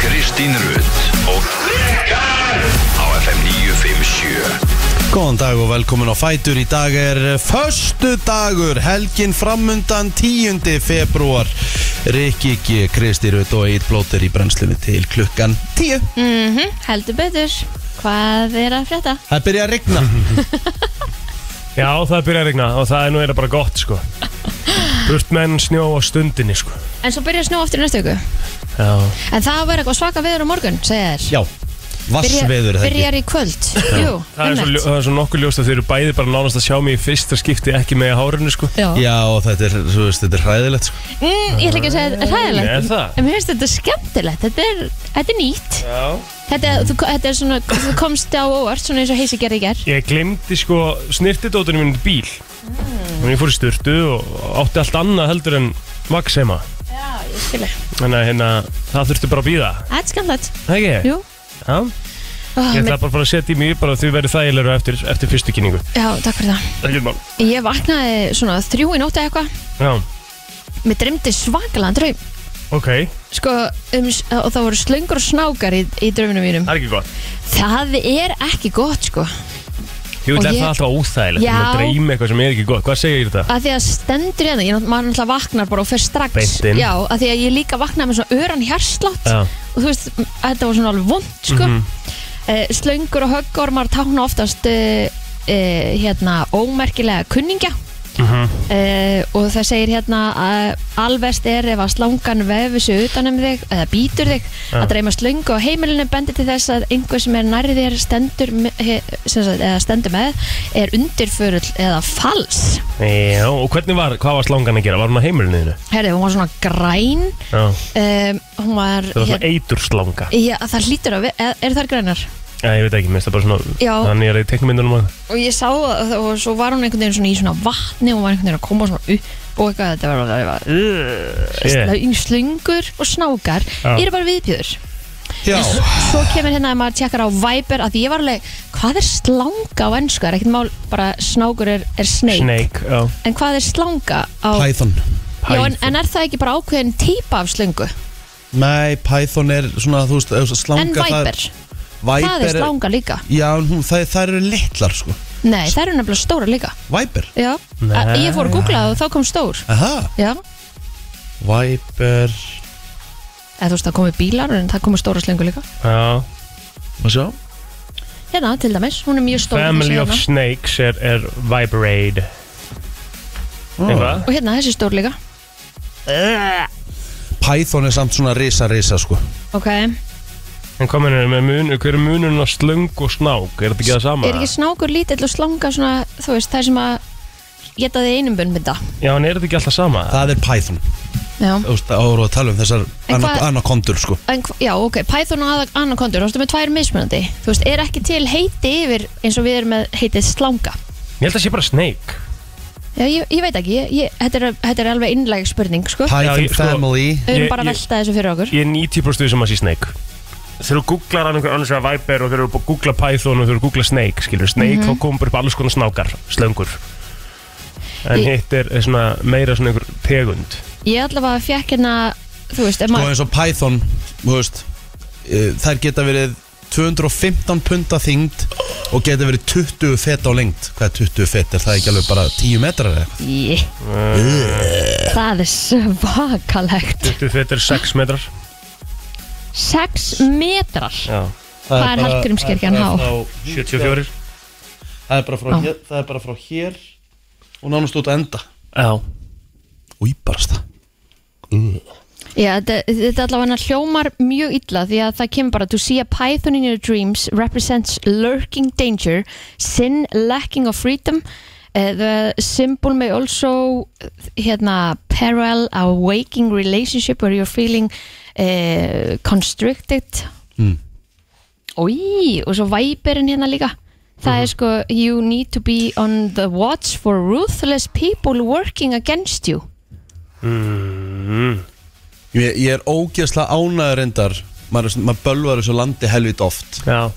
Kristín Rutt og Rikar á FM 957 Góðan dag og velkomin á Fætur. Í dag er förstu dagur, helgin framundan 10. februar. Rikki G, Kristi Rutt og Eir Blóter í brennslunni til klukkan 10. Mhm, heldur betur Hvað er að frétta? Það byrja að rigna. Já, það byrja að regna og það er nú eða bara gott sko Burt menn snjó á stundinni sko En svo byrja að snjóa aftur í næstu viku Já, En það verður eitthvað svaka veður á morgun, segja þér Já, vassveður það ekki. Byrjar í kvöld Jú, það er, svo, ljó- einmitt. það er svo nokkuð ljóst að þau eru bæði bara nánast að sjá mig í fyrsta skipti ekki með hárinu sko Já. Já, og þetta er, þú veist, þetta er hræðilegt. sko. Mm, Ég ætla ekki að segja þetta er hræðilegt Er það? En mér finnst þetta skemmtilegt, þetta er, þetta er nýtt Já þetta, þú, þetta er svona, þú komst á óvart Svona eins og heisi gerði í ger Ég glemdi sko snirtidótunum minn í bíl Mm. og ég fór í sturtu og átti allt annað heldur en vaks heima Já, ég skilja Þannig að hérna, það þurfti bara að býða Þetta er skemmtilegt, Það ekki? jú Já, oh, ég mér, ætla bara að fara að setja í mig bara að þau verið þægilegur eftir, eftir fyrstu kynningu Já, takk fyrir það Það er ekki mál Ég vaknaði svona þrjú í nóttu eitthvað Já, Mér dreymdi svakalega draum ok, Sko, um, og það voru slöngur og snákar í, í drauminu mínum það er ekki gott Það er ekki gott sko Jú, Og það er ég- það alltaf óþægilegt Já. Það dreymi eitthvað sem er ekki gott Hvað segir þetta? að Því að stendur hérna, ég náttúrulega maður náttúrulega vaknar bara og fer strax Beint inn. Já, að því að ég líka vaknaði með svona öran hjarslátt Já. Mhm. Og þú veist, m- þetta var svona alveg vond sko mm Slöngur og höggormar tána oftast uh, uh, hérna ómerkilega kunningja Uh, og það segir hérna að alvest er ef að slangan vefi sig utan um þig eða býtur þig Já. að dreyma slöngu á heimilinu bendir til þess að einhver sem er nærri þér stendur, me- he, sem sagt, eða stendur með er undirförull eða fals Já, og hvernig var, hvað var slangan að gera? Var hún á heimilinu þínu? herri, hún var svona græn Já, um, hún var hérna- það var svona eitur slanga já, það hlýtur að vera, er þar grænar Já, ég veit ekki, mér finnst það bara svona Já. Þannig er það í teknumyndunum að og ég sá að það og svo var hún einhvern veginn svona í svona vatni og hún var einhvern veginn að koma svona upp og eitthvað þetta var Shit. alveg uh, slöngur og snákar Já. eru bara viðbjöður Já, En s- svo kemur hérna að maður tjekkar á Viber að því ég var alveg, hvað er slanga á ennsku? Það er ekkert mál, bara snákur er, er snake. Snake, já En hvað er slanga á... Python. Já, en, Python. en er það ekki bara ákveðin típa af slöngu? Nei, Python er svona, þú veist, ef slanga. en Viber, Það, það Viper er slanga líka. Já, en hún, það, það eru litlar, sko. Nei, það eru nefnilega stóra líka. Viper. Já, Nei. Nei. ég fór að googla það og þá kom stór. Aha. Já, Viper. eða þú veist, það komi bílar en það komi stóra slöngu líka. Ah, Já, Má sjá. Hérna, til dæmis, hún er mjög stór. Family þessi of hérna. Snakes er, er Vibrade Ó. Eitthvað? Og hérna, þessi stór líka. Python er samt svona risa, risa, sko. Ok, En hvað mennur með mun, hver er munurinn á slung og snák? Er þetta ekki það sama? er ekki snákur lítill og slanga svona, þú veist, það sem að geta þig einum bunn mynda. Já, en er þetta ekki alltaf sama? Það er Python. Já. Þú veist, ára að tala um þessar En ana- hvað- anakondur, sko. En, hv- já, ok, Python og ana- Anaconda, þú veist, með tvær mismunandi. Þú veist, er ekki til heiti yfir eins og við erum með heitið slanga. Ég held að sé bara snake Já, ég, ég veit ekki, ég, ég, þetta, er, þetta er alveg innleg spurning, sko. Python ég- sko- Family. Við erum ég- bara að ég- velta þessu fyrir okkur. Ég er 90% sem að sé Snake Þegar þú googlar hann einhver annars vegar Viper og þegar þú googlar Python og þegar þú googlar Snake skilur, Snake Mhm. þá komur bara upp alls konar snákar slöngur en Ég- hitt er, er svona meira svona einhver tegund Ég allavega fekk hérna, þú veist, ef Sko maður... eins og Python, þú veist, eh, þær geta verið 215 punta þyngd og geta verið 20 fet á lengt. Hvað er 20 fet? Er það ekki alveg bara 10 metrar eða eitthvað? Ég, það er svakalegt. Þetta þetta er 6 Ah. metrar 6 metrar. Já. Hvað er bara- Hallgrímskirkjan það er bara há? 74 Það er bara frá, Já. hér, það er bara frá hér og nánast út að enda. Já Íbarast það. Já, þetta, þetta allavega hljómar mjög illa því að það kemur bara To see a python in your dreams represents lurking danger, sin, lacking of freedom uh, The symbol may also hérna, parallel a waking relationship where you're feeling uh, constricted Mm. Í, og svo væperinn hérna líka Það er sko, you need to be on the watch for ruthless people working against you. Mhm. Ég, ég er ógeðslega ánæður reyndar. Maður, er svona- maður bölvar þessu landi helvit oft. Já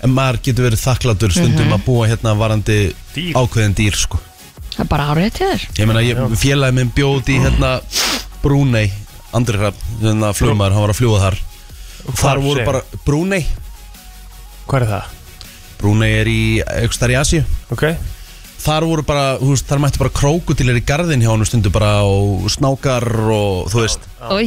En maður getur verið þakklatur stundum að búa hérna varandi Dýr. ákveðin dýr, sko. Það er bara árið til þér. Ég meina, ég, félagi minn bjóð í hérna Brúnei, Andri Hrafn, hérna flugmaður, hann var að fljúa þar Þar voru bara Brunei Hvað er það? Brunei er í, einhvers þar í Asíu Ok Þar voru bara, þú veist, þar mættu bara krókutilir í garðin hjá hann stundu bara og snákar og þú veist, Oj,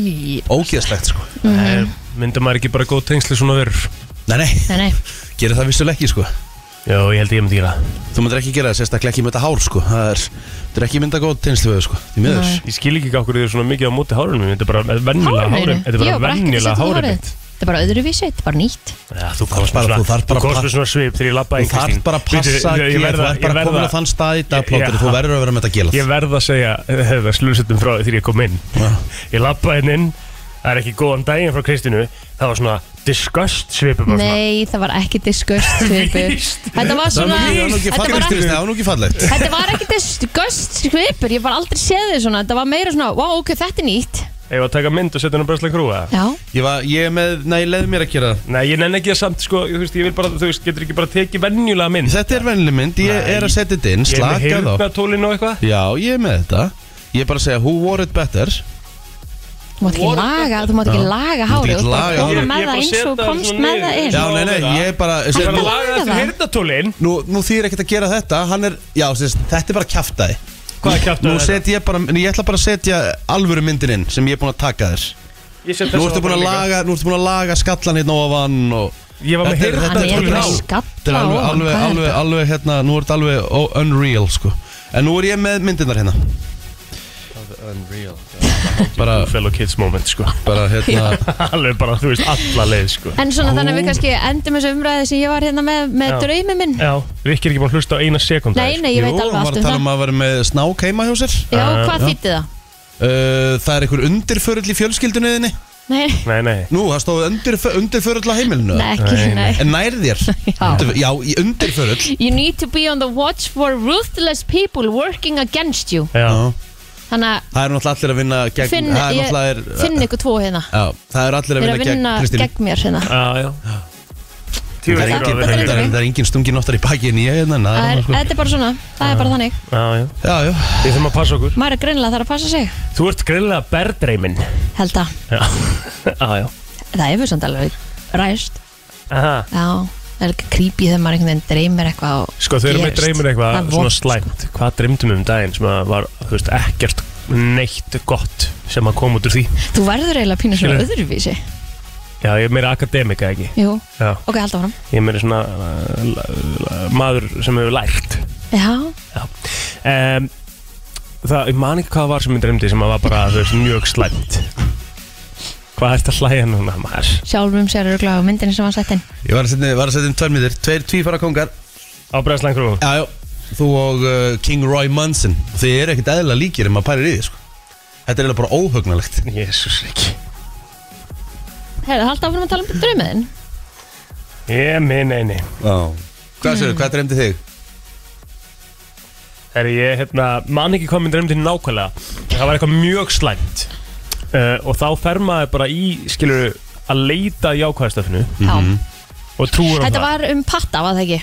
Mhm. ógeðslegt sko mm. Myndum maður ekki bara góð tengsli svona verur Nei, nei, nei, nei gerir það vissulega ekki sko Já, ég held ég myndi gera það. Þú myndir ekki gera það, sérstaklega ekki með þetta hár sko Það er, það er ekki mynda góð tenslu við sko, því miður Ég skil ekki hvað okkur þið er svona mikið á móti hárunum Þetta er bara venjulega Hárinu hárun Þetta er Ég bara var bara ekkert að venjulega setja hárun hárið Þetta er bara öðruvísi, þetta er bara nýtt Já, þú komst bara- með þú þarf svona- bara þú komst að- með svona svip þegar ég labbaði Þú inn, þarf Kristín. bara að passa Bíddu, að ég- ég gera, verð þú að- ert bara ég verð komin að- á þann stað í dag Ég- plótur, ég- þú verður að vera með þetta gelað Ég verð að segja þetta slúsettum frá því þegar ég kom inn Já. Ég labbaði hérna inn Það er ekki góðan daginn frá Kristínu Það var svona disgust svipur bara svona. Nei, það var ekki disgust svipur Víst. Þetta var Það svona var nú ekki Þetta fallegt, var Kristi, ekki, það var nú ekki fallegt þetta var ekki disgust svipur Ég var aldrei séð þið svona Þetta var meira svona, wow, ok, þetta er nýtt Ég var að taka mynd og setja hennar bröðslega krúa Já, Ég var, ég er með, nei, leið mér að gera það Nei, ég nenni ekki það samt sko Þú veist, ég vil bara, þú veist, getur ekki bara tekið venjulega mynd Þetta er venli mynd, ég Nei. er að setja þetta inn, Ég er með slaka þá heyrnatólin og eitthvað Já, ég er með þetta Ég er bara að segja, who wore it better? þú mátt ekki laga, þú mátt ekki laga Þú mátt hárið Þú ekki mátt bara koma laga Ég- hárið. ég með bara það eins setja og það komst svona með niður. það inn Já, nei, nei, ég er bara Ég er sem, bara að nú, laga þetta það. heyrnatólin nú, nú þýr ekkert að gera þetta, hann er, já, sem, sagt, þetta er bara kjaftaði Hvað kjaftaði Nú þetta? set ég bara, ég ætla bara að setja alvöru myndin inn sem ég er búin að taka þér Ég set Nú þessa ertu búin að bara líka. laga, nú ertu búin að laga skallan hérna ofan og Ég var með Þetta er- heyrn- Hann er þetta ekki tólin á. með Þetta er skalla á alveg, hann, hvað alveg, er alveg, þetta? alveg, hérna, nú er þetta alveg ó- unreal, sko En nú er ég með myndirnar hérna Bara, Fellow kids moment sko bara, hérna Alveg bara, þú veist, alla leið sko En svona þannig að við kannski endum þessu umræði sem ég var hérna með, með Já. draumi minn Já, Rikki er ekki búin að hlusta á eina sekund Nei, nei, ég Jú, veit alveg hún var allt að um tala það um að vera með snák heima hjá sér Já, Já, hvað já. þýtti það? uh, Það er einhver undirförull í fjölskyldunniðinni Nei, Nei, nei Nú, það stóð undirf undirförull á heimilinu nei, ekki, Nei, nei. nei En nær þér Já. Undir, Já, í undirförull You need to be on the watch for ruthless people working against you Já, Já. Þannig Það er náttúrulega allir að vinna gegn að finn, Það er ég, náttúrulega er, finn ykkur tvo hérna Já, það er allir að Þeir vinna, eru að vinna gegn gegn, Kristínu mér hérna já, já Tíu Það er leikur á engin- þeirra það er- líka. það er engin stungin oftar í baki en ég hérna, en það Það er er- annað, sko. Þetta er bara svona, það er bara þannig Já, já Já, já Við þurfum að passa okkur Maður er greinilega þarf að passa sig Þú ert greiðlega berdreimin Held að, Já, já, já það hefur samt alveg ræst Aha. Já, það er ekki creepy þegar maður einhvern veginn dreymir eitthvað og Sko, þau eru með gerist. dreimin Það eitthvað er svona vont, slæmt Hvað dreymdum við um daginn sem að var, þú veist, ekkert neitt gott sem að koma út úr því sko. Þú verður eiginlega pínu svona Skilur. öðruvísi Já, ég er meira akademika, ekki? Jú, Já ok, held áfram Ég er meira svona uh, la- la- maður sem hefur lært Já, um, Það, ég man ekki hvað það var sem ég dreymdi sem að var bara, þú veist, mjög slæmt Hvað ert að hlæja núna, maður? sjálfum sér eru gláð á myndinni sem var sett inn Ég var að setja, var að setja um tvær myndir Tveir tvífara kongar Ábreðslan krúum Já, já Þú og uh, King Roy Munson Þið eru ekkert eðla líkir en maður pærir í því, sko Þetta er eiginlega bara óhugnalegt Jésús ekki Herðu, held áfram að tala um draumiðin Ég minn eini Já Hvað sér, hvað dreymdi þig? Þegar ég, hérna, man ekki hvað mér dreymdi nákvæmlega en Það var eitthvað mjög slæmt uh, Og þá fer maður bara í, skilur að leita í ákvæðastöfnu Já, Mhm. og trúur á Þetta það var um patta, var það ekki?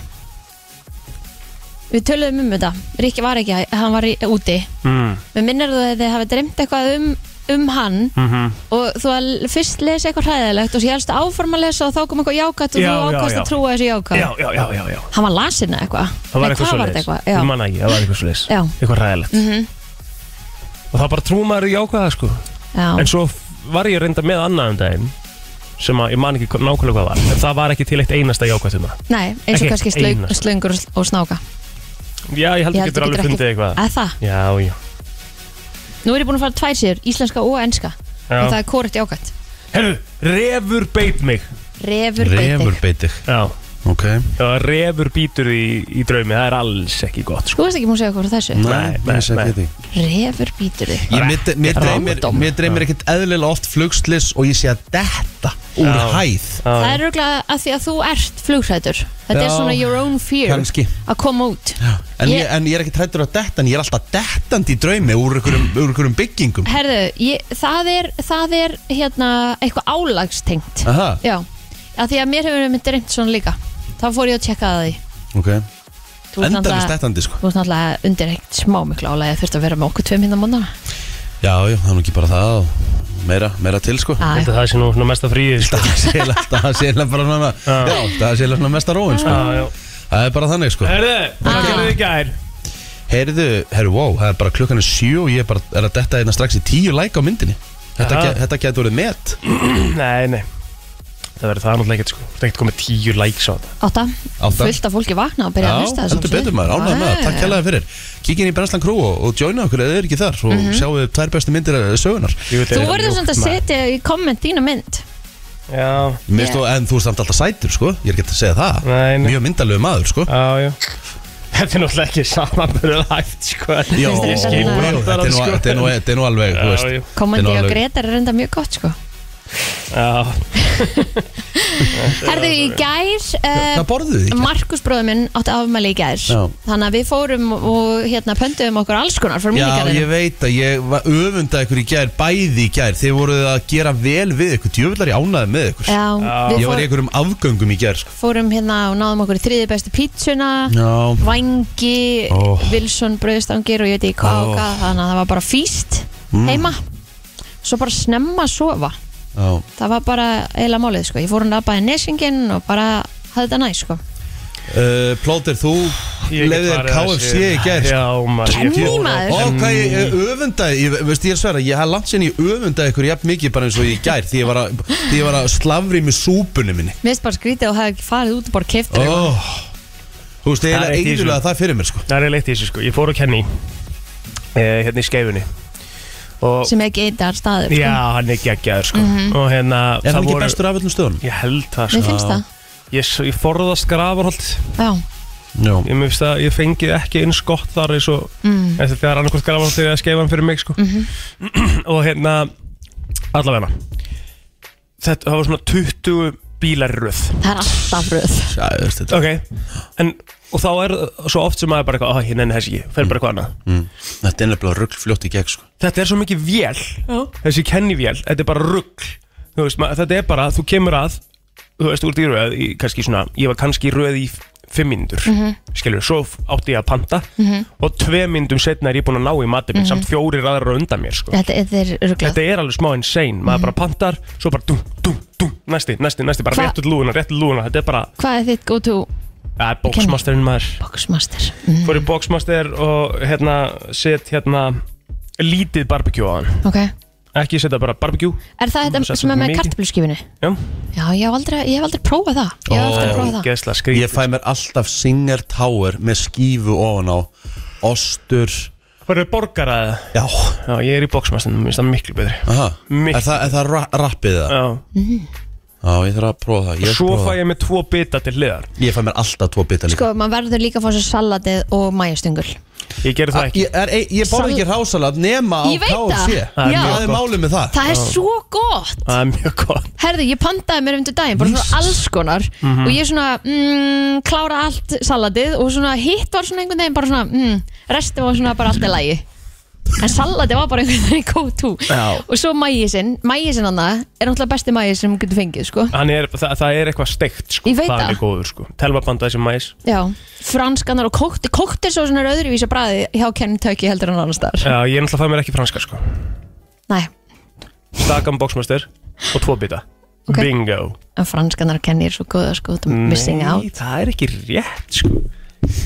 Við töluðum um þetta Rikki var ekki, hann var í, úti mm, Við minnir þú að þið hafi dreymt eitthvað um, um hann mm og þú að fyrst lesa eitthvað hræðilegt og svo helst áfram að lesa og þá kom eitthvað jákvæmt og Já, þú já, ákvæmst já. að trúa þessu jákvæmt Já, já, já, já, já Hann var lasin eða eitthvað Nei, Það var hvað eitthvað var svoleiðis. þetta eitthvað? Ég Já. Mhm, man það ekki, það var eitthvað svoleiðis Já. Eitthvað ræðilegt Og það bara trú maður í ákvæða sko En Já. svo f- var ég reynda með annað um daginn sem að ég man ekki hva- nákvæmlega hvað var en það var ekki til eitt einasta jákvætt um það Nei, eins og Ekki kannski eina, slöng, sko. slöngur og sl- og snáka Já, ég held Ég held ég getur þú alveg getur fundið ekki- eitthvað Að það, Já, já nú er ég búin að fara tvær sér íslenska og enska Já. og það er kórekt jákvæmt Herru, refur beit mig Refur Refur beitig beitig Já, Ok já refur bítur í, í draumi það er alls ekki gott sko Þú veist ekki múin að segja okkur þessu Nei, nei, ég sagði nei. þetta ekki. Refur býtur þig Ég- mér- Mér dreymir- Random. mér dreymir ekkert eðlilega oft flugslis og ég sé að detta úr Já. hæð Það er örgulega að því að þú ert flugrætur Þetta er Já. svona your own fear Kannski. Að koma út En ég, Ég- en ég er ekki trættur að detta en ég er alltaf dettandi í draumi úr einhverjum, úr einhverjum byggingum Herðu, ég, það, er, það er hérna eitthvað álagstengt Aha, Já, að því að mér hefur mér dreymt svona líka Þá fór ég að tjekka það í ok Þú ert Endarist náttúrulega- dettandi sko þú ert náttúrulega undir eitt smá miklu álagi að þurft að vera með okkur tveim hérna móndana Já, já, það er nú ekki bara það og meira, meira til sko Æ. Þetta það sé nú svona mesta fríið sko. Það sé eiginlega- það sé eiginlega bara svona Já, það sé eiginlega svona mesta róin sko Já, já. Það er bara þannig sko Herðu, hvað Ah. gerðu þið í gær? Heyrðu, heyrðu, wow, það er bara klukkan er sjö og ég er bara er að detta hérna strax í tíu like á myndinni Þetta, Aha. get, þetta getur verið met Nei, nei Það verður það náttúrulega ekkert sko Það er ekkert komið tíu likes á þetta Átta, Átta. fullt af fólki vakna og byrja að hlusta Já, þessu heldur betur maður, ánægð með það, takk hérlega fyrir Kíkin í Brennslan Crew og, og joina okkur eða þið er ekki þar og sjáu tvær bestu myndir eh, sögunar Jú, þetta Mhm. Þú er verður ljótt, svona að maður. setja í komment þína mynd Já, Mér stóð, en þú er samt alltaf sætur sko, ég er ekki að segja það Nei, nei. Mjög myndalegu maður sko já, já Þetta er náttúrulega ekki samanbörðulægt sko Jó, Þetta er þetta skil- er nú- þetta er nú- þetta er nú- þetta er nú alveg þú Já, veist, jú. þetta er nú Kommandi á alveg- Gretar er reynda mjög gott sko Já, Herðu í gær eh, Hvað borðuðu þið? í gær? Markus bróður minn átti afmæli í gær Já. Þannig að við fórum og hérna pönduðum okkur alls konar frá Já, ég mínigarðinu veit að ég var öfunda ykkur í gær, bæði í gær Þið voruð að gera vel við ykkur, djöfullar ég ánaði með ykkur Já, við Ég var í fór, einhverjum afgöngum í gær sko. fórum hérna og náðum okkur í þriði bestu pítsuna Já, Oh. Vangi, Ó. Wilson bröðstangir og ég veit ekki hvað Ó. og hvað Þannig að það var bara físt Mm. heima Svo bara snemma að sofa já það var bara eiginlega málið sko. ég fór hann að bæða nesingin og bara hafði þetta næ sko. Uh, Plóter, þú ég get leiðir farið að KFC sé- í gær Já, maður ég Kenný, fór á- maður. Ó, hvað ég eh, öfundaði, ég, veist ég er sverra, ég haf langt sinn ég öfundaði ykkur jafn mikið bara eins og ég í gær Því ég var að, því ég var að slavri með súpunni minni mér finnst bara skrítið og hafði ekki farið út og bara keftir oh. Ó, Þú veist, Það er eiginlega eitt í þessu. eiginlega það fyrir mér sko Það er leitt í þessu sko Ég fór á Kenny eh, Hérna í skeifunni Oh. Og sem ekki eitar staður sko. Já, Mhm. hann er geggjaður sko Og hérna Er það hann ekki voru- bestur af öllum stöðunum? Ég held það sko. mér finnst það Ég, s- ég forðast grafarholt Já. Já Ég mér finnst að ég fengið ekki eins gott þar eins og Mm. eftir þegar annarkvort grafarholt þegar að skeifa hann fyrir mig sko Mhm. Og hérna Allavega Þetta það var svona 20 bílar í röð það er alltaf röð Já, þú veist, þetta Ok En Og þá er svo oft sem maður bara eitthvað, "Ah, ég nenni þess ekki, fer bara eitthvað annað. mm. Þetta er nefnilega ruggfljótt í gegn sko Þetta er svo mikið vél, þessi kennivél, þetta er bara rugg. Þú veist, maður, þetta er bara, þú kemur að, þú veist, úr því röð, í, kannski svona, ég var kannski í röð í f- fimm mínútur, mm Mhm. skilur, svo f- átti ég að panta og tvei mínútum setna er ég búin að ná í matið minn, samt fjórir aðra undan mér, sko. Mhm. þetta, þetta er rugglað Þetta er alveg smá insane, maður bara pantar, svo bara dum, dum, dum, næsti, næsti, næsti, bara Hva- rétt út lúðuna, rétt út lúðuna, þetta er bara, hvað er þitt go to að, bóksmasterinn maður boxmaster mm. fór í bóksmaster og hérna set hérna lítið barbekjú á hann ok ekki setja bara barbekjú er það Maður þetta setur sem er með mikið. kartabluskifinu já, já ég hef aldrei ég hef aldrei prófað það ég hef aldrei Ó. prófað það Gæsla Ég skrítið fæ mér alltaf Singer Tower með skífu ofan á Ostur Færðu borgaraðið? Já Já, ég er í bóksmastinu, mér finnst það miklu betri Aha. Miklu. Er það, er það ra rappið það? Já, Já, ég þarf að prófa það Ég, sko- svo prófa fæ það. ég með tvo bita til hliðar ég fæ mér alltaf tvo bita líka sko maður verður líka að fá sér salatið og mæjastungul Ég gerði það ekki Ah, Ég, er, ég, ég borða Sal- ekki rásalat nema á Ég veit það. KFC Það er Já. mjög er málið með það það er svo gott Það er mjög gott Herðu, ég pantaði mér um til daginn, bara svona alls konar Mhm. og ég svona, mm, klára allt salatið og svona hitt var svona einhvern veginn bara svona, mm, restin var svona bara allt í lagi en salatið var bara einhvern veginn go to Já. og svo mægisinn, mægisinn hann er náttúrulega besti mægis sem hún getur fengið, sko Hann er, það, það er eitthvað steikt sko Ég veit Það það. er góður sko Telvabanda þessi mæs Já, franskanar og kóktir, kóktir svo svona öðruvísa bræði hjá Kentucky heldur en annars staðar. Já, ég er náttúrulega fæ mér ekki franska sko Nei, Stakan bóksmaster og tvo bita Ok. Bingo en franskanar kennir svo góða, sko, þú missing out Nei, það er ekki rétt sko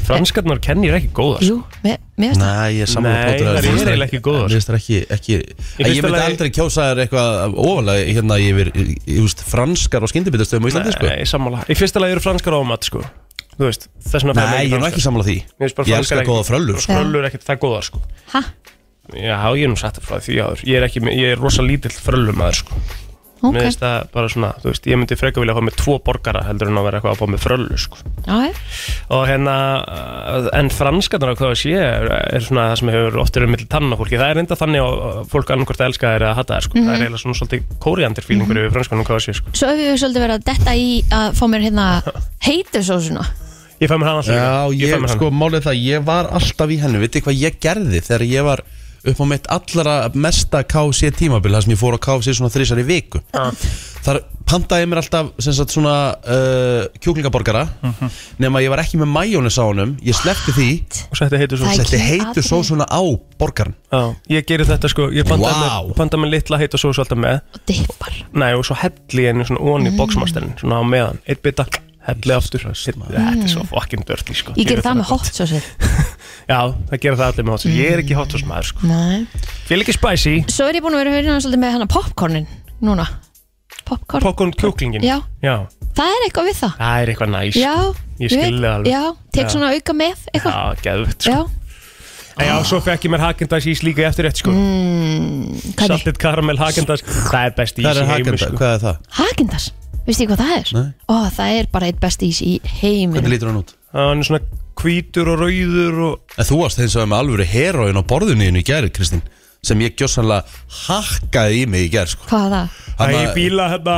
Franskarnar kennir ekki góðar sko. Jú, mér, mér finnst það Nei, ég er sammála Nei, Plóter, það að er finnst eiginlega ekki góðar. Mér finnst það ekki, ekki Ég, fyrsta ég myndi lagi- aldrei kjósa þér eitthvað ofalega hérna yfir, þú veist, franskar og skyndibittastöðum á Íslandi, sko Nei, sammála Í fyrsta lagi eru franskar ámat sko Þú veist, þess vegna fæ Nei, ég er nú ekki sammála því Mér finnst bara Ég franskar elskar ekki- góða fröllur, sko Fröllur er ekkert það góðar sko Hæ? Já, ég er nú satt að frá því áður Ég er, ekki, með- ég er rosa lítill fröllumæður sko Ok, Mér finnst það bara svona, þú veist, ég myndi freka vilja fá með tvo borgara heldur en að vera eitthvað að fá með fröllu sko já, já. Og hérna, uh, en franskarnar á hvað sé er, er svona það sem hefur oft verið mitt tanna fólki Það er enda þannig að fólk annarkvort að elska þær eða hata þær sko Mhm. Það er eiginlega svona svolítið kóriandir fílingur yfir franskarnar á hvað sé sko Svo hefur við svolítið verið að detta í að fá mér hérna heitusósuna Ég fæ mér hann alltaf Já, líka. ég, fæ mér hana. sko, málið er það, ég var alltaf í hennu Vitið hvað ég gerði þegar ég var upp á mitt allra mesta KC tímabil þar sem ég fór á KC svona þrísar í viku þar pantaði ég mér alltaf sem sagt svona uh, kjúklingaborgara Mhm. nema ég var ekki með majónis á honum ég sleppti því og setti heitu Það sósu er setti ekki heitu atriði. sósuna á borgaran Já, ég gerir þetta sko, ég panta Vá. með, panta með litla heita sósu alltaf með og dippar Mm. Nei, og svo helli ég henni svona onni í boxmasterin, svona á meðan, eitt bita, helli aftur Þetta þetta er svo fucking dirty sko Mm. Ég ger það með alveg. hot sauce Já, það gerir það allir með hot sauce, ég er ekki hot sauce maður sko Nei Fylg ekki spicy, Svo er ég búin að vera að höfðina svolítið með hana popcornin núna Popcorn popcorn kjúklingin Já. Það er eitthvað við það það er eitthvað næs Já Ég skil veit. það alveg. Já, tek Já. svona auka með Já, eitthvað geðvögt Já, sko En Já, svo fekk ég mér Haagen-Dazs ís líka eftir rétt sko Mm, hvernig? Saltið karamel Haagen-Dazs, það er best ís Það í er heimi hakenda, sko hvað er það? Hagendas Vistu hvað það er? Nei. Ó, það er bara eitt best ís í heiminum Hvernig lítur hann út? Hann er svona hvítur og rauður og En þú varst eins og með alvöru heroin á borðinu þínu í gæri, Kristín sem ég gjössanlega hakkaði í mig í gæri sko. Hvað er það? Það er bíla hérna,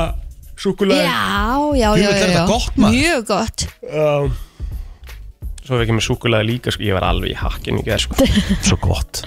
súkulega Já, já, já, já, Djöfull, er já. þetta gott, maður. Mjög gott Já Svo hef ég ekki með súkulega líka sko. Ég var alveg í hakkin í gerð sko. Svo gott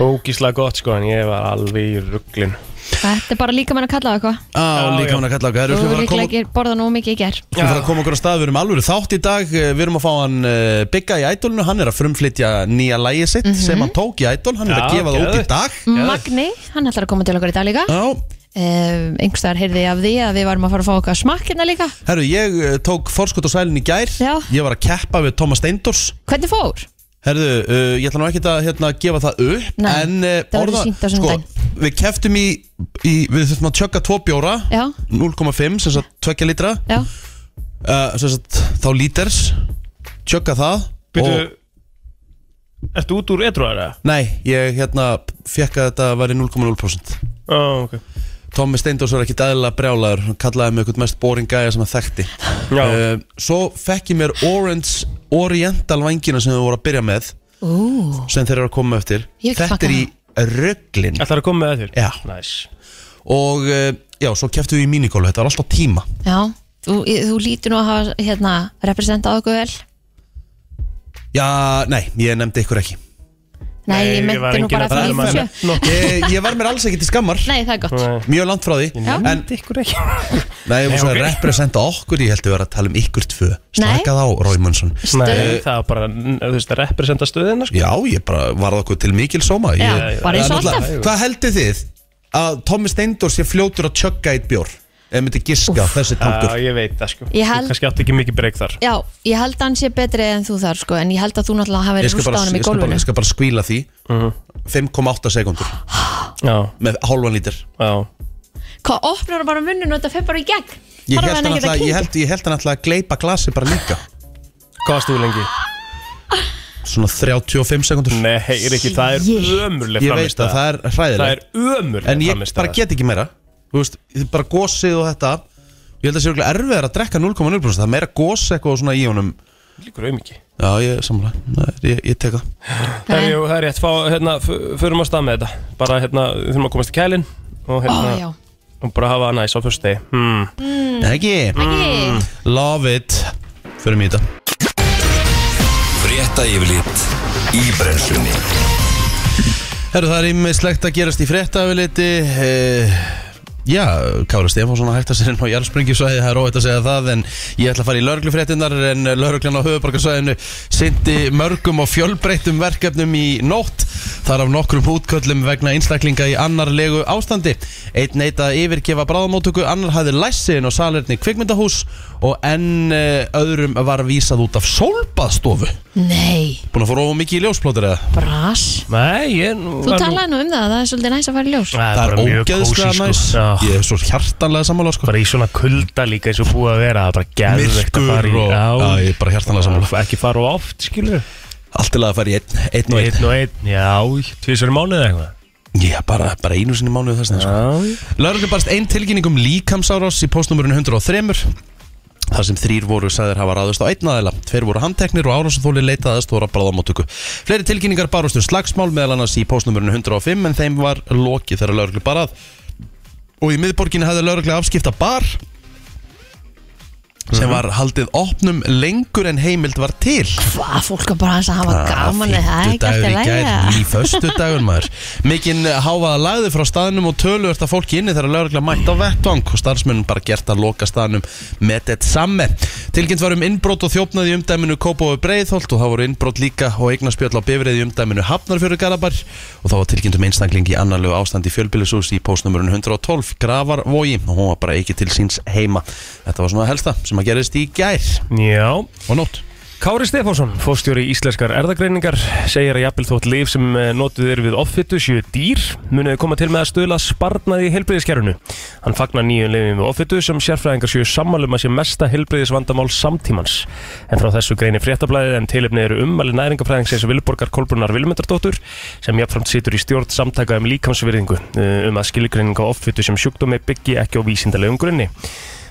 Ógíslega gott sko En ég var alveg í rugglin Þetta er bara líka mann að kalla á eitthvað Á, Já, líka já. hann að kalla okkar Þú Við erum að líklega koma- ekki borða nóg mikið í ger við erum að fara að koma okkur á stað Við erum alvöru þátt í dag Eh, Við erum að fá hann uh, Bigga í ædolinu Hann er að frumflytja nýja lægi sitt sem hann tók í ædol Hann er Mhm. að Já, gefa það út í geðveikt. dag Magni, hann ætlar að koma til okkur í dag líka Já, um, einhverstaðar heyrði ég af því að við varum að fara að fá okkar smakk hérna líka herru, ég eh, tók forskot á sælinn í gær Já. Ég var að keppa við Thomas Steindors Hvernig fór? Herðu, uh, ég ætla nú ekki að hérna, gefa það upp Nei, En það uh, verður sýnt á sko, sunnudaginn. Við keftum í, í Við þurfum að tjögga tvo bjóra Já. 0,5, sem sagt 2 litra Já, uh, Sem sagt þá líters Tjögga það Býtu og, Ertu út úr edru aðra? Nei, ég hérna Fekk að þetta væri 0,0% Já, ok Tommi Steindors var ekkit aðeinslega brjálaður Hann kallaði mig eitthvað mest boring gæja sem að þekkti Já. uh, Svo fekk ég mér Orange Oriental vængina sem þau voru að byrja með ú, Sem þeir eru að koma eftir Ég ekki Þetta er í smakka rugglin Ætlar að koma með það þér? Já. Næs og eh, já, svo keftum við í minigolf þetta var alltaf tíma já Þú, ég- þú lítur nú að hafa hérna representað okkur vel já, nei, ég nefndi ykkur ekki Nei, Nei, ég ég var myndi nú enginn bara að tala því um sjö. hana. Nó. ég, ég var mér alls ekki til skammar Nei, það er gott mjög langt frá því en, ykkur ekki nei, ég Nei, var svo ok. að representa okkur ég held að vera að tala um ykkur tvö Nei. slakað á, Róimundsson Nei, það var bara Þú veist að representa stöðina sko. já, ég bara varð okkur til mikil sóma ég, Já, bara eins og En náttúrulega, alltaf. hvað heldur þið að Tommi Steindor sé fljótur að tjögga eitt bjór ef myndi giska þessi tankur Já, ég veit það sko Ég held- Þú kannski átti ekki mikið breyk þar Já, ég held að hann sé betri en þú þar sko, en ég held að þú náttúrulega hafi ég verið skal bara, rústa honum ég í skal bara, gólfinu ég skal bara skvíla því 5,8 sekundur Mhm. Já, með hálfan lítir já Hvað opnar hann bara munnun og þetta fyrir bara í gegn? Horfir Ég held, hann ekki alltaf, að ég, kynja? held, ég held hann alltaf að gleipa glasi bara líka Hvað varst þú lengi? Svona 35 sekundur Nei, heyr ekki, það Shit. er ömurleg Ég veit að það er Það hræðilegt er ömurleg En ég bara frammistaða. get ekki meira Þú veist, þið bara gósið og þetta Ég held að það sé örugglega erfiðar að drekka 0,0% Það er meira gós eitthvað svona í honum Líkur auðmiki Já, ég samlega, Nei, ég, ég tek það Það er, jú, það er rétt, fá, hérna, f- förum á stað með þetta Bara, hérna, við þurfum að komast í kælinn Og Ó, hérna, já, og bara hafa það næs á fyrstu degi hmm. mm. Ekki, ekki love it Förum í þetta Frétta yfirlit í brennslunni Herru, það er ímislegt að gerast í fréttafiliti eh, Já, Kára Stefánsson að hætta sér inn á jarðspringjusvæði, það er óvægt að segja það en ég ætla að fara í lörglufréttinnar en lörglan á höfubarkasvæðinu syndi mörgum og fjölbreyttum verkefnum í nótt þar af nokkrum útköllum vegna einstaklinga í annarlegu ástandi einn neitt að yfirgefa bráðamótöku annar hafði læsiðin og salerni kvikmyndahús og enn eh, öðrum var vísað út af sólbaðstofu Nei, Búin að fóra of mikið í ljósplótur eða? bras Nei, ég nú Þú talaði nú um það, það er svolítið næst að fara í ljós Það er ógeðslega næs sko. Já, Ég er svo hjartanlega sammála sko bara í svona kulda líka eins og búið að vera Það er bara geðvegt að fara í Myrkur og- Já, ég er bara hjartanlega sammála. Ekki fara of oft, skilur Allt til að fara í einn, einn og einn Einn og einn, já, tvisar mánuð eitthvað Já, bara, bara einu sinni í mánuði þess vegna sko. Já, Lörgum barst einn tilkynning um líkamsárás í postnumurinu 103 þar sem þrýr voru sagðir hafa ráðust á einn aðeila. Tveir voru handteknir og árásathóli leitaði að stóra bráðamóttöku. Fleiri tilkynningar barust um slagsmál meðal annars í postnumurinu 105 en þeim var lokið þegar lörglu barað. Og í miðborginni hafði lörglu afskipta bar sem Mhm. var haldið opnum lengur en heimild var til Hvað, fólk er bara hans að hafa gaman eða það er ekki alltaf Fimmtudagur í gær, í lægja föstu dagur maður Mikinn eh, hávaða lagði frá staðnum og töluvert að fólki inni þegar lögregla mætt á vettvang og starfsmennum bara gert að loka staðnum með þetta samme. Tilkynnt var um innbrot og þjófnaði í umdæminu Kópói Breiðholt og það voru innbrot líka og eignaspjöld á bifrið í umdæminu Hafnarfjörðu Garabar og þá var tilkynnt um einstakling í annarlegu ástand í fjölbýlisús í postnumurinn 112 Gravarvogi og hún var bara ekki til síns heima. Þetta var svona helsta sem að gerist í gær Já og nótt. Kári Stefánsson, fórstjóri íslenskar erðagreiningar, segir að jafnvel þótt lif sem eh, notuð er við offitu séu dýr munið koma til með að stöðla sparnaði í helbriðiskerfinu. Hann fagnar nýjum lifin við offitu sem sérfræðingar séu sammálum að sé mesta helbriðisvandamál samtímans. En frá þessu greinir fréttablaðið en tilefnið eru ummæli næringafræðingsins Vilborgar Kolbrunar Vilmundardóttur sem jafnframt situr í stjórn samtaka um líkamsvirðingu eh, um að skilgreining á offitu sem sjúkdómi byggi ekki á vísindalegum grunni.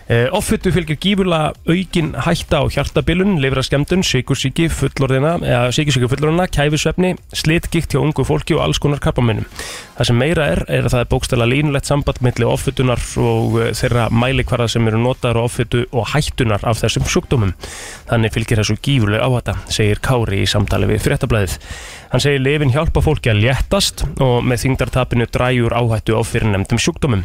Uh, Offittu fylgir gífurlega aukin hætta á hjartabilun, lifraskemdun, sykursíki, fullorðina, eða sykursíki fullorðina, kæfisvefni, slitgikt hjá ungu fólki og alls konar krabbaminnum. Það sem meira er, er að það er bókstæla línulegt samband milli offittunar og eh, þeirra mælikvarða sem eru notaður á offittu og hættunar af þessum sjúkdómum. Þannig fylgir þessu gífurlega áhætta, segir Kári í samtali við fréttablaðið. Hann segir lifin hjálpa fólki að léttast og með þingdartapinu dræjur áhættu á fyrirnemdum sjúkdómum.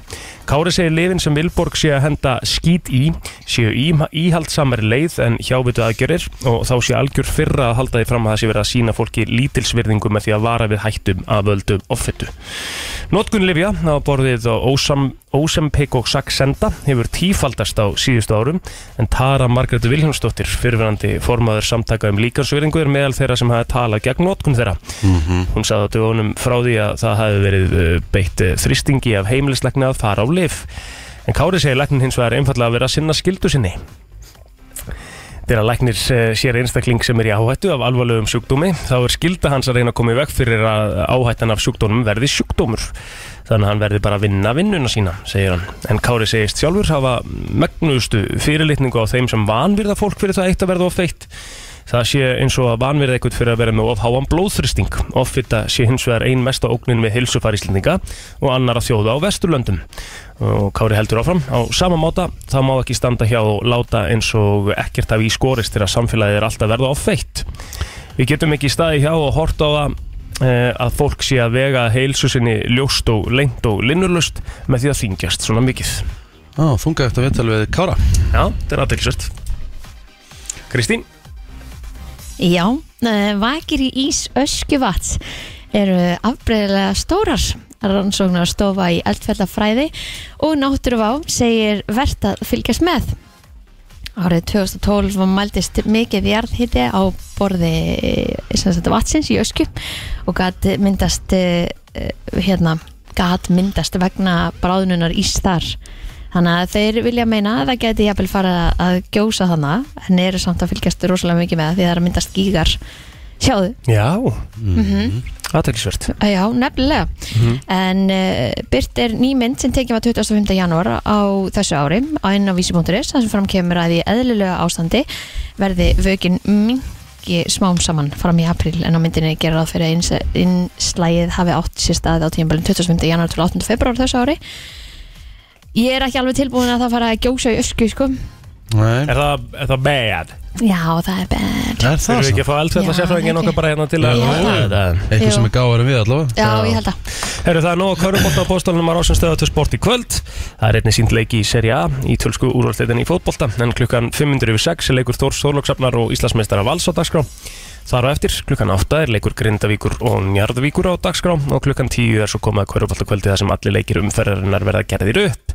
Kári segir lifin sem Vilborg sé að henda skít í séu í, íhaldsamari leið en hjávitu aðgjörir og þá sé algjör fyrra að halda því fram að það sé verið að sína fólki lítilsvirðingu með því að vara við hættum að völdum offitu. Notkun lifja á borðið á ósam, Ósempik og Saxenda hefur tífaldast á síðustu árum en Tara Margrét Vilhjómsdóttir fyrirverandi formaður samtaka um líkansverðingu er meðal þeirra sem hafa talað gegn notkun þeirra. Mhm. Hún sagði á dögunum frá því að það hafi verið eh, beitt eh, þrýstingi af heimilislegna að fara á lif. En Kári segir læknin hins vegar einfallega að vera að sinna skildu sinni. Þegar læknir eh, sér einstakling sem er í áhættu af alvarlegum sjúkdómi, þá er skilda hans að reyna að koma í veg fyrir að áhættan af sjúkdómum verði sjúkdómur. Þannig að hann verði bara að vinna vinnuna sína, segir hann. En Kári segist sjálfur hafa megnustu fyrirlitningu á þeim sem vanvirða fólk fyrir það eitt að verða of feitt. Það sé eins og að vanverða eitthvað fyrir að vera með of háan blóðþristing. Offita sé hins vegar ein mesta ógnin við hilsufaríslendinga og annara þjóða á Vesturlöndum. Og Kári heldur áfram. Á sama máta þá má ekki standa hjá og láta eins og ekkert af í skorist þegar samfélagið er alltaf verða offeitt. Við getum ekki staði hjá og hort á það eh, að fólk sé að vega heilsu sinni ljóst og lengt og linnurlust með því að þingjast svona mikið. Á, þunga eftir að viðtal við Kára. Já, þetta er aðeinsvært. Kristín? Já, eh, vakir í ís öskjuvats eru afbreyðilega stórar rannsóknar stofa í eldfellafræði og náttúruvá segir verðt að fylgjast með Árið 2012 var mældist mikið jarðhiti á borði eh, sem sagt, vatsins í öskju og gat myndast eh, eh, hérna, gat myndast vegna bráðnunar ís þar þannig að þeir vilja meina að það geti jafnvel farið að- að gjósa þarna en eru samt að fylgjast rosalega mikið með því það er að myndast gígar sjáðu, Já, mm Mhm. aðeinsvært. Eh, já, nefnilega en uh, byrt er ný mynd sem tekið var 25. janúar á þessu ári á inn á vísi.is þar sem fram kemur að í eðlilega ástandi verði vökin mingi smám saman fram í april en á myndinni gera ráð fyrir að inns- innslægið hafi átt sér staðið á tímbalinn 25. janúar til 8. februar þessu ári ég er ekki alveg tilbúin að það fara að gjósa í ösku sko. Nei, Er það, er það bad? já, það er bad er Þurfum það við svo? ekki að fá eldfjalla Já, sérfræðingin held okkar ég. bara hérna til að Já. Eitthvað Jú. sem er gáður en við allavega já, Já. ég held að Herru það er nóg að körfubólta á bóstólunum að rásum stöða til sport í kvöld Það er einnig sínd leiki í Serie A í tölsku úrvalsleitin í fótbolta en klukkan 500 yfir 6 er leikur Þórs Þorlóksafnar og Íslandsmeistara Vals á dagskrá Þar á eftir klukkan 8 er leikur Grindavíkur og Njarðvíkur á dagskrá og klukkan 10 er svo komið að körfubólta kvöldi þar sem allir leikir umferðarinnar verða gerðir upp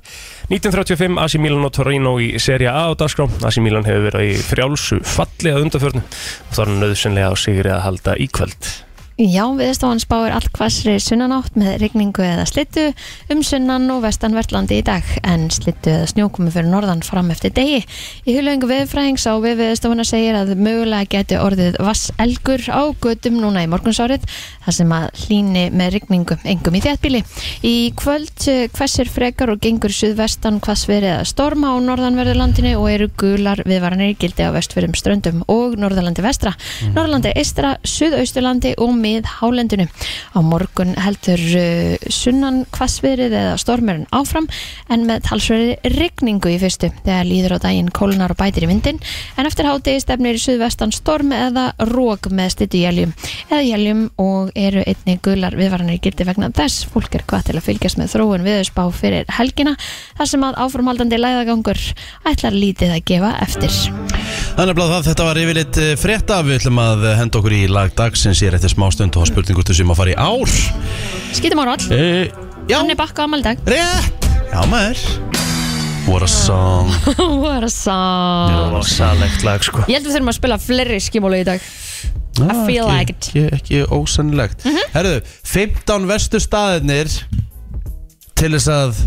1935 AC Milan og Torino í Serie A á dagskrá AC Milan hefur verið í frjálsu falli að undarförnu og þá er nöðsynlega á sigri að halda í kvöld Já, viðstofan spáir allt hvassri sunnanátt með rigningu eða slittu um sunnan og vestanvertlandi í dag en slittu eða snjókomi fyrir norðan fram eftir degi. Í hulöngu viðfræðings á við viðstofana segir að mögulega geti orðið vasselgur á götum núna í morgunsárið þar sem að hlýni með rigningu engum í þéttbíli. Í kvöld eh, hvessir frekar og gengur suðvestan hvassverið eða storma á norðanverðu landinu og eru gular viðvaranir í gildi á vestfyrum ströndum og norðalandi vestra, norðalandi eistra, suðausturlandi og miðhálendinu. Á morgun heldur uh, sunnan hvassviðrið eða stormurinn áfram en með talsverði rigningu í fyrstu þegar líður á daginn kólunar og bætir í vindin en eftir hádegi stefnir í suðvestan storm eða rók með styttu jæljum eða jæljum og eru einni gular viðvaranir í gildi vegna þess. Fólk er hvað til að fylgjast með þróun viðurspá fyrir helgina þar sem að áframhaldandi læðagangur ætlar lítið að gefa eftir. Þannig að það, þetta var yfirleitt eh, frétta Við ætlum að eh, henda okkur í lag dagsins Ég er eftir smá stund og spurningur til sem að fara í ár Skítum á roll, e, Já, hann er bakka á amaldag rétt Já maður What a song What a song Rosalegt lag sko Ég held við þurfum að spila fleiri skimólu í dag ah, feel Mhm. ekki, like it. ekki, ekki ósennilegt Herðu, 15 vestu staðirnir Til þess að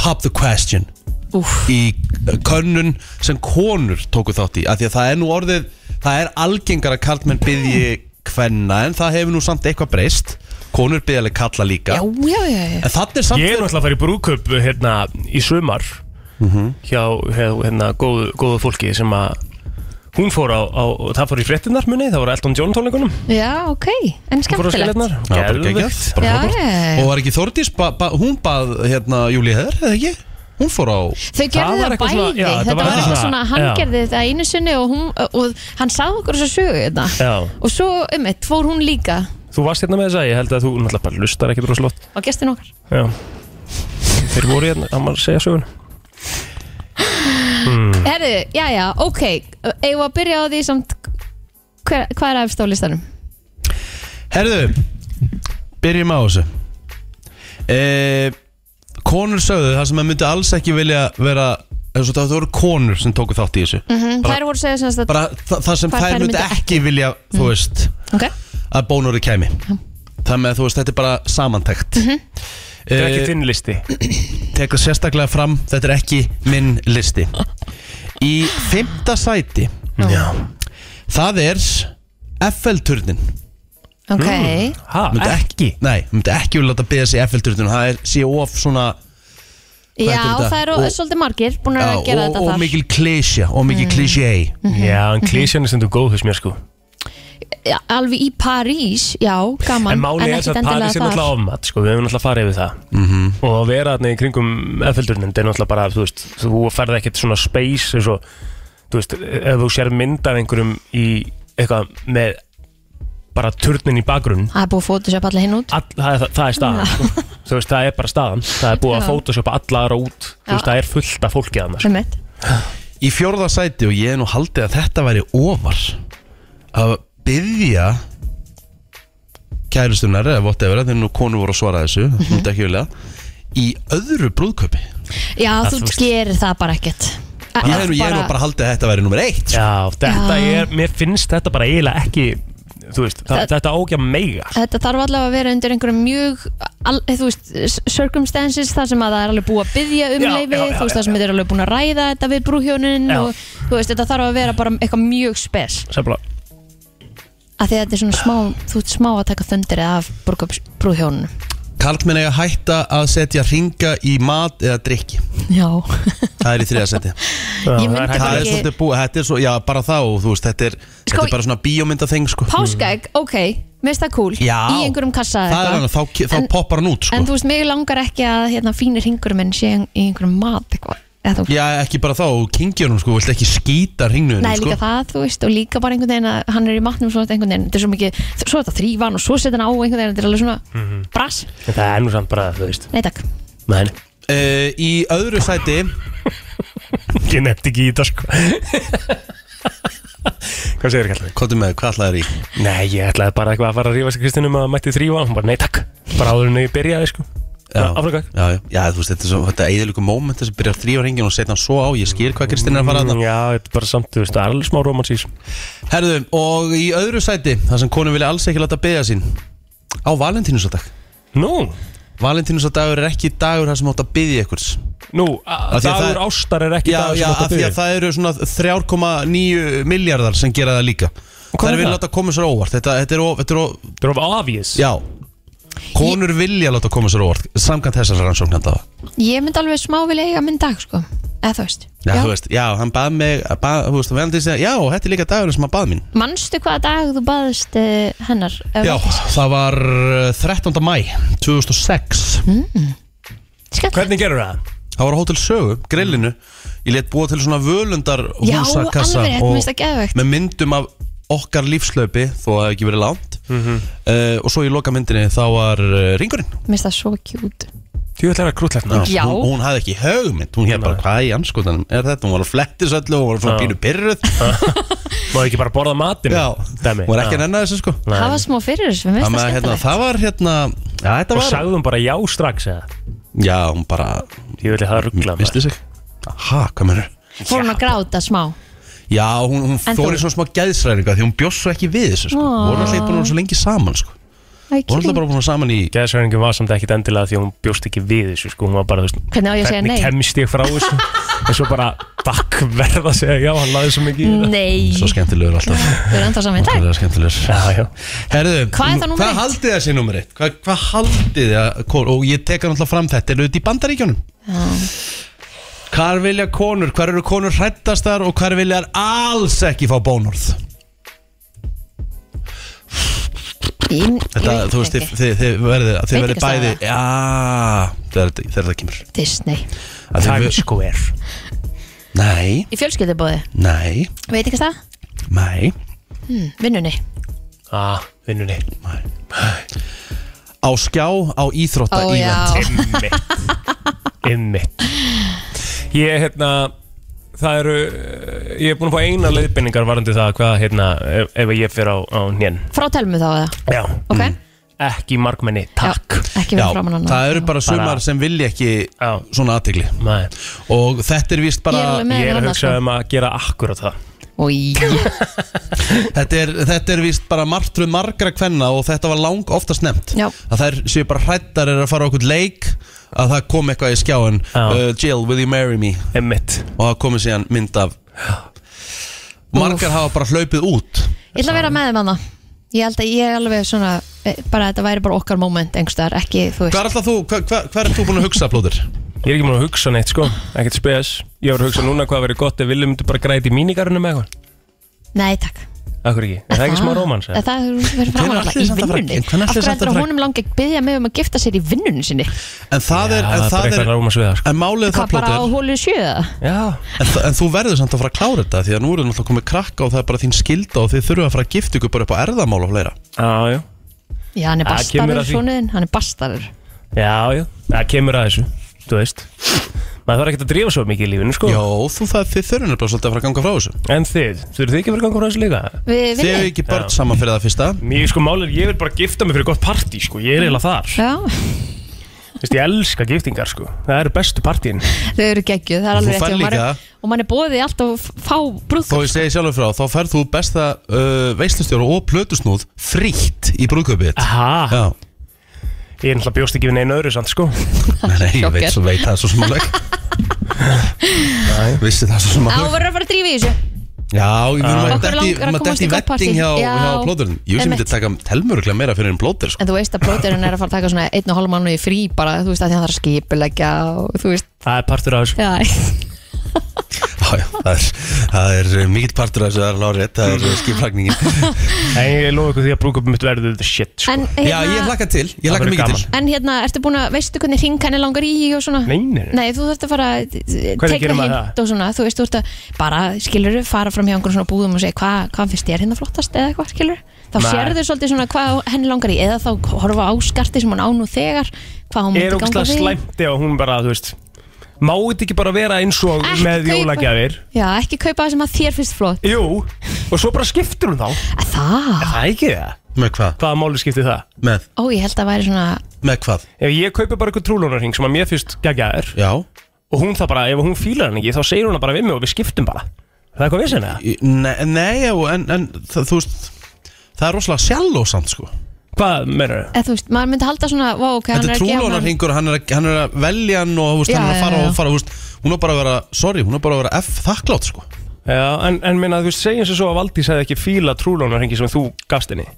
Pop the question Úff. Í eh, könnun sem konur tóku þátt í af Því að það er nú orðið Það er algengar að karlmenn byggji Hvenna en það hefur nú samt eitthvað breyst Konur byggjaleg kalla líka Já, já, já, já. En þannig er samt Ég er náttúrulega að fara í brúköp hérna í sumar Mhm. hjá, hjá hérna góðu, góðu fólki sem að hún fór á, á það fór í fréttinnar munni, það voru Elton John tónleikunum já ok, en Hún fór hérna? á skemmtilegt skiljarnar, Já, bara geggjað, geðvegt bara Já, frábært. já, já. Og var ekki Þórdís, ba ba hún bað hérna Júli Heður, eða ekki? Hún fór á Þau gerðu var það eitthvað bæði, svona- já, þetta þetta var var eitthvað eitthvað svona- svona, hann já. gerði þetta einu sinni og, hún, og hann sagði okkur þessu sögu þetta Já. og svo um eitt fór hún líka Þú varst hérna með þess að ég held að þú náttúrulega bara lustar ekkert rosalótt og gestin okkar Já Þeir voru hérna, hann var að segja Hmm. sögun Herðu, já, já, ok, eigum við að byrja á því samt hver, hvað er efst á listanum? Herðu, byrjum á þessu e, Konur sögðu það sem að myndi alls ekki vilja vera eins og Það voru konur sem tóku þátt í þessu Mm, Bara- þær voru að segja sem þetta Bara það, það sem Hvað þær myndi ekki, Mm. vilja, þú veist Ok, Að bónurði kæmi Þannig að þú veist, þetta er bara samantækt Mhm, mm Þetta er ekki þinn listi tekur sérstaklega fram Þetta er ekki minn listi Í fymta sæti Já Það er FL-turnin ok Ha, ekki Nei, hún myndi ekki vilja láta beða sig FL-turnin Það er sé of svona Já, þetta? það eru Og- svolítið margir búin já, að gera og, þetta og þar mikil klísja Og mikil mm. klísja Já, en klísjan er stundum góð þess mér sko Já, alveg í París, já, gaman En máli er ekkert að endilega Paris er þar. náttúrulega ofmat sko, við hefum náttúrulega farið yfir það Mhm. -hmm. og að vera þarna í kringum Eiffelturnin, þetta er náttúrulega bara, þú veist þú ferð ekkert svona space eins og, þú veist, ef þú sér mynd af einhverjum í eitthvað með bara turnin í bakgrunn Það er búið að photoshop alla hinn út all, það, er- það er staðan sko. þú veist, það er bara staðan, það er búið að Já. photoshopa alla aðra út, þú Já. veist, það er fullt af fólki þarna sko. um mitt Í fjórða sæti og ég er nú haldið að þetta væri ofar Að byggja Kærustunar eða whatever Þegar nú konu voru að svara þessu Mhm. mm -hmm. ekki vilja Í öðru brúðköpi Já, Það þú þú veist. gerir það bara ekkert Ég er nú ég er nú bara haldið að þetta væri nummer eitt sko. Já, þetta Já. er, mér finnst þetta bara eiginlega ekki, þú veist, það, Það- þetta ógja meiga Þetta þarf allavega að vera undir einhverjum mjög al, eh, Þú veist, s- circumstances þar sem að það er alveg búið að byggja um Já, leifi já, já, Þú veist, já, þar sem þetta er alveg búin að ræða þetta við brúhjónin Já. og, Þú veist, þetta þarf að vera bara eitthvað mjög spes Sæmla, Af því að þetta er svona smá, þú ert smá að taka þundir af brúköps- brúhjónunum Karlmenn eiga að hætta að setja ringa í mat eða drikki Já, Það er í þriða seti Ég myndi bara Það er ekki- svolítið búið, þetta er svo, já bara þá þú veist, þetta er, Sko, þetta er bara svona bíómynda þeng sko. páskaegg, ok, mist það cool Já. Í einhverjum kassa Það er eitthvað. hann, þá, ke- þá En- poppar hann út sko. En þú veist, mig langar ekki að hérna, fínir hingur minn sé ein- í einhverjum mat eitthvað Eða, þú- Já, ekki bara þá, kingjónum sko, vilt ekki skýta ringnuðinu Nei, sko. líka það, þú veist, og líka bara einhvern veginn að hann er í matnum svona einhvern veginn, þetta er svo mikið, svo er þetta þrývan og svo setja hann á einhvern veginn, þetta er alveg svona brass, Mhm. það er nú samt bara, þú veist, nei takk menn Uh, Í öðru sæti, Ég nefndi ekki í þetta sko Hvað segir kallar þig? hvað er með, hvað ætlaðir í? Nei, ég ætlaði bara eitthvað að fara að rífa sig Kristinum að mætti þrýfa Hún bara, nei takk, bara áður en ég byrjaði sko Áfram hvað? já, já, já, þú veist, þetta er svo, þetta eðilöku moment þess að byrja að þrýja ringin og setja hann svo á, ég skil hvað Kristín er að fara að það Mm, Já, þetta er bara samt, þú veist, það er alveg smá romansís Herðu, og í öðru sæti, það sem konum vilja alls ekki láta beða sín Á valentínusadag Nú, Valentínunsadagur er ekki dagur þar sem átt að byggja ykkur nú, Af því að dagur það- ástar er ekki Já, dagur já, sem átt að af því að byrja það eru svona 3,9 miljardar sem gera það líka hvað Það er er vilja það? láta koma sér á óvart Þetta, þetta, er, of- þetta er of, Það er of obvious Já Konur vilja láta koma sér á óvart Samkvæmt þessar rannsóknanda Ég myndi alveg smá vilja eiga minn dag, sko eða þú veist Já, þú veist, já, hann bað mig bað, Þú veist, veldi segja, já, þetta er líka dagurinn sem hann bað mín Manstu hvaða dag þú baðist uh, hennar? Ef Já, ekki? það var uh, 13. mæ 2006 Hvernig gerur það? Það var á Hótel Sögu, grillinu Ég let búa til svona völundar Já, húsakassa alveg rétt, og mér finnst það geðveikt. Með myndum af okkar lífslaupi Þó að það hef ekki verið langt Mhm. uh, Og svo í loka myndinni þá var uh, ringurinn Mér finnst það svo kjút Þú ætlar að krútlegt maður Já. hérna. Hún, hún hafði ekki högmynd, hún hef bara hvað í anskotanum Er þetta, hún var að flettis öllu, hún var svona Já. pínu pyrruð Má ekki bara borða matinn Já, Dæmi. hún var ekki að nenna þessu sko Nei. Hafa smá fyrir þessu, mér finnst Þannig það að hérna, skemmtilegt það var hérna Já, þetta Og var sagðum bara já strax eða Já, hún bara Ég vil það ruggla Vistu sig? Ha, hvað mennur? Fór hérna. hún að gráta smá Já, hún, hún En fór í þú? svona smá gæðsræðinga því hún bjóst svo ekki við þessu sko. Ó. Hún var alltaf búin að vera svo lengi saman sko. Æ, Hún var alltaf bara búin að vera saman í Gæðsværingum var samt ekkit endilega því að hún bjóst ekki við þessu sko Hún var bara, þú veist Hvernig á ég að segja Hvernig nei? kemst ég frá þessu En svo bara bakk verða að segja já Hann laði svo mikið í þetta Nei, Svo skemmtilegur alltaf við erum enda saman í dag Alltaf skemmtilegur Já, já Herðu, Hvað er það númer hvað eitt? haldið það sé nummer eitt? Hvað, hvað haldið það? Og ég teka náttúrulega fram þetta Eru þetta í bandaríkjónum? Hvar vilja konur? Hvar eru konur hrættastar og hvar vilja þær alls ekki fá bónorð? Ég- Þetta, ég veit þú veist, ekki. þið, þið, þið verðið þið Veit verðið ekki hvað bæði það Já, þegar þetta- þegar það kemur Disney Að þið Times ver- Square Nei, Í fjölskyldubóði, nei, veit ekki það? nei Hmm, Vinnunni Ah, vinnunni Á skjá, á íþrótta Ó, já. Einmitt event Einmitt Ég, hérna Það eru, eh, ég er búin að fá eina leiðbendingar varandi það hvað, hérna, ef, ef ég fer á, á njén Frá telmu þá eða Já, Ok, ekki markmenni, takk já, ekki Já, við framan hann það eru bara sumar Bara- sem vilja ekki Já. svona aðtegli Nei, Og þetta er Ég víst er bara alveg með. ég er að annað, hugsa sko. um að gera akkurat það Új, Þetta er, þetta er víst bara martruð margra kvenna Og þetta var lang oftast nefnt Já. Að þær séu bara hrættar er að fara á okkur leik Að það kom eitthvað í skjáin Já. uh, Jill, will you marry me? Einmitt Og það komið síðan mynd af Margar hafa bara hlaupið út ég ætla að vera með þeim hana Ég held að ég er alveg svona eh, bara þetta væri bara okkar moment einhverstaðar, ekki þú veist Hvað er alltaf þú, hvað, hvað, hvað er þú búin að hugsa, Plóður? Ég er ekki múin að hugsa neitt sko, ekkert spes Ég var að hugsa núna hvað verið gott ef Vili myndi bara græti í mínigarunum eða eitthvað Nei, takk Ah, Akkur ekki, er það ekki smá rómans eða? eða? Það hefur verið framan Hvenær alla ætli í samt að fara- vinnunni hvenær Af ætli hverju samt að heldur að fara- honum langi að byggja mig um að gifta sér í vinnunni sinni En það Já, er, en bara það er, eitthvað rómans við það sko en málið er það, Hvað bara á Plóður hólu sjöða? Já, En, þa- en þú verður samt að fara að klára þetta Því að nú eru náttúrulega komið krakka og það er bara þín skilda Og þið þurfa að fara að gifta ykkur bara upp á erðamál og fleira já, já Já, hann er Það kemur bastarður að því. svonuðinn, hann er bastarður Já, já, það kemur að þessu Þú veist Maður þarf ekkert að drífa svo mikið í lífinu, sko Jó, þú það, þið þurfa nefnilega svolítið að fara að ganga frá þessu En þið, þurfið þið ekki að vera gangur á þessu líka? Við Þið hefur vinnum ekki börn saman fyrir það fyrsta Mér, sko, málið er, ég vil bara gifta mig fyrir gott partí, sko Ég er eiginlega þar Já, Þú veist, ég elska giftingar, sko Það eru bestu partíin þau eru geggjuð, það er alveg Þú rétt og færð maður líka- er- Og mann er bóðið í allt að fá Þó brúðkaup ég segi sjálfur frá, þá ferð þú besta uh, veistlustjóra og plötusnúð frítt í brúðköpið þitt. Aha, Já, ég er náttúrulega bjóst ekki við neina öðru, sant, sko nei, nei, ég veit, Sjokker. svo veit það svo sem alveg Vissi það svo sem Á, alveg verður að fara að drífa í þessu Já, Okkur ég mun langar að maður komast dætti í í gott partí. vetting hjá, Já. hjá plóðurinn Jú sem myndi Einmitt. taka telmuruglega meira fyrir en plóður sko. En þú veist að blóterinn er að fara að taka svona einn og hálf mánu í frí bara, þú veist að því hann þarf að skipulegja og þú veist, Það er partur af þessu já, Já, já, það er, það er eh, mikill partur af þessu, það er lárið, það er eh, skiplagningin En ég lofa ykkur því að brúkupum mitt verður the shit, sko en Já, ég hérna, hlakka til, ég Það hlakka verður mikið gaman. til en hérna ertu búin að, veistu hvernig hring henni langar í og svona? Nei, nei, nei. Nei, þú þarft að fara að teka gerir maður hint og svona, þú veist, þú ert að bara, skilur, fara fram hjá einhverjum svona búðum og segja hva, hvað finnst þér hérna flottast eða eitthvað, skilur þá Nei. sérðu svolítið svona hvað henni langar í eða þá horfa á skarti sem hún á nú þegar hvað hún Er múti ganga ógstlega við slæmt ef hún bara, þú veist Má þetta ekki bara vera eins og Ekki með kaupa- jólagjafir? Já, ekki kaupa það sem að þér finnst flott Jú, og svo bara skiptir hún þá Að Það, Það er ekki það Með hvað? Hvaða máli skiptir það? Með, ó, ég held að væri svona með hvað? Ef ég kaupi bara eitthvað trúlónarhing sem að mér fyrst geggjaður Já og hún það bara, ef hún fílar hann ekki þá segir hún það bara við mig og við skiptum bara Er Það er eitthvað vissin eða? Í- Nei, nei já, en, en það, þú veist Það er rosalega sjálfósamt sko Hvað meður þau? eða þú veist, maður myndi halda svona vá, ok, hann er Þetta er að gefa mann- trúlónarhingur, hann, er að- hann er að velja hann og þú veist, Já, hann er að já, fara já. og fara þú veist, Hún er bara að vera, sorry, hún er bara að vera F þakklátt sko Já, en, en minna þú veist, segjum sér svo að Valdís hefði ekki fíla trúlónarhingi sem þú gafst henni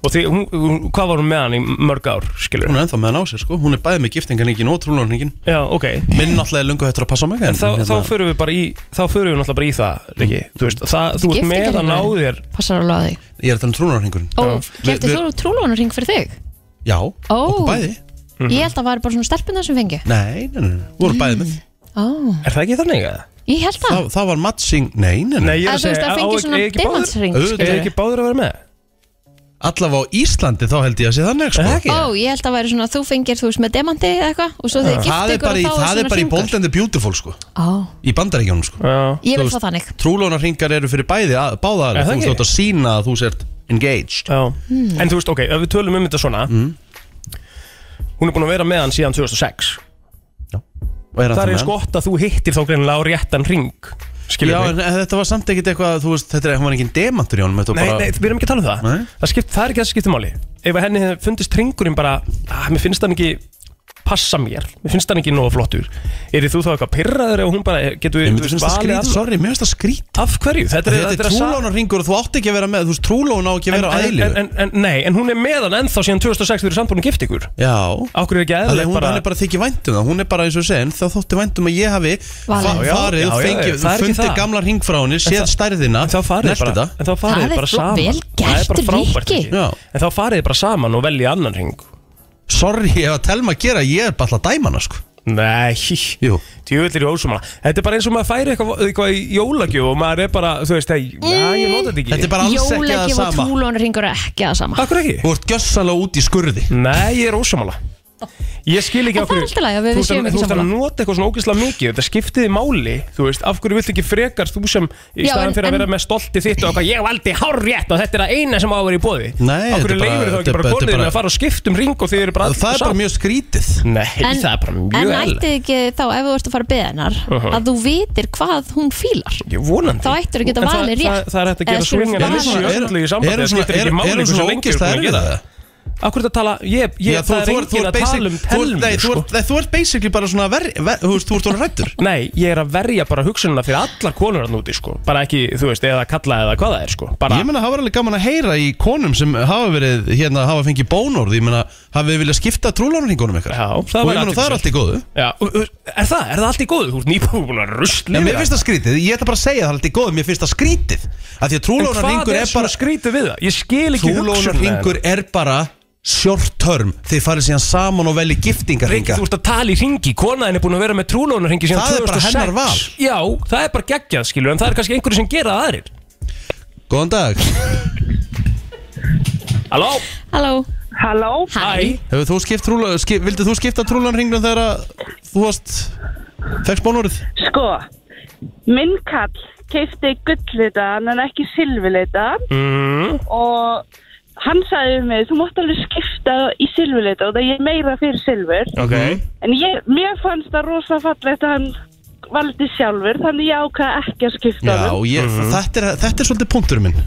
Og því, hún, hún, hvað var hún með hann í mörg ár, skilur? Hún er ennþá með hann á sér sko, hún er bæði með giftingarningin og trúlunarningin Já, ok Minn náttúrulega er lungu hættur að passa á mig hérna, En þá, þá förum við bara í, þá förum við náttúrulega bara í það, Riki Þú veist, það, þú ert með að ná þér Passar alveg á þig Ég er að tala um trúlunarningurinn Ó, Við- kefti við- þú trúlónarring fyrir þig? Já, Ó, Mm-hmm. okkur bæði Mhm. Ég held að það var bara svona stelpunar sem fengi Nei, nei, nei, nei, voru bæði með Ó, Er það ekki þannig að? ég held það Það, það var matching, nei, nei, Nei, nei. ég er Eða þú veist, að segja, það á fengi ekki- svona eiga ekki báðir- diamantsring, Auðvitað, skilurðu. eiga ekki báður að vera með? Allavega á Íslandi þá held ég að sé þannig sko. Er það ekki? Ó, ég held að væri svona þú fengir þú veist með demanti eða eitthvað og svo þið Það gift er ykkur bara í, og þá er það er svona bara í hringur Bold and the Beautiful sko Ó, Í bandaríkjónum sko Já ég Þú vil veist- fá þannig Trúlunarringar eru fyrir bæði, að, Er báða aðra það Þú ekki? stótt að sína að þú sért engaged Mm. Já, en þú veist, ok, ef við tölum um þetta svona Hún er búin að vera með hann síðan 2006 Og er Það er með eins hann? gott að þú hittir þá greinilega á réttan ring Skilur Já, mig? en þetta var samt ekkit eitthvað, þú veist, þetta er, hann var engin demantur í honum þetta var Nei, bara- nei, við erum ekki að tala um það Nei. það, skipt, það er ekki það sem skiptir máli Ef að henni hefði fundist ringurinn bara ah, Mér finnst hann ekki passa mér Mér finnst hann ekki nóga flottur Er þú þá eitthvað pyrraður ef hún bara eh, Getur Ég við myndi finnst það skrít, annað? sorry, mér finnst það skrít Af hverju? Þetta er, Þetta er trúlónarringur og þú átt ekki að vera með Þú veist, trúlón á ekki að en, vera á en, en, eðlífu en, en, Nei, en hún er með hann ennþá síðan 2006 Þú eru sambúin að gifta ykkur Já Akkur er ekki Það er eðlilegt hún, bara hann er bara þykir væntum um það, hún er bara eins og segja En þá þótti væntum að ég hafi fa- Valið. Já, já, farið, já, já, fengið, það er ekki fundið það. gamla ring frá henni, séð það- stærðina En þá farið þið nerft bara, þetta. en þá farið Það þið er bara flott, saman vel Það er bara gert, frábært, Rikki. ekki? Já. En þá farið þið bara saman og velji annan ring Sorry, ef að telma að gera, ég er bara alltaf dæmana sko. Nei, Jú. djöðlir í ósumala Þetta er bara eins og maður færi eitthvað, eitthvað í jólagjöf og maður er bara, þú veist, hei, já, ég nota þetta ekki Þetta er bara alls ekki að Jólegjöf og sama trúlónarringur er ekki að sama Akkur ekki? Þú ert gjössalega út í skurði Nei, ég er ósumala Ég skil ekki En af það er hverju- allt í lagi að við Þú veist séum að- ekki Þú veist að sammála. nota eitthvað svona ógeðslega mikið Þetta skiptiði máli, þú veist Af hverju vilt ekki frekar þú sem Í Já, staðan en- fyrir að en- vera með stolti þitt og eitthvað Ég valdi hárrétt og þetta er að eina sem á að vera í bóði Nei, Af þetta er hverju bara- leifir þá þetta ekki er bara bara- þetta er konurinn bara- að fara og skipta um ring Og þið eru bara Það er bara mjög skrítið Nei, það er bara en mjög ætti eðlilegt. þið ekki þá ef þú ert að fara að beða hennar Mhm. að þú vitir hvað hún fílar Ég vonandi Þá ættirðu að geta En það- valið það- rétt. Það er hægt að Eða gera skilur svingin valið. Þessi öllu í sambandi Erum Það skiptir ekki máli svona, hversu svona lengi þú ert ógist búin að að gera erfiða það það? Akkur þetta tala, ég, ég, Já, þú- það þú er engin ert- þú ert að tala um basic- þú ert- nei, telmur Þú sko. ert- þú ert basically bara svona ver- ver- Þú veist, þú ert svona rættur Nei, ég er að verja bara hugsunina fyrir allar konur hann úti sko. Bara ekki, þú veist, eða kalla eða hvað það er sko. bara, Ég meina, það var alveg gaman að heyra í konum sem hafa verið, hérna, hafa fengið bónorð Ég meina, hafa við viljað skipta trúlánarningunum ykkar Já, það það væri Og ég meina, athyglisvert. það er allt í góðu já, og- og- Er það, er það allt í góðu? Þú ert nýbúin að rusli Nei, mér finnst það skrítið, ég ætla bara að segja það er allt í góðu Mér finnst það skrítið Af því að En hvað trúlánarningur er er svona bara skrítið við það? Ég skil ekki hugsunina Trúlánarningur er bara short term Þeir farið síðan saman og velji Rikki, giftingarringa þú ert að tala í ringi, konaðin er búin að vera með trúlónarringi síðan 2006 Það er bara hennar val. Já, það er bara geggjað skilur, en það er kannski einhverju sem gera það aðrir Góðan dag, Halló, Halló, Halló? hæ hefur þú skipt trúla, skip, vildið þú skipta trúlánarringnum þegar að þú varst Fekst bónorð? Sko, minn kall keipti gullitaðan en ekki silfurlitaðan mm, og hann sagði við mig, þú mátt alveg skipta í silfurlitaðan og það er meira fyrir silfur. ok En ég, mér fannst það rosa fallegt að hann valdi sjálfur, þannig ég ákvaði ekki að skipta Já, honum. ég, þetta, er, þetta er svolítið punkturinn minn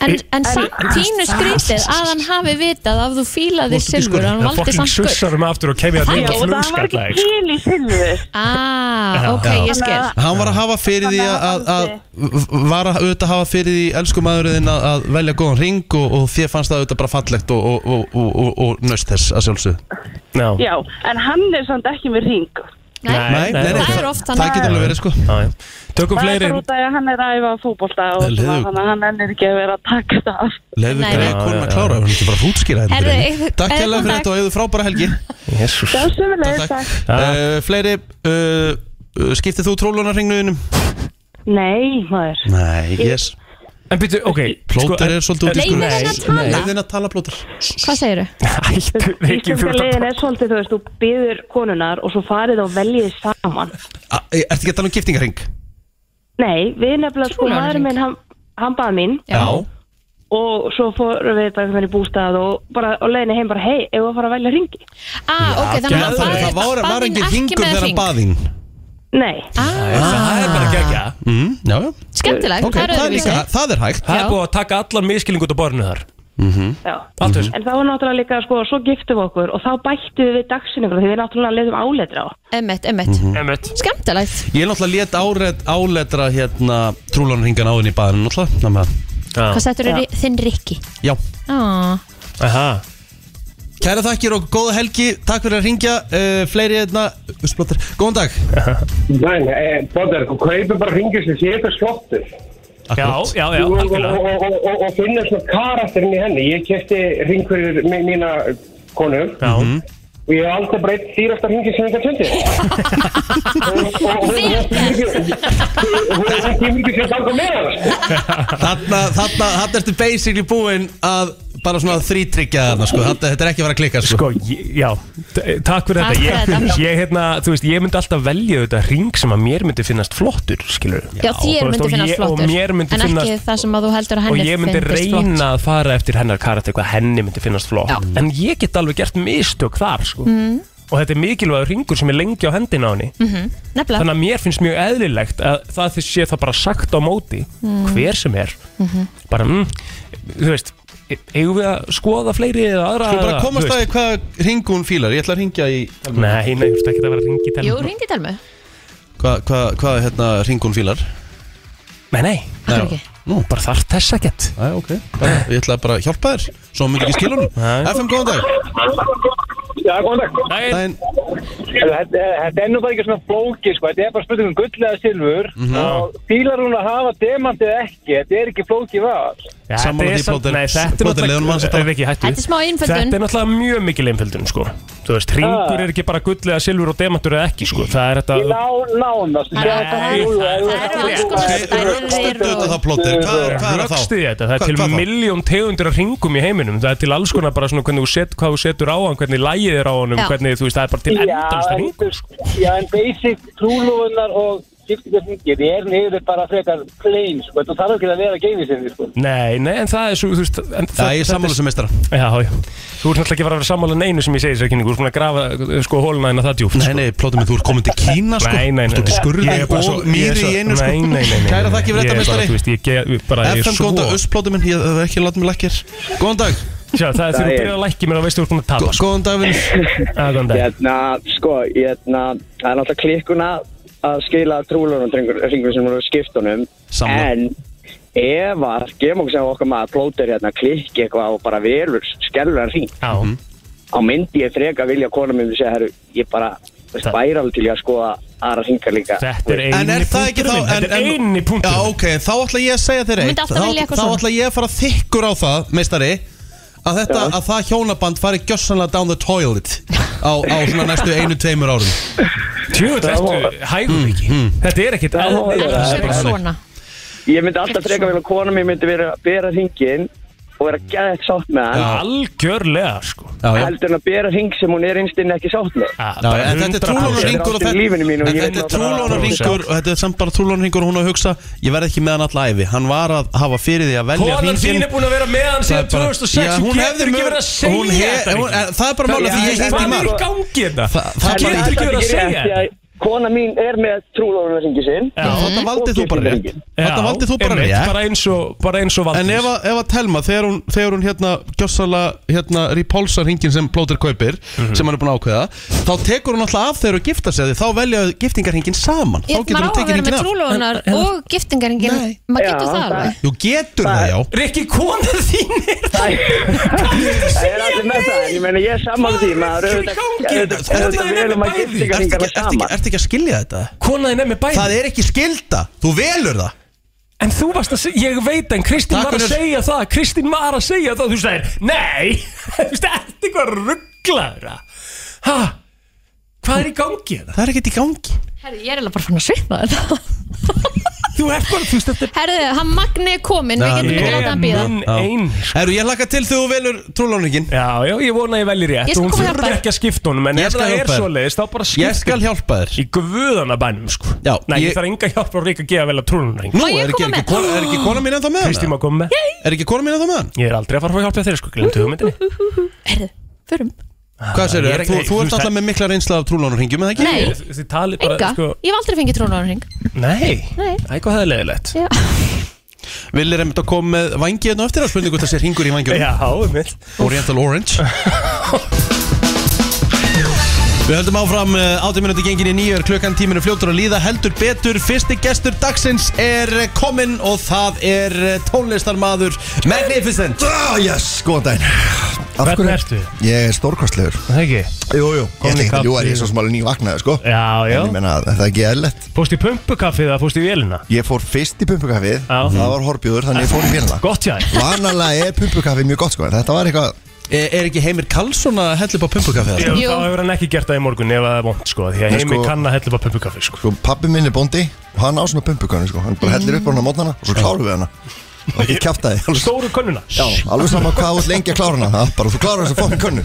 En, en samt tínu skrítið að hann hafi vitað að þú fílaði Þú ert ekki silfur að hann sko, Það valdi fokking samt gull sussarum aftur og kemja að Já, ringi og það var flugskalla sko. ekki til í silfur. Ah, ok, Já. ég skil Hann var að hafa fyrir því Þannig að að, að, hann að var að auðvitað hafa fyrir því elsku maðurinn að, að velja góðan ring og, og þér fannst það auðvitað bara fallegt og, og, og, og, og, og nöst þess að sjálfsögðu. Já, Já, en hann er samt ekki með ring. Nei, Nei, nei, það það, er oft það þannig. getur alveg verið sko. Já, já. Tökum Það er fleiri bara út af því að hann er að æfa fótbolta og Það er svona, liður. þannig að hann ennir ekki að vera að taka það af. Leifur Nei, greiði nei. konuna að klára, hann getur bara að fútskýra þetta. Herðu, fyrir henni. eigðu- Takk eigðu kærlega góðan fyrir dag. þetta og auðvitað frábæra helgi. Jésús Já, sömulegir, Takk. takk. Uh, fleiri, uh, uh, skiptið þú trólunarringnuðinum? Nei, maður. Nei, yes. En byrju, ok Plóter er svolítið út í Leyfið henni að tala. Leifin að tala plóter. Hvað segirðu? Ættu, ekki Íslenska fyrir leiðin er svolítið, þú veist, þú byður konunar og svo farið og veljið saman. Ertu ekki að tala um giftingarring? Nei, við nefnilega, sko, Trúlega maður hring. minn, hann, hann baði mín Já. og svo fórum við bara einhvern veginn í bústað og bara á leiðinni heim bara, hei, ef við að fara að velja ringi? Ah, ok, þannig að hann Geðveikt. baði- Það var, var baði engin ekki ringur með þegar hann hring. Ah. baðinn Nei, Það er bara gegja mm, Já, já, Skemmtilegt, ok, það er, líka, það er hægt Mhm. Það Já. er búið að taka allan miskilning út á borðinu þar já. Allt þessu En þá var náttúrulega líka, sko, svo giftum við okkur og þá bættum við dagsinningur því við náttúrulega leiðum áleitra á. Emmett, emmett Emmett Skemmtilegt Mhm. Ég er náttúrulega lét áret, áletra hérna trúlanringan á henni í baðinu náttúrulega Þannig að, Hvað settur þinn Rikki? já, Ah, Aha. Kæra þakkir og góða helgi Takk fyrir að ringja uh, Fleiri hérna Úsplóttir Góðan dag Nei, nei, Bóðar, þú kaupir bara hringið sem sétur slottur Já, Akkúrat. já, já, og, og, algjörlega og, og, og finna svona karakterinn í henni Ég kefti ringfyrir mi- mína konu Já, og ég hef aldrei breytt dýrasta hringi sem ég gæti fundið Og- og- og hún- hún kemur ekki- hún hún kemur ekki sem ganga með hana sko. Þarna, þarna, þarna ertu basically búinn að bara svona þrítryggja þarna sko Þetta, þetta er ekki að vera að klikka sko sko, ég- já t- Takk fyrir Takk þetta fyrir Ég, þetta. ég, hérna, þú veist, ég myndi alltaf velja þetta ring sem að mér myndi finnast flottur, skilur Já, þér myndi finnast flottur Og mér myndi En ekki finnast það sem að þú heldur að Og henni ég myndi fyndist flott. reyna að fara eftir hennar karakter hvað henni myndi finnast flott Já. Mhm. En ég get alveg gert mistök þar sko. mm. Og þetta er mikilvægur ringur sem er lengi á hendina á henni Mm. Nefnilega Þannig að mér finnst mjög eðlilegt að það þess sé það bara sagt á móti Mm. hver sem er Mhm. bara, mm, þú veist e- eigum við að skoða fleiri eða aðra Þú bara eða, komast þú að veist. því hvað ringu hún fílar Ég ætla að ringja í Nei, nei, þú veist ekki að vera að ringi í Jú, telma ringdi telmu Hvað, hvað, hvað hérna ringu hún fílar? Nei, nei, Akkur ekki Nú, bara þarf þess að gett Æ, ok bara, Ég ætla bara að hjálpa þér Svo hún myndi ekki skilur Nei. hún FM, góðan dag Já, góðan dag Dæin Þetta þetta er nú bara ekki svona flóki sko. Þetta er bara spurning um gull eða silfur Mhm. og fílar hún að hafa demant eða ekki Þetta er ekki flóki val ja, þetta Sammála er því, samt- Plóter. Nei, þetta er Plóter, leyfðu honum aðeins náttúrulega að tala. Ef ekki, hættu. Þetta er smá einföldun. Þetta er náttúrulega mjög mikil einföldun sko. Þú veist, ringur Ah. er ekki bara gull eða silfur og demantur eða ekki sko. Það Í er þetta ná, nánast Það eru- það eru- það eru alls konar stærðir Rökstöndu þetta og plóttir Hvað er hvað er það þá? Rökstu þetta, það Hva- er til hvað þá? miljón tegundur að ringum í heiminum Það er til alls konar bara svona hvernig þú set, hvað þú setur á hann Hvernig lægið er á hann, Já. hvernig þú veist, það er bara til endalsta ringum Já, en basic trúlóðunar og skiptingar hringir, ég er niður bara frekar plain, sko, þú þarf ekki að vera geimið sinni, sko. Nei, nei, en það er svo, þú veist en það- Já, ég er þetta sammála sem meistara Já, já, þú ert náttúrulega ekki að vera að vera sammála neinu sem ég segi sér kynningu Þú ert búin að grafa uh, sko hóluna en að það djúft Nei, nei, plótum við, þú ert komin til Kína sko Nei, nei, nei Þú ert út í skurði Ég er bara svo- og ég mýri í er einu svo- sko Nei, nei, nei, nei Kæra þakki fyrir þetta Ég er bara, meistari þú veist, ég ge- bara, ég er FM, góðan dag, svo össplótum minn, ég hef ekki látið mig lækkir Góðan dag, Sjá, það er þegar þú Daginn. byrjar að lækki mér að veistu þú ert búin að tapa Gó- sko. góðan dag, vinnur Já, góðan dag Hérna, sko, hérna, það er náttúrulega klikkuna að skila trúlunum ringur sem eru skiptunum Sammála. En ef að, gefum okkur sem okkar maður plótir hérna klikki eitthvað og bara velur skellur hann hring Já, á myndi ég freka vilja kona minn segja, herru, ég bara, veist, Það- væri alveg til ég að skoða aðra hringar líka þetta er En eini er það ekki þá punkturinn minn. en- Þetta er en- eini punktur Já, ok, þá ætla ég að segja þér Þú eitt myndi alltaf Þá- vilja eitthvað Þá svona. ætla ég að fara þykkur á það, meistari Að þetta, að það hjónaband fari gjössanlega down the toilet Á, á svona næstu einu, tveimur árum Mm, Tjúvill, ertu hægum ekki Þetta er ekkit Ekki eðlilega vera svona Ég myndi alltaf freka vilja kona minn myndi vera að bera hringin og vera gæðið sátt með hann Algjörlega, sko Já, já heldur en að bera hring sem hún er einstinn ekki sátt með Já, Já, bara en þetta er 100%. trúlónarringur og Þetta er þetta- lífinu mínu og en ég þetta vil er bara- trúlónarringur og þetta er samt bara trúlónarringur og hún á að hugsa ég verð ekki með hann alla æfi hann var að hafa fyrir því að velja Konan þín hringinn. er búin að vera með hann Það er síðan bara- 2006 Já, Þú hún hefði getur ekki mjög- verið að hún segja he- þetta hún- ekki. en það er bara málið að því ég hitti Hvað er í mark. gangi þetta? Það- Þú það- getur ekki verið að segja þetta Kona mín er með trúlóðunarringi sinn Já. Þarna valdið þú bara rétt Þarna Já, valdið þú bara einmitt, rétt bara eins og, bara eins og valdís En ef að, ef að Telma, þegar hún, þegar hún hérna gjössala, hérna repulsar hringin sem Plóter kaupir, Mhm. sem hann er búin að ákveða þá tekur hún alltaf af þegar hún giftar sig því þá velja giftingarhringin saman þá Ég- getur Maður á hún að tekið vera hringin með af trúlónar og giftingaringin Nei. Maður Já, getur það það- alveg Jú, getur það, já Rikki, konan þín er Það er allir með það, en ég meina ég er saman því maður auðvitað auðvitað velum að giftinga hringarna Ertu ekki- ertu ekki- saman ertu ekki að skilja þetta? Konan þín er með Það bæði er ekki skilda, þú velur það En þú varst að segja, ég veit en Kristín Takk var að fyrir. segja það Kristín var að segja það, þú veist það er Nei, þú veist það er eitthvað rugglaður Hæ, hvað er í gangi hérna? þetta? Það er ekkert í gangi Herri, ég er alveg bara fann að svipna þetta Þú er bara, þú veist þetta er Herri, hann Magni er komin, við Nei, getum ekki ég- að láta hann býða minn Já. ein Herru, ég hlakka til þegar þú velur trúláningin Já, já, ég vona að ég velji rétt Ég skal Hún koma hjálpa þurfi þér. ekki að skipta honum En Ég ef skal það er hjálpa þér. svoleiðis, þá bara Ég skipta skal hjálpa þér Í guðana bænum, sko Já, Nei, ég, ég- þarf enga hjálp á Rík að gefa vel að trúlunaring Nú, Má ég er ekki, koma er ekki, með? kona, er ekki kona mín ennþá með Kristín má hana? koma með Er ekki kona mín ennþá með hana? Ég er aldrei að fara að fá hjálp hjálpa þeir, sko Glemdu hugmyndinni Herri, förum Hvað ég segir er þú? ekki- Þú, þú þú ert veist alltaf með mikla reynsla af trúlánarhingjum, eða ekki? Nei, Þið tali bara, enga, sko ég hef aldrei fengið trúlónarring Nei, Nei. eitthvað það er leiðilegt Já, Villir einmitt að koma með vangi hérna á eftir að spurningu hvort það sé ringur í vangjum Já, einmitt Oriental Orange Við höldum áfram áttum minúti gengin í nýjör klukkan tíminu fljótur að líða heldur betur Fyrsti gestur dagsins er eh, kominn og það er eh, tónlistarmaður Magnificent Ah, yes, góðan daginn Af hverju- Hvernig ertu? Ég er stórkostlegur Það ekki? Jú, jú, ég ætla Komin í ekki að ljúa kaffi. því svo sem alveg ný vaknaði, sko Já, já. En ég menna, það er ekki eðlert Fórst í pumpukaffið eða fórst í vélina? Ég fór fyrst í pumpukafið, Já. það var horbjóður, þannig ég fór í bílina Gott hjá þér. Vanalega er pumpukafið mjög gott, sko, en þetta var eitthvað Er, E, er ekki Heimir Karlsson að hella upp á pumpukafið? Jú, þarna? Sko, Þá hefur hann ekki gert það í morgun ef það er vond sko Því að Nei, heimi sko- kann að hella upp á pumpukaffi sko Sko, pabbi minn er bóndi og hann á svona pumpukafi, sko Hann bara hellir upp á hana á mótnana og svo klárum við hana Og ekki kjafta því, Stóru könnuna Já, alveg sama hvað þú ert lengi að klára hana það er Bara þú klárar þess að fokkin könnu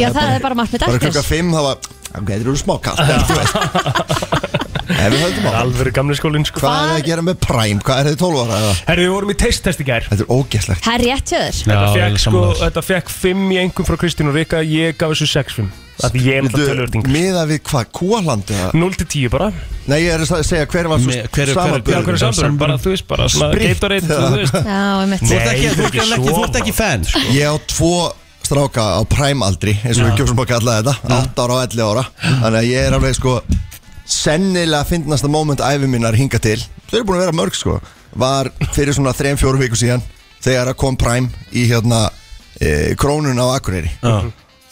Já, það er bara margt með Bara klukka dagsins 5, það var Ok, þetta eru smá kast en þú veist. Ef við höldum á Alveg gamli skólinn sko Hvað er það að gera með Prime? Hvað er þetta 12 ára? eða? Herru, við vorum í teisttest í gær Þetta er ógæslegt Það er rétt hjá þér Já, Þetta fekk vel sko, sammálaður. þetta fekk 5 í engum frá Kristín og Rika Ég gaf þessu 6-5 Það því ég er náttúrulega tölvörding Miða við hvað, Kúaland eða? 0-10 bara Nei, ég er að segja hver var svo Me- hver er- hver er- Já, samanbörður hverju samdur, bara þú veist bara svona Spritt, Gatorade, eða? þú veist Já, ég mitt Þú ert ekki, Nei, þetta þú ert er ekki, ekki þú ert ekki fan sko. Ég á tvo stráka á Prime aldri eins og við kjósum að kalla þetta 8 ára og 11 ára Þannig að ég er alveg sko sennilega fyndnasta moment æfi minnar hinga til Þau eru búin að vera mörg sko Var fyrir svona 3-4 viku síðan þegar að kom Prime í hérna e, krónun á Akureyri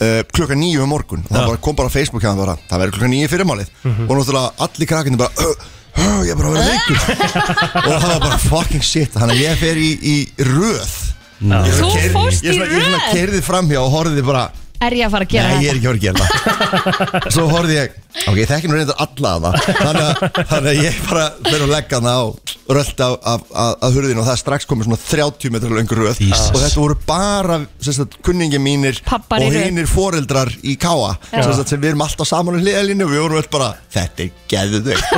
Uh, klukka nýju um morgun og það bara, kom bara á Facebook hérna bara, það verður klukka nýju fyrir málið og náttúrulega allir krakkandi bara uh, uh, ég er bara að vera veikur og það var bara fucking shit þannig að ég fer í, í röð Ég Þú svona keyrði- fórst ég í svona- Ég svona röð? kerði framhjá og horfði bara Er ég að fara að gera Nei, ég þetta? er ekki að fara að gera það Svo horfði ég Ok, ég þekki nú reyndar alla að það Þannig að, þannig að ég bara fyrir að leggja hana á Rölt af, af, af, af hurðinu Og það er strax komið svona 30 metra löngur röð Jesus. Og þetta voru bara sem sagt, kunningi mínir Pabbar í Og röð. hinnir foreldrar í Káa sem, sagt, sem við erum alltaf saman í hliðalínu Og við vorum öll bara, þetta er geðveikt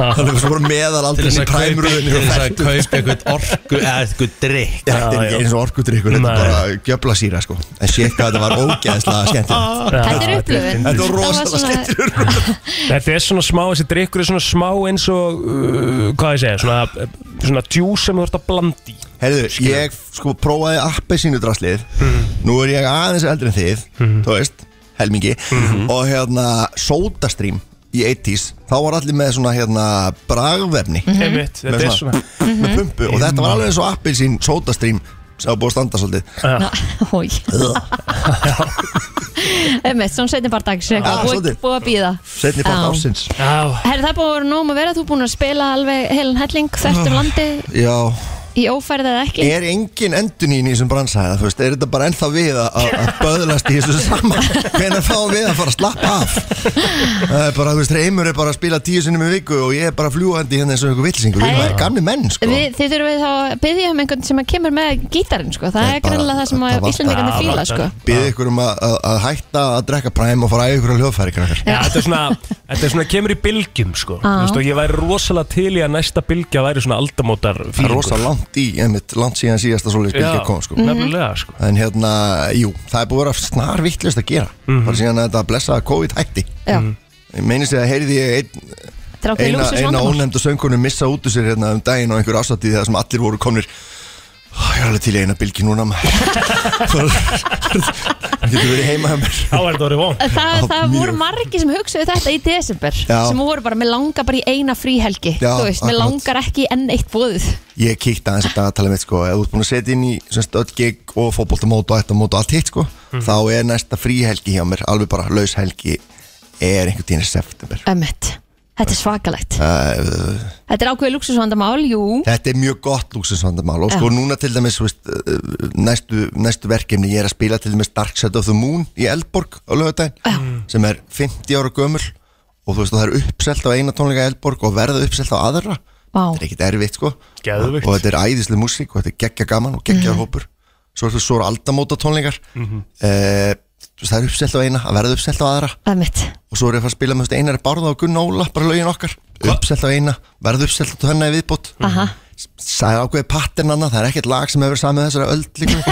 Þannig að við vorum meðal Til aldrei þess í að kaupa præmröðinu til þess að kaupa eitthvað orku eða eitthvað drikk Þetta er Já, ekki já. eins og orkudrykkur, þetta er Nei. bara gjöfla síra sko En sé hvað þetta var ógeðslega skemmtilegt Þetta er upplifun. Þetta var var rosalega svona- skemmtilegt Þetta er svona smá, þessi drikkur er svona smá eins og uh, Hvað ég segja, svona, svona djús sem þú ert að blanda í Herðu, ég sko prófaði appi sínu draslið Nú er ég aðeins eldri en þið Þú veist, helmingi Og hérna, sódastrím í 80s Þá var allir með svona hérna bragvefni Mhm. Einmitt, Með þetta er svona Með pumpu Og þetta var alveg eins og appi sín sódastrím sem var búið að standa svolítið Hói Einmitt, svona setjum bara dags Já, Búið svolítið. búið að býða Setni part Já. ásins Já, Herri, það er búið að vera nóg um að vera Þú er búin að spila alveg heilan helling Þvert um landi Já, í ófærið eða ekki er engin endunín í þessum bransæða þú veist, er þetta bara ennþá við að- að að böðlast í þessu saman hvenær fáum við að fara að slappa af það er bara, þú veist, reymur er bara að spila tíu sinnum í viku og ég er bara fljúandi hérna eins og einhver villsingur, Nei. það er gamli menn sko. Við, þið þurfum við þá að byggja um einhvern sem að kemur með gítarinn sko. það Það er er grannlega bara- það sem það að vantar- Íslandingarnir það fíla vantar. sko. Bið ykkur um að, að, að hætta að drekka præm og fara að ykkur á hljóðfæri krakkar. Já, þetta er svona, þetta er svona kemur í bylgjum sko Þú veist, og ég væri rosalega til í að næsta bylgja væri svona aldamótar það er fílingur. rosa langt í, einmitt, langt síðan síðasta svoleiðis bylgja Já, kom sko. Nefnilega sko en hérna, jú, það er búið að vera snar vittlust að gera, Mhm. bara síðan að þetta blessa COVID hætti, Já, ég meinist ég að heyrði ég einn þetta er ákveðið eina, lúsus eina vandamál ónefndu söngunum missa út úr sér hérna um daginn og einhver ásatíð þegar sem allir voru komnir Ó, Ég er alveg til í eina bylgi núna maður Það getur verið heima hjá mér Þá er þetta orðið vond Það, Já, það mjög. voru margir sem hugsuðu þetta í desember Já. sem voru bara, með langar bara í eina fríhelgi Já, þú veist, með akkurat. langar ekki í enn eitt bóðið Ég kíkti aðeins að dagatala mitt sko Ef þú ert búin að setja inn í semst öll gig og fótboltamót og ættamót og allt hitt sko Þá er næsta fríhelgi hjá mér Alveg bara laus helgi er einhvern tíðin í september Ömmit, þetta er svakalegt uh, Þetta er ákveðið lúksusvandamál, jú Þetta er mjög gott lúksusvandamál og sko núna til dæmis þú veist, eh, næstu, næstu verkefni ég er að spila til dæmis Dark Side of the Moon í Eldborg á lögadaginn sem er 50 ára gömul og þú veist og það er uppselt á eina tónleika í Eldborg og verða uppselt á aðra Vá. þetta er ekkit erfitt sko Geðveikt. og þetta er æðislega músík og þetta er geggja gaman og Mhm. geggjaður hópur svo er þetta svo aldamóta tónleikar mm það er uppselt á eina að verða uppselt á aðra Ömmit, og svo er ég að fara að spila með þú veist, einari barða og Gunn Óla bara lögin okkar, uppselt á eina verð uppselt á hennar í viðbót aha það er ákveðið pattern annað, það er ekkert lag sem hefur verið samið þessara öld líka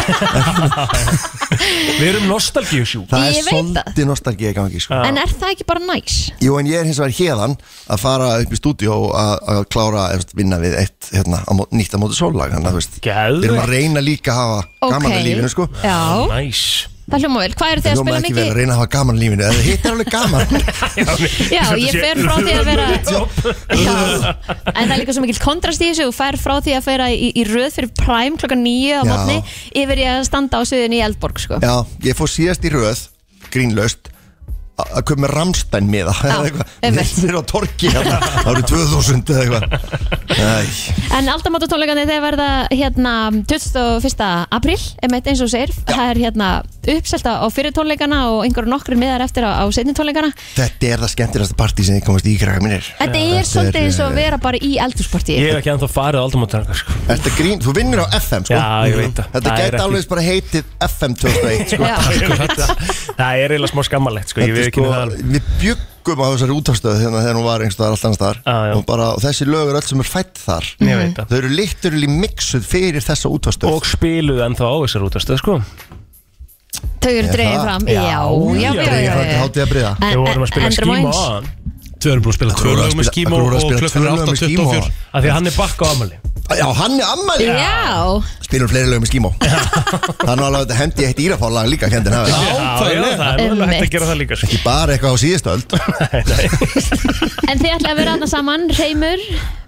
Við erum nostalgíusjú það Ég er veit það. svolítið nostalgíu í gangi sko. En er það ekki bara næs? jú en ég er hins vegar hérðan að fara upp í stúdíó og að að klára að vinna við eitt hérna, á mó- nýtt á móti sóllag þannig að þú veist, við erum að Gæðvegt reyna líka að hafa gaman Ókei. í lífinu sko Já, Næs það hljóma vel Hvað eru þið að Hljóma spila ekki vel, mikið? reyna að hafa gaman í lífinu eða hitt er alveg gaman Já, ég fer frá því að vera Já, en það er líka svo mikill kontrast í þessu Þú fer frá því að færa í, í röð fyrir Prime klokkan nýju á Já. mótni Yfir ég að standa á sviðinu í Eldborg sko. Já, ég fór síðast í röð, grínlaust a- að köpa með Ramstein miða eða eitthvað. einmitt. Niður á torki hérna, árið 2000 eða eitthvað Æ, En aldamáttatónleikandi þeir verða hérna 21. apríl einmitt eins og þú segir, það er hérna uppselta á fyrir tónleikana og einhverju nokkru miðar eftir á, á setni tónleikana Þetta er það skemmtilegasta partí sem ég komast í krakka mínir Þetta er svolítið eins eh, og að vera bara í eldhúspartíi Ég hef ekki ennþá farið á aldamóttaranga sko. Þetta grín, þú vinnur á FM sko Já, ég veit það. Þetta Það er gæti ekki- alveg bara heitið FM 2001 sko Já. Það er eiginlega smá skammalegt sko. Þetta Ég veit er ekki sko, það alveg. við bjöggum á þessari útafstöðu hérna þegar hún var einhvers staðar allans þar Ah, já. og bara og þessi lög er öll sem er fætt þar Ég veit það. Þau eru literally mixuð fyrir þessa útafstöð Og spiluðu ennþá á þessar útastöð sko. Þau eru Er dregin það? fram Já, já, já, já, Það er já. hátíð að briða En- Við vorum að spila en- Andra skíma Vines. á hann Tvö erum búin að spila tvö voru að lög með spila- um skíma akkur voru að og spila um tvö klukkan er lög með skímó. 8.24 Af því að hann er bakka á amali Já, hann er ammali Já, Spilum fleiri lög með skímó Þannig alveg að hendi eitt írafálag líka kendin hafi Já, já, það er alveg hægt að gera það líka sko. Ekki bara eitthvað á síðustöld en þið ætla að vera aðna saman Reymur,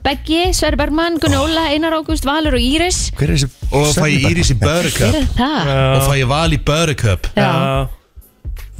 Beggi, Sverri Bergmann Gunni Óla, Einar Ágúst, Valur og Íris Hver er þessi Og fæ ég Íris í Hver Börgköp er það? Og fæ ég Val í Börgköp Já,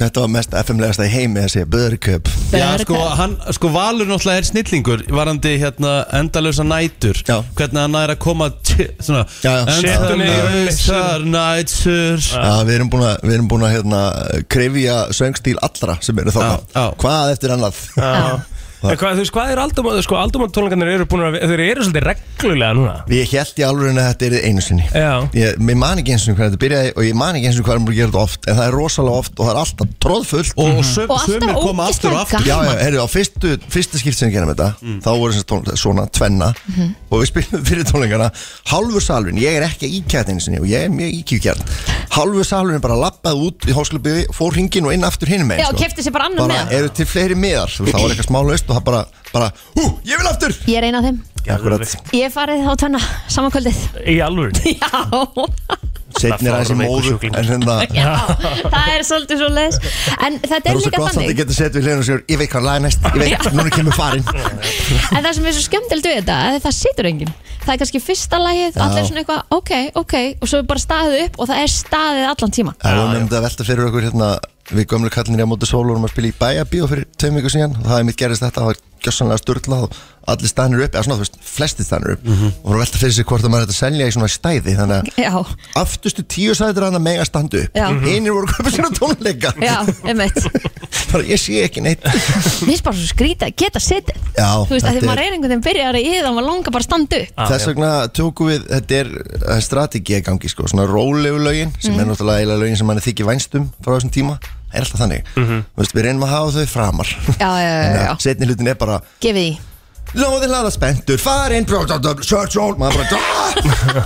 Þetta var mest FM-legasta í heimi þessi Böðurköp Já, Börgköp. sko, hann, sko, Valur náttúrulega er snillingur varandi hérna endalösa nætur Já. hvernig hann er að koma til svona, Já, já. Setu niður. endalösar nætur Já, við erum búin að, við erum búin að hérna, krifja söngstíl allra sem eru Já, já. þarna Hvað eftir annað En hvað, þú veist, hvað er aldamóttaranga sko, aldamóttaranga eru búin að Þeir eru svolítið reglulega núna Ég held í alveg að þetta er einu sinni Já. ég, Mér man ekki eins og hvernig þetta byrjaði og ég man ekki eins og hvernig þetta þetta oft En það er rosalega oft og það er alltaf tróðfullt og sum, Og alltaf sumir koma aftur ógeðslega og aftur Mm. Já, já, heyrðu, á fyrstu, fyrstu skipt sem við gerum þetta Þá voru sem tón, svona tvenna Mhm. Og við spilum fyrir tónleikana Hálfur salvin, ég er ekki íkjætt einu sinni Og ég er mjög íkjúkjætt Hálfur salvin bara lappaði út í hálsklubiði Fór hringin og inn aftur hinum megin Já, sko. keypti sér bara annan Bara miða. eru til fleiri miðar Þú veist, Það var eitthvað smá laust og það bara, bara Hú, ég vil aftur ég er eina af þeim Akkurat, Ég er farið á tvenna, samankvöldið Í alvöru Já setn er aðeins í fárveikur móðu sjúklingur. En hérna, það Já, það er svolítið svo leiðis En þetta er er líka rosa gott að þið þannig getur setið við hliðin og sér Ég veit hvað laga næst, ég veit, núna kemur farin En það sem er svo skemmtilegt við þetta er að Það situr enginn Það er kannski fyrsta lagið, allir svona eitthvað Ok, ok, og svo er bara staðið upp Og það er staðið allan tíman Það var nefndi að velta fyrir okkur hérna Við gömlu kallinir á móti sólunum að spila í bæjabíó fyrir tveim viku síðan og það er mitt gerist þetta, það var gjössanlega störtlað og allir stanir upp, eða svona þú veist, flesti stanir upp og voru að velta fyrir sig hvort að maður ætti að selja í svona stæði þannig að Mhm. Já, aftustu tíu sætir hann að mega standu upp Já. Mhm. einir voru komið sér að tónleika já, emmitt Mhm. bara ég sé ekki neitt Mér er bara svo skrítið að geta sittið Þú Já, veist, að því þetta maður er einhvern veginn byrjar í það Maður langar bara að standa upp Þess vegna tókum við, þetta er eh, strategi í gangi sko, svona rólegu lögin sem er náttúrulega eiginlega lögin sem manni þykir vænstum frá þessum tíma, það er alltaf þannig Þú veist, við reynum að hafa þau framar Já, já, já, já, já. setni hlutin er bara gefið í Lóðin laða spendur, farin Search all, maður bara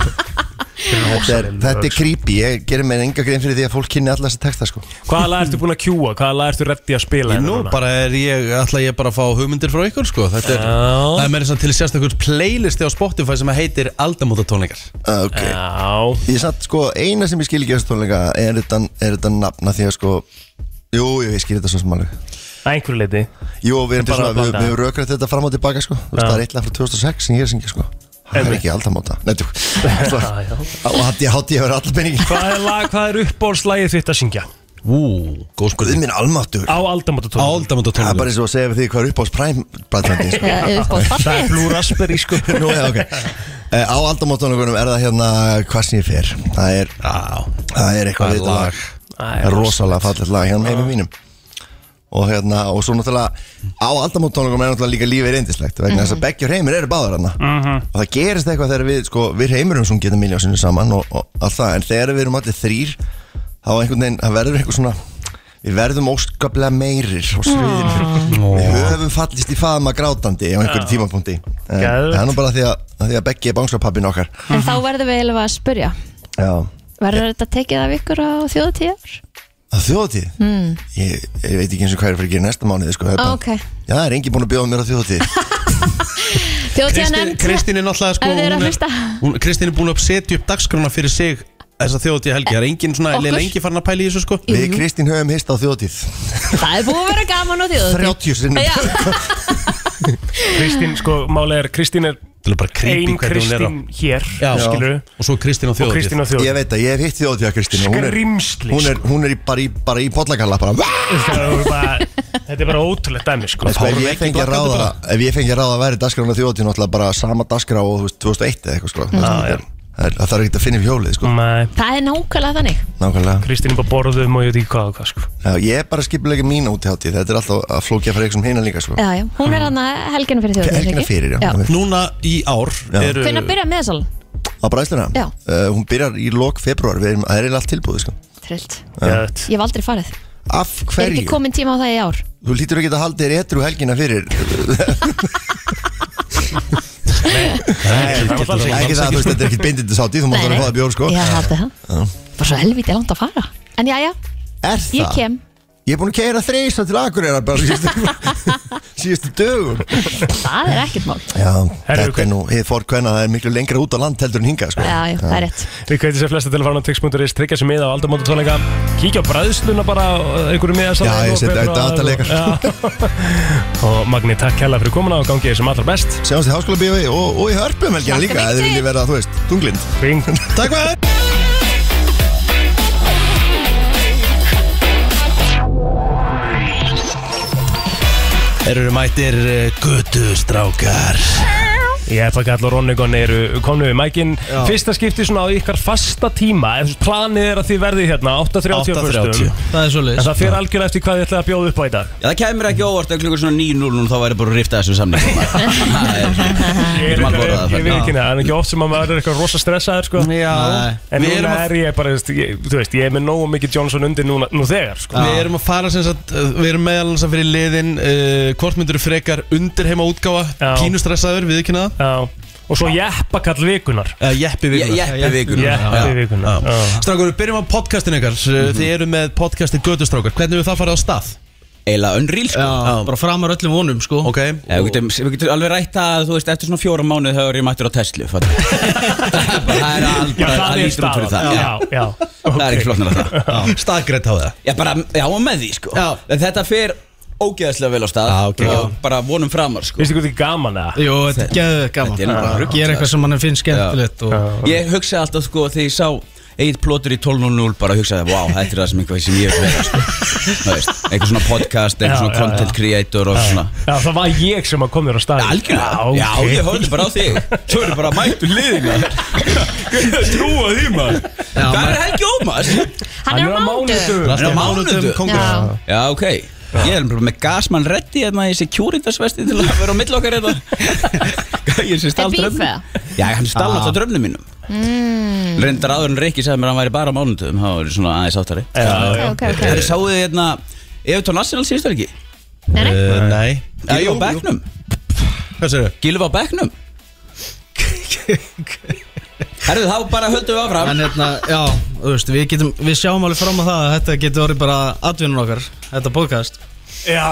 Þetta er, þetta er creepy Ég gerir mér enga grein fyrir því að fólk kynni alla þessa texta sko. Hvaða lag ertu búin að kjúa? Hvaða lag ertu reddi að spila? hérna Ég nú bara er ég, ætla ég bara að fá hugmyndir frá ykkur sko Þetta er, Já. það er meira svona til sérstakur playlisti á Spotify sem heitir Aldamótatónleikar okay. Já Ég satt sko, eina sem ég skil ekki þessu tónleika er þetta, er þetta nafna því að sko Jú, jú, ég skil þetta svo sem alveg Að einhverju leiti Jú, við erum Þetta er bara, svona við, blanda. við rökrætt þetta fram og tilbaka sko Þú veist, Já. það er eitthvað frá 2006 sem ég er að syngja sko Það er Einmitt. ekki aldamóta Nei, tjók Og Já, já. hatt ég hátt ég að vera allar peningin Hvað er lag, hvað er uppbólslagið þitt að syngja? Ú, góð Guð spurning minn almáttur Á aldamótatónum Það er bara Aldamótatónleikar eins og að segja við því hvað er upp á spræmbræðandi sko. Já, upp á Það er fallið Blue Raspberry sko Nú, já, ok Eh, Á aldamóttunum er það hérna hvað sem ég fer Það er, Já, það er eitthvað Það er við þetta lag. Það er Það er rosalega fallet lag hérna með mínum Og hérna, og svo náttúrulega Á aldamóttunum er náttúrulega líka lífið reyndislegt Vegna þess að Beggi og Reymir eru báðar hérna Og það gerist eitthvað þegar við, sko, við Reymirum Svo getum miljónsinu saman og, og allt það En þegar við erum allir þrýr Þá einhvern veginn, það verður eitthvað svona Við verðum óskaplega meirir á sviðinu Við höfum fallist í faðma grátandi á einhverju tímapunkti En Geðveikt. Það er nú bara því að, að, því að Beggi er bánskarpappin okkar En þá verðum við eiginlega að spyrja Já Verður þetta tekið af ykkur á Hmm. þjóðutíðar? Að þjóðatíð? Mm. Ég, ég veit ekki eins og hvað er fyrir að gera næsta mánuði sko, það er bara- Ókei. Já, það er engin búin að bjóða mér á þjóðatíð Þjóðtíðan Kristín, Kristín er náttúrulega sko Ef þið eru að hún er- hlusta. hún- Kristín er búin að setja upp dagskrána fyrir sig þessa þjóðtíð helgi Það er engin svona, Okkur? er lengi farin að pæla í þessu sko Jú, Við jú. Kristín höfum hist á þjóðtíð Það er búið að vera gaman á því 30 sinnum. Kristín, sko, málega er Kristín er Það er bara creepy ein hvernig hún er á- Kristín hér, Já. skilur Og svo Kristín á Og Kristín á þjóðtíð. Ég veit að ég hef hitt þjóðtíð að Kristín og hún er- Skrimsli, sko. Hún er, hún er í, bara, í, bara í bollakalla bara Þetta er bara ótrúlegt dæmi, sko Sko, ef ég fengi að ráða Ef ég fengi að ráða að vera dagskrána þjóðtíð Náttúrulega bara sama dagskrá og þú veist, 2001 eða eitthvað sko Mm. Já, Það já. er- það er- það þarf ekki að finna upp hjólið sko Nei, Það er nákvæmlega þannig Nákvæmlega Kristín er bara borðum og ég veit ekki hvað og hvað, sko Já, Ég er bara skipulega mín út í hátíð Þetta er alltaf að flókja fyrir eitthvað hina líka sko já, já. Hún er hann helgina fyrir þjóðtíð Helgina fyrir, já, já. Núna í ár Já. eru Hvernig byrja með salun? Á bræðsluna Já. uh, Hún byrjar í lok februar Það er eiginlega allt tilbúið sko Eh, Trillt Já, Ég hef aldrei farið Af Er ekki hverju? komin tíma á það í ár? Þú lítur ekki að halda þér etru helgina fyrir Nei, það er getur alls það- Ekki það, þú veist, þetta er ekkit bindindis hátíð Þú mátt Nei, alveg nei. fá það bjór sko Ég hafði það Bara svo helvítið langt að fara En já, já, Er ég það? kem Ég er búin að keira þreysa til Akureyra bara síðustu, síðustu dögum Það er ekkert mál Já, þetta hver- er nú, hið fór hvenna það er miklu lengra út á land heldur en hingað sko. Já, já, það er rétt Við kveitum sér flesta til að fara á tix.is, tryggja sér miða á aldamóta tónleika, kíkja á bræðsluna bara á einhverju miða Já, ég setja á sko. dataleikan. Og Magni, takk hella fyrir komuna og gangið sem allra best. Sjáumst í háskóla bíói og, og í hörpum helgina Takk líka fyrir eða mig. vilji vera, þú veist, tunglind Ring. Takk fyrir Þeir eru mættir gutu strákar Ég ætla ekki allar Ronnegon eru komnu við mækin. Fyrsta skipti svona á ykkar fasta tíma, ef þú veist, planið er að þið verðið hérna 8.30 á fyrstum. 8.30 Það er svo En leiðis það fyrir algjörlega eftir hvað þið ætlaði að bjóða upp á í dag. Já, það kæmur ekki óvart að klukkur svona 9.00 og þá væri bara að rifta þessum samning Það er- Ég Við er getum alveg reyndar- orðað það ég- ég veit ekki þannig. neða, en ekki oft sem að maður er eitthvað rosa stressaður sko. Nei. En Við núna erum að- er ég bara, þú veist, ég- þú veist, ég er með nógu mikið Johnson undir núna, nú þegar sko. Við erum að fara sem sagt uh, Við erum meðal hans að fyrir liðin uh, Hvort myndur frekar undir heima útgáfa Já. Kínustressaður, viðkynna það Já, og svo jeppakall vikunar Uh, jeppi Je- vikunar Jeppi vikunum Jeppi Mhm. Já. vikunar Já. Strákur, við byrjum á podcastinu ykkar mm Þið eru með podcastið Götustrákar Hvernig hefur það farið á stað? Eila unreal sko Já. Já, bara bara f- framar öllum vonum sko Ok Já, við getum, við getum alveg rætt að þú veist eftir svona fjóra mánuð þá er ég mættur á Tesla fattar. Það er alveg Já, það það er lítur út fyrir það staðan Já, já Það er ekki flóknar að það Staðgrætt á það Já, bara, já, og með því sko Já. En þetta fer ógeðslega vel á stað Já, ok. og bara vonum framar sko Vistu hvað þið gaman eða? Jú, þetta er geðuð gaman Þetta er nú bara Ég er eitthvað sem mann finnst skemmtilegt Ég hugsaði alltaf sko þegar ég sá Egið plótur í 12.00 bara hugsaði Vá, þetta er það sem einhvað sem ég vil vera sko. Þú veist, Einhver svona podcast, einhver Já, svona já, content creator og svona Já, það var ég sem að kom þér á stað Algjörlega, ok. já, ég horfði bara á þig Þú eru bara mættu liðin Trúa því maður Hvað er Helgi Ómas? Hann er á mánudögum Það er á mánudögum, mánudum kóngur. Já. Já, ok Ég er bara með gasmann reddi hérna í securitasvesti til að vera á milli okkar hérna Ég sé stál Er Ah. um beef dröfnum eða? Já, hann stál alltaf dröfnum mínum mm. Reyndar áður en Rikki sagði mér að hann væri bara á mánudum Það var svona aðeins áttari Já, Ok, já ok, ok Þegar þið sáuði hérna Evertón Arsenal síðustu helgi Nei, nei. uh, Eh, Nei Gilvi á bekknum Hvað sér þau? Gilvi á bekknum Herðu, þá bara höldum við áfram En Hérna, já, þú veist, við getum, við sjáum alveg fram á það að þetta getur orðið bara atvinnun okkar, þetta podcast Já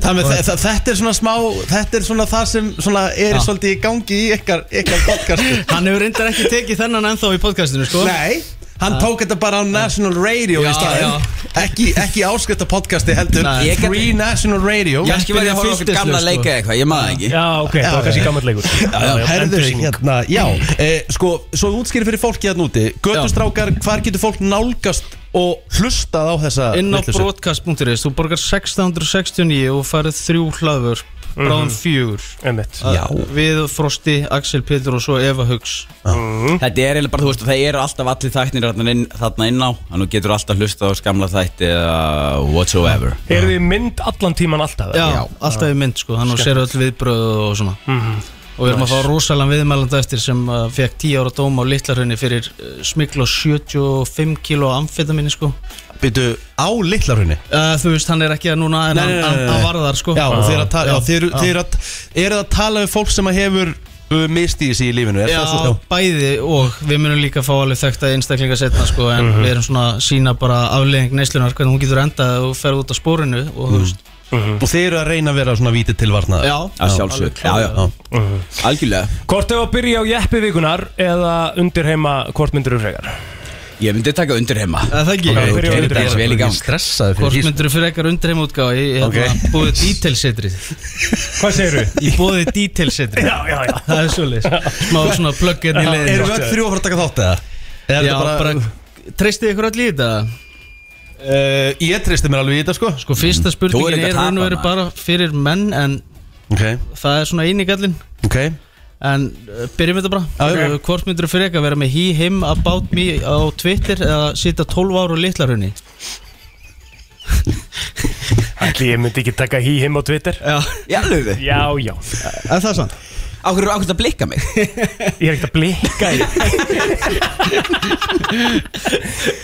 Það með, þe- þa- þetta er svona smá, þetta er svona það sem svona er svolítið í gangi í ykkar, ykkar podcastu Hann hefur reyndar ekki tekið þennan ennþá í podcastinu, sko Nei, hann tók þetta bara á National Radio í Já, staðin Ekki, ekki áskrifta podcasti heldur Nei. Ég get- Free National Radio Já, kannski verði að horfa okkur sko. gamla leika eða eitthvað, ég maður ekki sko. Já, ok, það var kannski gammal leikur Já, herðu, endursýning. hérna, já e, Sko, svo útskýri fyrir fólki hérna úti Götustrákar, hvar getur fólk nálgast og hlustað á þessa Inn á vitleysu? broadcast.is, þú borgar 1669 og færið þrjú hlaður, bráðum fjögur Mhm. Einmitt. Já Við Frosti, Axel Pétur og svo Eva Hugs Mhm. Þetta er eiginlega bara, þú veist, það eru alltaf allir þæknir þarna inn, þarna inn á Þannig að þú getur alltaf hlusta á skamla þætti eða whatsoever Eru þið í mynd allan tíman alltaf? Já, eða? alltaf í mynd, sko, þannig að sér öll viðbröð og svona Og við erum að fá rosalega viðmælanda eftir sem uh, fekk 10 ára dóma á Littlarhraunni fyrir uh, smikla á 75 kilo amfetaminni, sko Byrju, á litlarhunni Uh, þú veist, hann er ekki að núna en Nei, hann, nei, nei, hann, nei, hann nei. varðar sko Já, og þeir eru að tala, já, þeir eru- já. þeir eru að, eru það að tala við fólk sem að hefur uh, mistið sig í lífinu, er Já, það svo? bæði og við munum líka fá alveg þekta einstaklinga setna sko en Mhm. við erum svona að sína bara afleðing neyslunar hvernig hún getur endað og ferð út á spórinu og Mhm. þú veist Mhm. Og þeir eru að reyna að vera svona vítið tilvarnað Já, Að sjálfsög, já, já, Mhm. algjörlega Hvort ef að byrja á jeppi vikunar eða undir heima hvort myndir þú um frekar? Ég myndi taka undir heima Það ekki Þú keirir þess vel í gang Stressaði Hvort myndur þú fyrir sko. ekkar undreim útgáð í hérna, okay. bóðið detailsetrið Hvað segirðu? Í bóðið detailsetrið Já, já, já Það er svolítið Smá svona pluggen í leiðin Erum við öll þrjú að fara að taka þátt eða? Er Já, þetta bara, bara- Treystið ykkur allir í þetta? Uh, ég treysti mér alveg í þetta sko Sko Mhm. fyrsta spurningin er raun og verið bara fyrir menn En Ok. það er svona eini gallin Ok En uh, byrjum þetta bara já. okay. Hvort myndur þú fyrir ekkar vera með he, him, about me á Twitter Eða sita 12 ár og litlarunni? Ætli ég myndi ekki taka hí him á Twitter Já Í alvöru? Já, já En það er sant Áhverju er ákveðt að blikka mig? Ég er ekkert að blikka í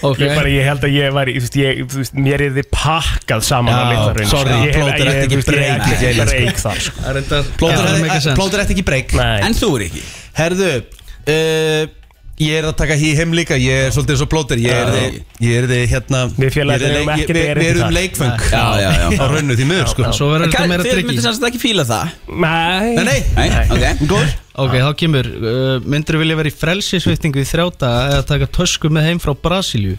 okay. ég, bara, ég held að ég væri, þú veist, ég, þú veist, mér er þið pakkað saman Já, á litla raun sko. sorry, plóter ætti ekki break í Ég er dælinn, sko. break þar sko. Já, það make sense. Plótur eftir ekki breyk Nei. En þú er ekki Herðu uh, Ég er að taka hí heim líka Ég er svolítið svo plótur Ég er þið Ég er þið hérna Við félagarnir ég erum er þið leik- ekkert ég- Við erindi þar. erum leikfeng Já, já, já Á rauninu því miður sko Svo verður þetta Kar- meira Þið myndir tryggi sem sagt ekki fíla það Nei Nei, nei Nei, ok Góður Ok, þá kemur, uh, myndur þú vilja vera í frelsisvittingu í þrjá daga eða taka tösku með heim frá Brasilíu?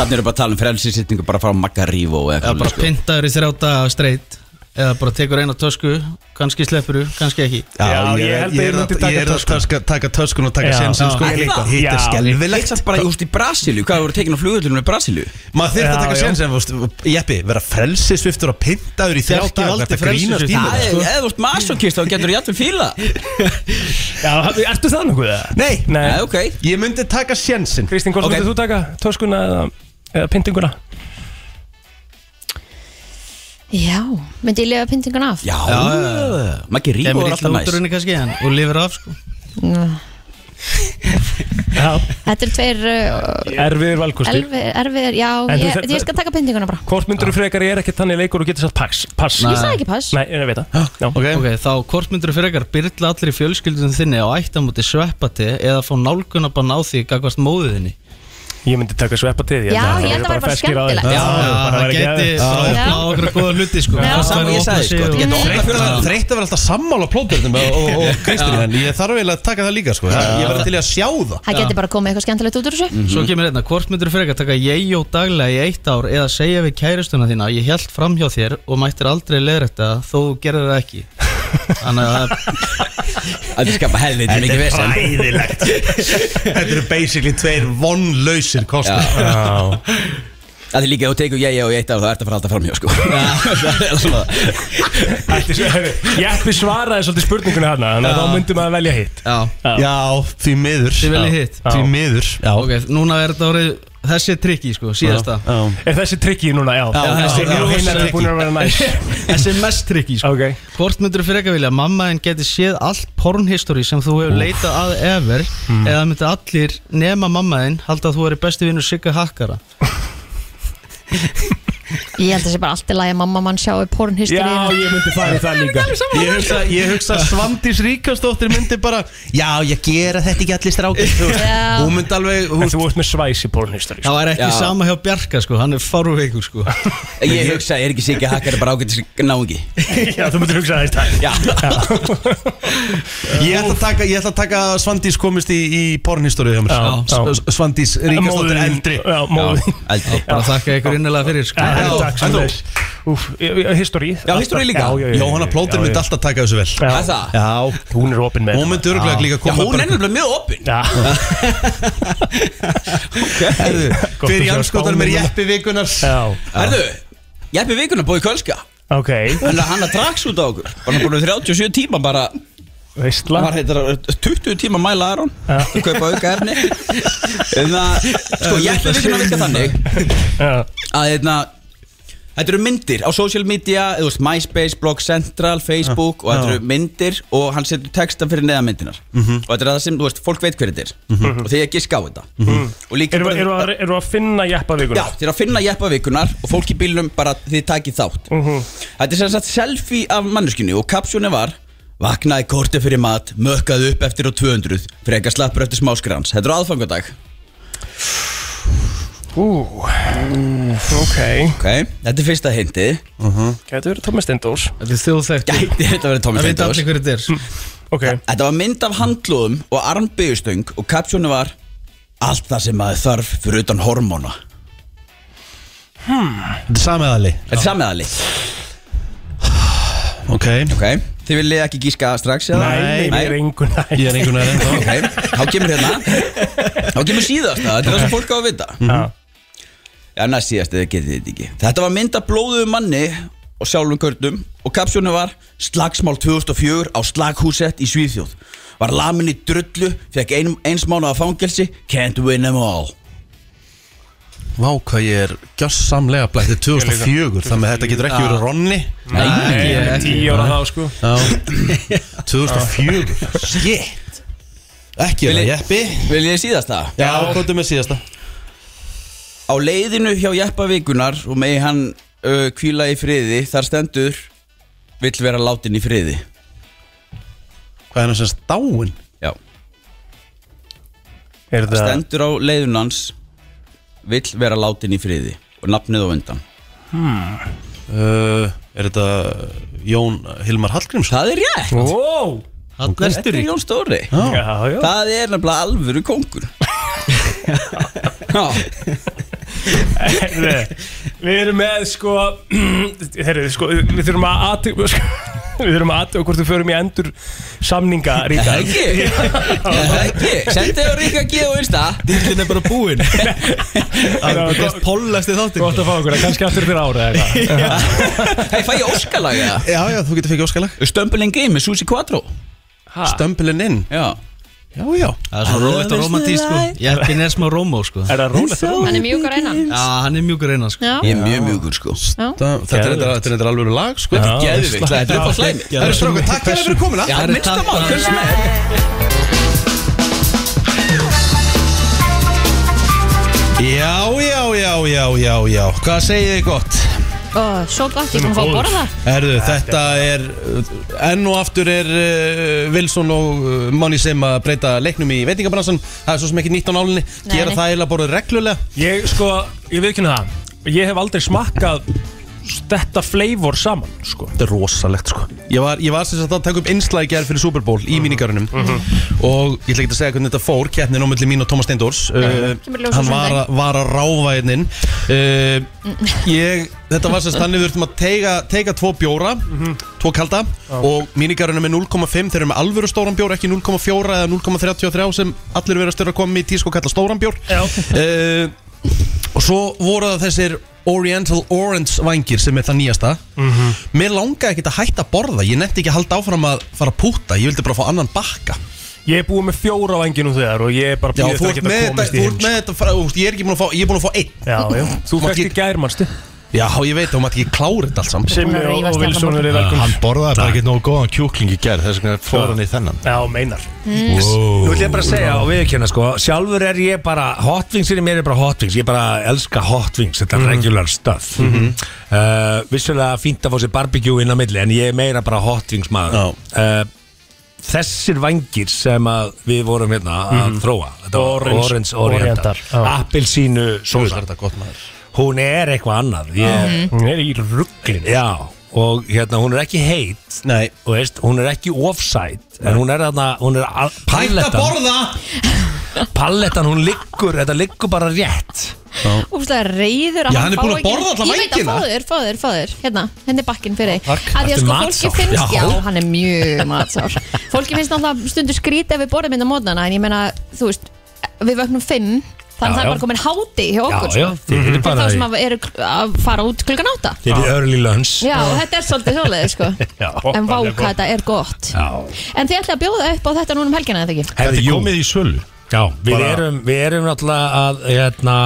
Þannig eru bara að tala um frelsisýtningu bara frá Magarívo Eða bara sko. pyntaður í þrjá daga straight eða bara tekur eina tösku, kannski sleppur þú, kannski ekki Já, ég held að ég myndi taka Ég er að töskuna. taka- taka töskun og taka Já. sensin sko Já. Ég líka. Já. Hitt er Já. skelvilegt Leitast bara just í Brasilíu Hvað voru tekin á flugullunum í Brasilíu? Maður þurft að Já, taka já. sensin veist, Jeppi, vera frelsisviftur og pyntaður í þrjá Bjarki dag valdi Þetta grínast í Það mér er, sko eða þú ert masokist þá getur þú jættum fíla Já, ertu það nokkuð það? Nei, Nei, Nei, ok ég myndi taka sensin Kristín, hvort Ok. myndir þú taka töskuna eða, eða pyntinguna? Já, myndi ég lifa pyntingun af? Já, Magarívo Kemur er í alltaf næst lúturunni kannski en, og lifir af sko Ná. Já, Þetta er tveir uh, erfiður valkostur erfi- erfiðir, já, En þú ég, þarft- ég skal taka pyntinguna bara Hvort myndir þú frekar ég er ekkert þannig leikur og getur satt pass, pass. Ég sagði ekki pass Nei, ég veit það Já. Ok, Ok, þá hvort myndur þú fyrir ekkar byrla allir í fjölskyldunum þinni á ættamóti sveppati eða fá nálguna bara ná því gagvart móðuðinni Ég myndi taka sveppa til Já, ég held að væri bara skemmtilegt. Já, það geti Já. strákna á okkur góða hluti sko Já. Fólk Sama væri ég að sagði, opna sig sko, og- þetta geta opnað fyrir það. Þreytt að vera alltaf sammála plóturnum og, og, og Kristín En ég þarf eiginlega að taka það líka sko Ég verði til í að sjá það Það geti bara komið eitthvað skemmtilegt út úr Mhm. þessu Svo kemur hérna, hvort myndur þú frekar taka ég og daglega í eitt ár eða segja við kæristuna þína ég held fram hjá þér og mættir aldrei leiðrætta þó þú gerir það ekki Þannig að Þetta skapa helviti mikið vesen Æðilegt Þetta eru basically tveir vonlausir kostar Já, Það er líka að þú tekur ég og ég eitt af það ert að fara alltaf framhjá sko Það er svona Ætti svo- heyrðu, ég ætti svaraði svolítið spurningunni hana Þannig að Já. þá myndum maður velja hitt Já, Já, því miður þið viljið hitt Því miður Já, Ok, núna er þetta orðið, þessi er trikki sko, síðasta Er þessi trikki núna? Já, Já, já, þessi er já, hinn þessi er tricky. búin að vera næs Þessi er mest trikki sko Ok Hvort myndur þú frekar vilja að mamma þín geti séð allt pornhistory sem þú hefur leitað að ever Hmm. eða myndur allir nema mamma þín halda að þú er besti vinnur sigga hakkara Ég held að það sé bara allt í lagi að mamma mann sjáu Já, pornhistoríu ég myndi fara í það líka Ég hugsa, ég hugsa að Svandís Ríkastóttir myndi bara Já, ég gera þetta ekki allir strákir þú veist. Já. Hún myndi alveg En hún, þú ert með svæs í sko. pornhistari Það er ekki Já. sama hjá Bjarka sko, hann er faruveikur sko Ég hugsa, er ekki sikið hakkar bara ágætis náungi Já, þú myndir hugsa það í stað Já ég, ætla að taka, ég ætla að taka að Svandís komist í, í pornhistoríu hjá mér Já, já. S- S- Svandís Ríkastóttir Móðirin- eldri Já, móðin Aldrei Bara þakka ykkur innilega fyrir sko Já, Já, takk en sem þú? þess Úf, history Já, history líka. Jóhanna Plóter myndi alltaf taka þessu vel Það er það Já, Hún er opinn með hún myndi örgulega líka Já, koma hún er nefnilega mjög opinn Já, Herðu, Gott að Fyrir sjá janskotanum er spánina. jeppi vikunars já, Herðu, ég hefði vikuna búið í Kölska ok Þannig að hann að draks út á okkur Bara hann búin að 37 tíma bara Veistla Hann var heitar 20 tíma að mæla Aron Þú kaupa auka erni En það, sko, ég hefði vikuna virka þannig Já, Að þetta Þetta eru myndir á social media eða þú veist, MySpace, Blog Central, Facebook Og þetta eru myndir og hann setur texta fyrir neða myndinar Mhm. Og þetta er það sem, þú veist, fólk veit hver þetta er Mhm. Og þegar ég giska á þetta Mhm. Og líka Erum bara- við- erum við að- erum við að finna jeppa Já, vikunar? þið er að finna jeppavíkunar og fólk í bílum bara þið takið þátt Mhm. Þetta er sem sagt selfie af manneskinu og kapsjóni var Vaknaði korti fyrir mat, mökkaði upp eftir á 200 Frekar slappur eftir smáskrans Þetta er aðfangadag Ú, ok okay. Þetta er fyrsta hindi Mhm. Þetta er Thomas Stendors Þetta er þjóðþekkt Gæti þetta verið Tommy Það veit Stendós allir hverju þetta er sko. Ok Þetta var mynd af handlóðum og armbyggjustöng og kapsjóni var Allt það sem maður þarf fyrir utan hormóna hmm. Þetta er samiðali Þetta er samiðali Ok Ok Þið viljið ekki gíska strax eða? Nei, ég er engun Ég er engun aðeins Ok, þá kemur hérna Þá kemur síðast það, þetta er það sem fólk á að vita Mhm. Já, næst síðast eða getið þetta ekki Þetta var mynd af blóðuðu manni og sjálfum körnum og kapsjónu var Slagsmál 2004 á slaghúsett í Svíþjóð Var lamin í drullu, fekk ein, eins mánu af fangelsi Can't win them all Vá hvað ég er gjörsamlega blætt Þetta er 2004 Þannig að þetta getur ekki verið Ronni Nei, ég er tíu ára þá sko Já 2004 Shit Ekki er það Jeppi Vil ég síðast það? Já, komdu með síðasta Á leiðinu hjá jeppavíkunar og megi hann uh, kvíla í friði Þar stendur Vill vera látin í friði Hvað er hann sem stáin? Já Er Það stendur á leiðinu hans Vill vera látin í friði Og nafnið á undan hmm. uh, Er þetta Jón Hilmar Hallgríms? Það er rétt Wow Hann Þetta er Jón Stóri Já. Já, já. Það er nefnilega alvöru kongur Já Herðu, Við erum með sko, herri, sko Við þurfum að aðtöku sko, Við þurfum að aðtöku hvort við förum í endur Samninga ríka Ekki Ekki Sendið á Ríka G og Insta Dillin er bara búinn Gott Póllast þið þáttir að fá okkur, kannski aftur fyrir ára eða eitthvað Hei, fæ ég óskalag eða? Já, já, þú getur fekk óskalag Stömbulinn Game með Susi Quattro Stömbulinn inn Já Já, já Það er svona rólegt og romantísk sko Jeppin er smá rómó sko Er það rólegt og Hann er mjúkar einan Já, hann er mjúkur einan sko Já, Ég er mjög mjúkur sko já Þetta þetta er þetta er- þetta er alveg lag sko Já. Geðvikt, þetta er upp á slæmi Það er strákur, takk fyrir að vera komin að Já, minnsta mál, hvernig sem er Já, já, já, já, já, já Hvað segið þið gott? Ó, Svo gott, ég kom að fá að borða Herðu, þetta er uh, enn og aftur er uh, Wilson og uh, Manni sem að breyta leiknum í veitingabransan það er svo sem ekki nýtt á nálinni Nei, gera nei. það eiginlega bara reglulega Ég sko, ég viðkynna það Ég hef aldrei smakkað Þetta flavor saman sko Þetta er rosalegt sko Mhm. Ég var, ég var sem sagt að taka upp innslag í gerð fyrir Super Bowl í mínigarunum og ég ætla ekki að segja hvernig þetta fór keppnin á milli mín og Thomas Steindors uh, kemur í ljós á hann var, að- var að ráfa hérnin uh, ég, þetta var sem sagt þannig við þurftum að teiga, teiga tvo bjóra tvo kalda og mínigarunum er 0,5 þeir eru með alvöru stóran bjór ekki 0,4 eða 0,33 sem allir verið að störa að koma í tísku og kalla stóran bjór uh, Og svo voru það þessir Oriental Orange vangir sem er það nýjasta Mhm. Mér langaði ekki að hætta að borða Ég nefndi ekki að halda áfram að fara að púta Ég vildi bara fá annan bakka Ég er búið með fjóra á enginum þegar Og ég er bara Já, bíð eftir að þú ert geta með þetta, komist í þú ert hins með þetta frá, úst, Ég er ekki búin að fá, ég er búin að fá einn Já, já, þú mátt fækst í ekki- gær, manstu Já, ég veit, þú maður ekki klára þetta allt saman Simmi Búin að rífast og, og hérna Wilson morgun. eru velkomin Hann borðaði Ah. bara ekki nógu góðan kjúkling í gerð Þess vegna fór hann í þennan Já, meinar Mm. Nú ætlum ég bara að segja og viðkynna sko Sjálfur er ég bara, hotwings er í mér er bara hotwings Ég bara elska hotwings, Mhm. þetta er regular stuff mm Vissulega fínt að fá sér barbecue inn á milli En ég er meira bara hotwings maður uh, Þessir vangir sem að við vorum hérna að þróa Þetta var Orange- Orange Oriental, Ah, Mhm. Oriental, já. Appelsínu Þú sósa er þetta gott maður Hún er eitthvað annað Mm. ég, Hún er í rugglinu Já, og hérna hún er ekki heit Nei, Þú veist, hún er ekki offside En hún er þarna, hún er al- hætta að palettan- borða Pallettan hún liggur, þetta liggur bara rétt Úrslega reyður að Já, hann hann er fá búinn að ekki- borða alla Ég veit að vængina. fáður, fáður, fáður Hérna, henni bakkinn fyrir þig takk. Að því að Ertu sko matsár? fólki finnst Já. Já, hann er mjög matsár Fólki finnst náttúrulega stundur skrít ef við borðum inn á mótnana En ég meina, þú veist, við vöknum fimm Já, Þannig það já. er bara komin háti hjá okkur Já, já, sko. þið eru Fyrir bara þá í sem að eru kl- að fara út klukkan átta Þið eru early lunch Já, þetta er svolítið svolítið, sko Já. En vá, hvað þetta er gott Já, En þið ætla að bjóða upp á þetta núna um helgina, eða ekki? Hefði jú. komið í sölu Já, við Bara- erum, við erum náttúrulega að, hérna,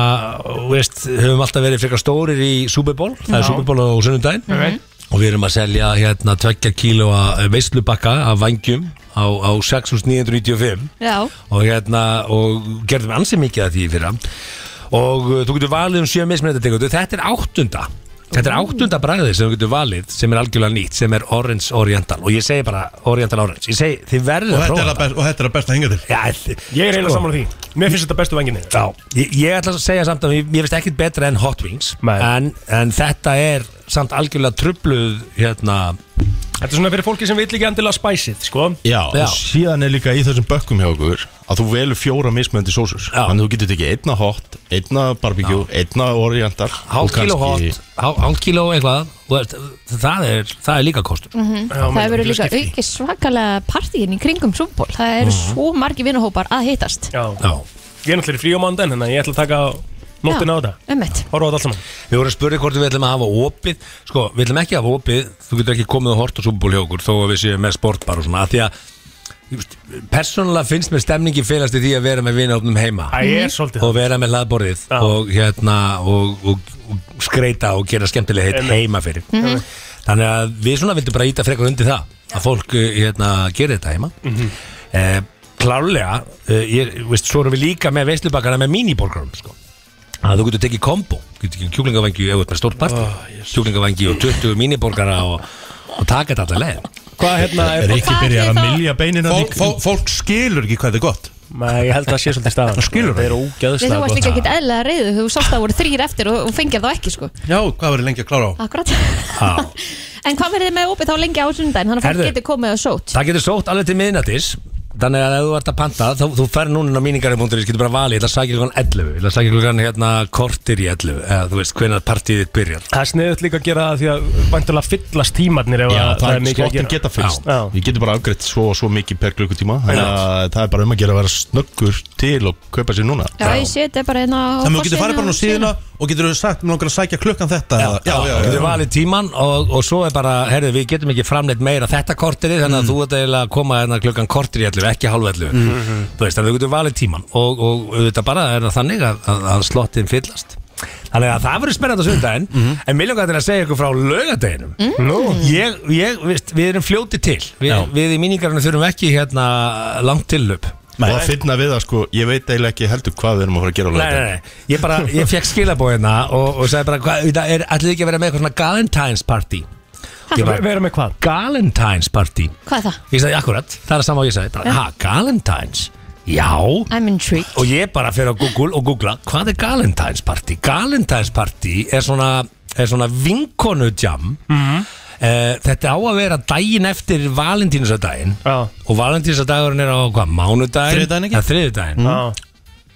þú veist, höfum alltaf verið frekar stórir í Super Bowl, það er Já. Super Bowl á Mhm. sunnudaginn og við erum að selja, hérna, 2 kílóa eh, veislubakka af vangjum á, á 6.995 Já, og hérna, og gerðum ansið mikið af því fyrir hann og uh, þú getur valið um sjö mismunandi þetta er áttunda þetta er áttunda bræðið sem þú getur valið sem er algjörlega nýtt, sem er Orange Oriental og ég segi bara Oriental Orange ég segi, þið verður að Og þetta er prófa að best- og þetta er að besta að hinga til Já, þið- Ég er eiginlega sko, saman á því Mér finnst þetta bestu venginni Já, ég, ég ætla að segja samt að ég, ég veist ekkit betra en Hot Wings Nei. en, en þetta er samt algjörlega trubluð hérna, Þetta er svona fyrir fólki sem vil ekki endilega spæsið, sko Já, Já. og síðan er líka í þessum bökkum hjá okkur að þú velur fjóra mismöndi sósur Þannig að þú getur tekið einna hot, einna barbecue, einna oriental Hálf kíló hot, hálf hálf kíló eitthvað þú veist, það er, það er líka kostur Mhm. Það verður líka aukið svakalega partíin í kringum súból Það eru svo margi vinahópar að hittast Já. Ég er náttúrulega í frí á mándan, þannig að ég ætla að taka nóttina á þetta Emmett Horfa á þetta allt saman Við vorum að spurði hvort við ætlum að hafa opið Sko, við ætlum ekki að hafa opið Þú getur ekki komið og hort og súbúl hjá okkur Þó að við séum með sportbar og svona af Því að, þú veist, persónulega finnst mér stemningi félast í því að vera með vináttunum heima Æ, ég er svolítið Og vera með hlaðborðið Og hérna, og, og, og skreita og gera skemmtilega heitt Einmitt. heima fyrir Mhm. Þannig að við svona vildum bara íta frekar undir það Að fólk, eh, hérna, gera þetta heima Mhm. eh, Klárlega, eh, ég, veist, svo erum við líka með veislubakkana með míniborgarum, sko að þú getur tekið kombo þú getur tekið kjúklingavængi ef þú ert með stórt partí kjúklingavængi og 20 míniborgara og, og taka þetta allar leið Hvað hérna er- Er ekki Hvað byrjað er að það? milja beinina Fólk- fólk- fólk skilur ekki hvað þetta er gott Nei, ég held að það sé svolítið sko. staðan Skilur það er Við þú ógæðslega varst líka ekkit eðlega reyðu Þú sást að það voru þrýr eftir og, og fengið þá ekki sko Já, hvað verður lengi að klára á? Akkurat Já. En hvað verður þið með opið þá lengi á sundaginn Þannig að fólk Herðu. getur komið og sót það getur sótt alveg til miðnættis þannig að ef þú ert að panta þá, þú fer núna inn á míningarum.is getur bara valið ég ætla að sækja klokkan 11 ég ætla að sækja klokkan hérna kortir í 11 eða þú veist hvenær partíið þitt byrjar Það er sniðut líka að gera það því að vantilega fyllast tímarnir ef Já, að það er mikið að slottin gera. geta fyrst Já. Ég getur bara afgreitt svo og svo mikið per klukkutíma Þannig að það er bara um að gera að vera snöggur til og kaupa sér núna Já, ég sé þetta bara hérna á Þannig að þú getur farið fossinum bara inn á og síðuna síðan. og getur þú sagt, mér langar að sækja klukkan þetta Já, já, já, Þú já, getur já. valið tíman og, og svo er bara, herðu, við getum ekki framleitt meira þetta korteri þannig Mm. að þú ert eiginlega að koma hérna klukkan korteri allir, ekki halvellu mm. Mhm. þú veist, þannig að þú getur valið tíman og, og þetta bara er það þannig að, að, að slottin fyllast Þannig að það verður spennandi á sundaginn Mhm. En mér langar til að segja ykkur frá laugardeginum Mm. ég, ég, veist, Við erum fljóti til Vi, Já. Við í míningarinn þurfum ekki hérna langt tillöp Og að finna við það sko, ég veit eiginlega ekki heldur hvað við erum að fara að gera á Nei, nei, laugardaginn. nei, ég bara, ég fekk skilabóðina og, og sagði bara, hvað, það er allir ekki að vera með eitthvað svona Galentine's party Ég bara- Vera með hvað? Galentine's party Hvað er það? Ég sagði, akkurat, það er sama og ég sagði bara, Já. ha, Galentine's, já I'm intrigued og ég bara fer á Google og googla hvað er Galentine's party? Galentine's party er svona, er svona vinkonu jam Eh, þetta á að vera daginn eftir Valentínusadaginn og Valentínusadagurinn er á hvað, mánudaginn? Þriðjudaginn ekki? Ja, þriðjudaginn Mhm.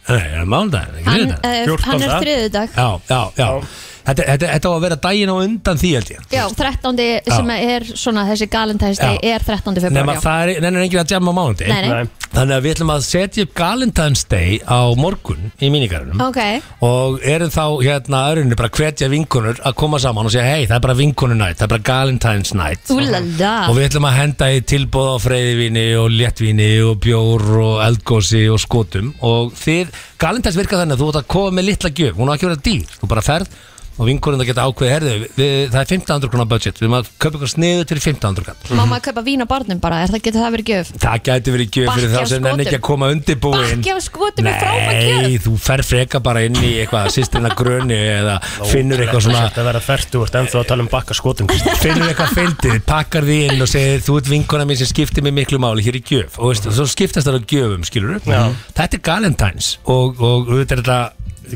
Nei, er það mánudaginn, ekki Hann, þriðjudaginn uh, hann er þriðudag Já, já, já Þetta, þetta, þetta á að vera daginn á undan því held ég Já, 13. sem er svona þessi galentænsdeg er 13. Nefnir februar að það er, nefnir enginn að jamma á mánundi Nei, nei. Nei. Þannig að við ætlum að setja upp Galentine's Day á morgun í mínigarunum Ok, Og erum þá hérna öðrunni bara hvetja vinkonur að koma saman og segja Hei, það er bara vinkonunætt, það er bara Galentine's night úlala Og við ætlum að henda í tilbóð á freyðivíni og léttvíni og bjór og eldgósi og skotum og þið, galentæns virka þannig að þú ert að koma með litla gjöf, hún á ekki að vera dýr, þú bara ferð og vinkurinn það geta ákveðið, herðu, við, það er 1500 krónar budget, við maður kaupa ykkur sniðu til 1500 krónar. Má maður kaupa vín á barnum bara, er það getur það verið gjöf? Það gæti verið gjöf fyrir Bakki þá af sem nenni skotum. ekki að koma undirbúin Bakki af skotum er frábær Nei, þú fer freka bara inn í eitthvað sýstina gröni eða finnur eitthvað svona Þetta verða ferdugt en þú að tala um bakka skotum finnur eitthvað fyndið, pakkar því inn og segir þú ert vinkona mín sem skiptir mig miklu máli hér í gjöf og veist, svo skiptast það á gjöfum, skilur Já. Þetta er Galentines og, og auðvitað er þetta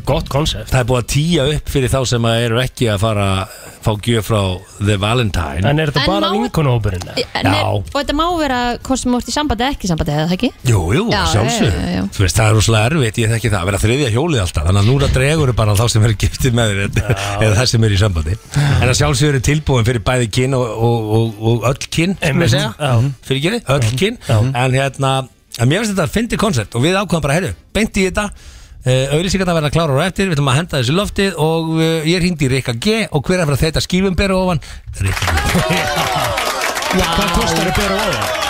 gott konsept Það er búið að týja upp fyrir þá sem að eru ekki að fara fá gjöf frá The Valentine En er þetta En bara má- vinkonahópurinn? Nei, og þetta má vera hvort sem úr í sambandi eða ekki í sambandi, eða það ekki? Jú, jú, Já, já, já, já. sjálfsög Þú veist, það er rosalega erfitt, ég þekki það að vera þriðja hjólið alltaf, þannig að núna dregur bara þá sem eru giftið með þér eða það sem eru í sambandi En að sjálfsög eru tilbúin fyrir bæði kyn og, og, og, og öll kyn, sem Einmitt. ég segja Mhm. Fyrir gerði, öll kyn En hérna, en mér finnst þetta fyndi koncept og við ákvæðum bara, herru, beint í þetta auðlýsingarna verða klárar og eftir, við ætlum að henda þessu í loftið og uh, ég hringdi í Rikka G og hver er að fara þetta skýfum bera ofan Rikka G Hvað kostar að bera ofan?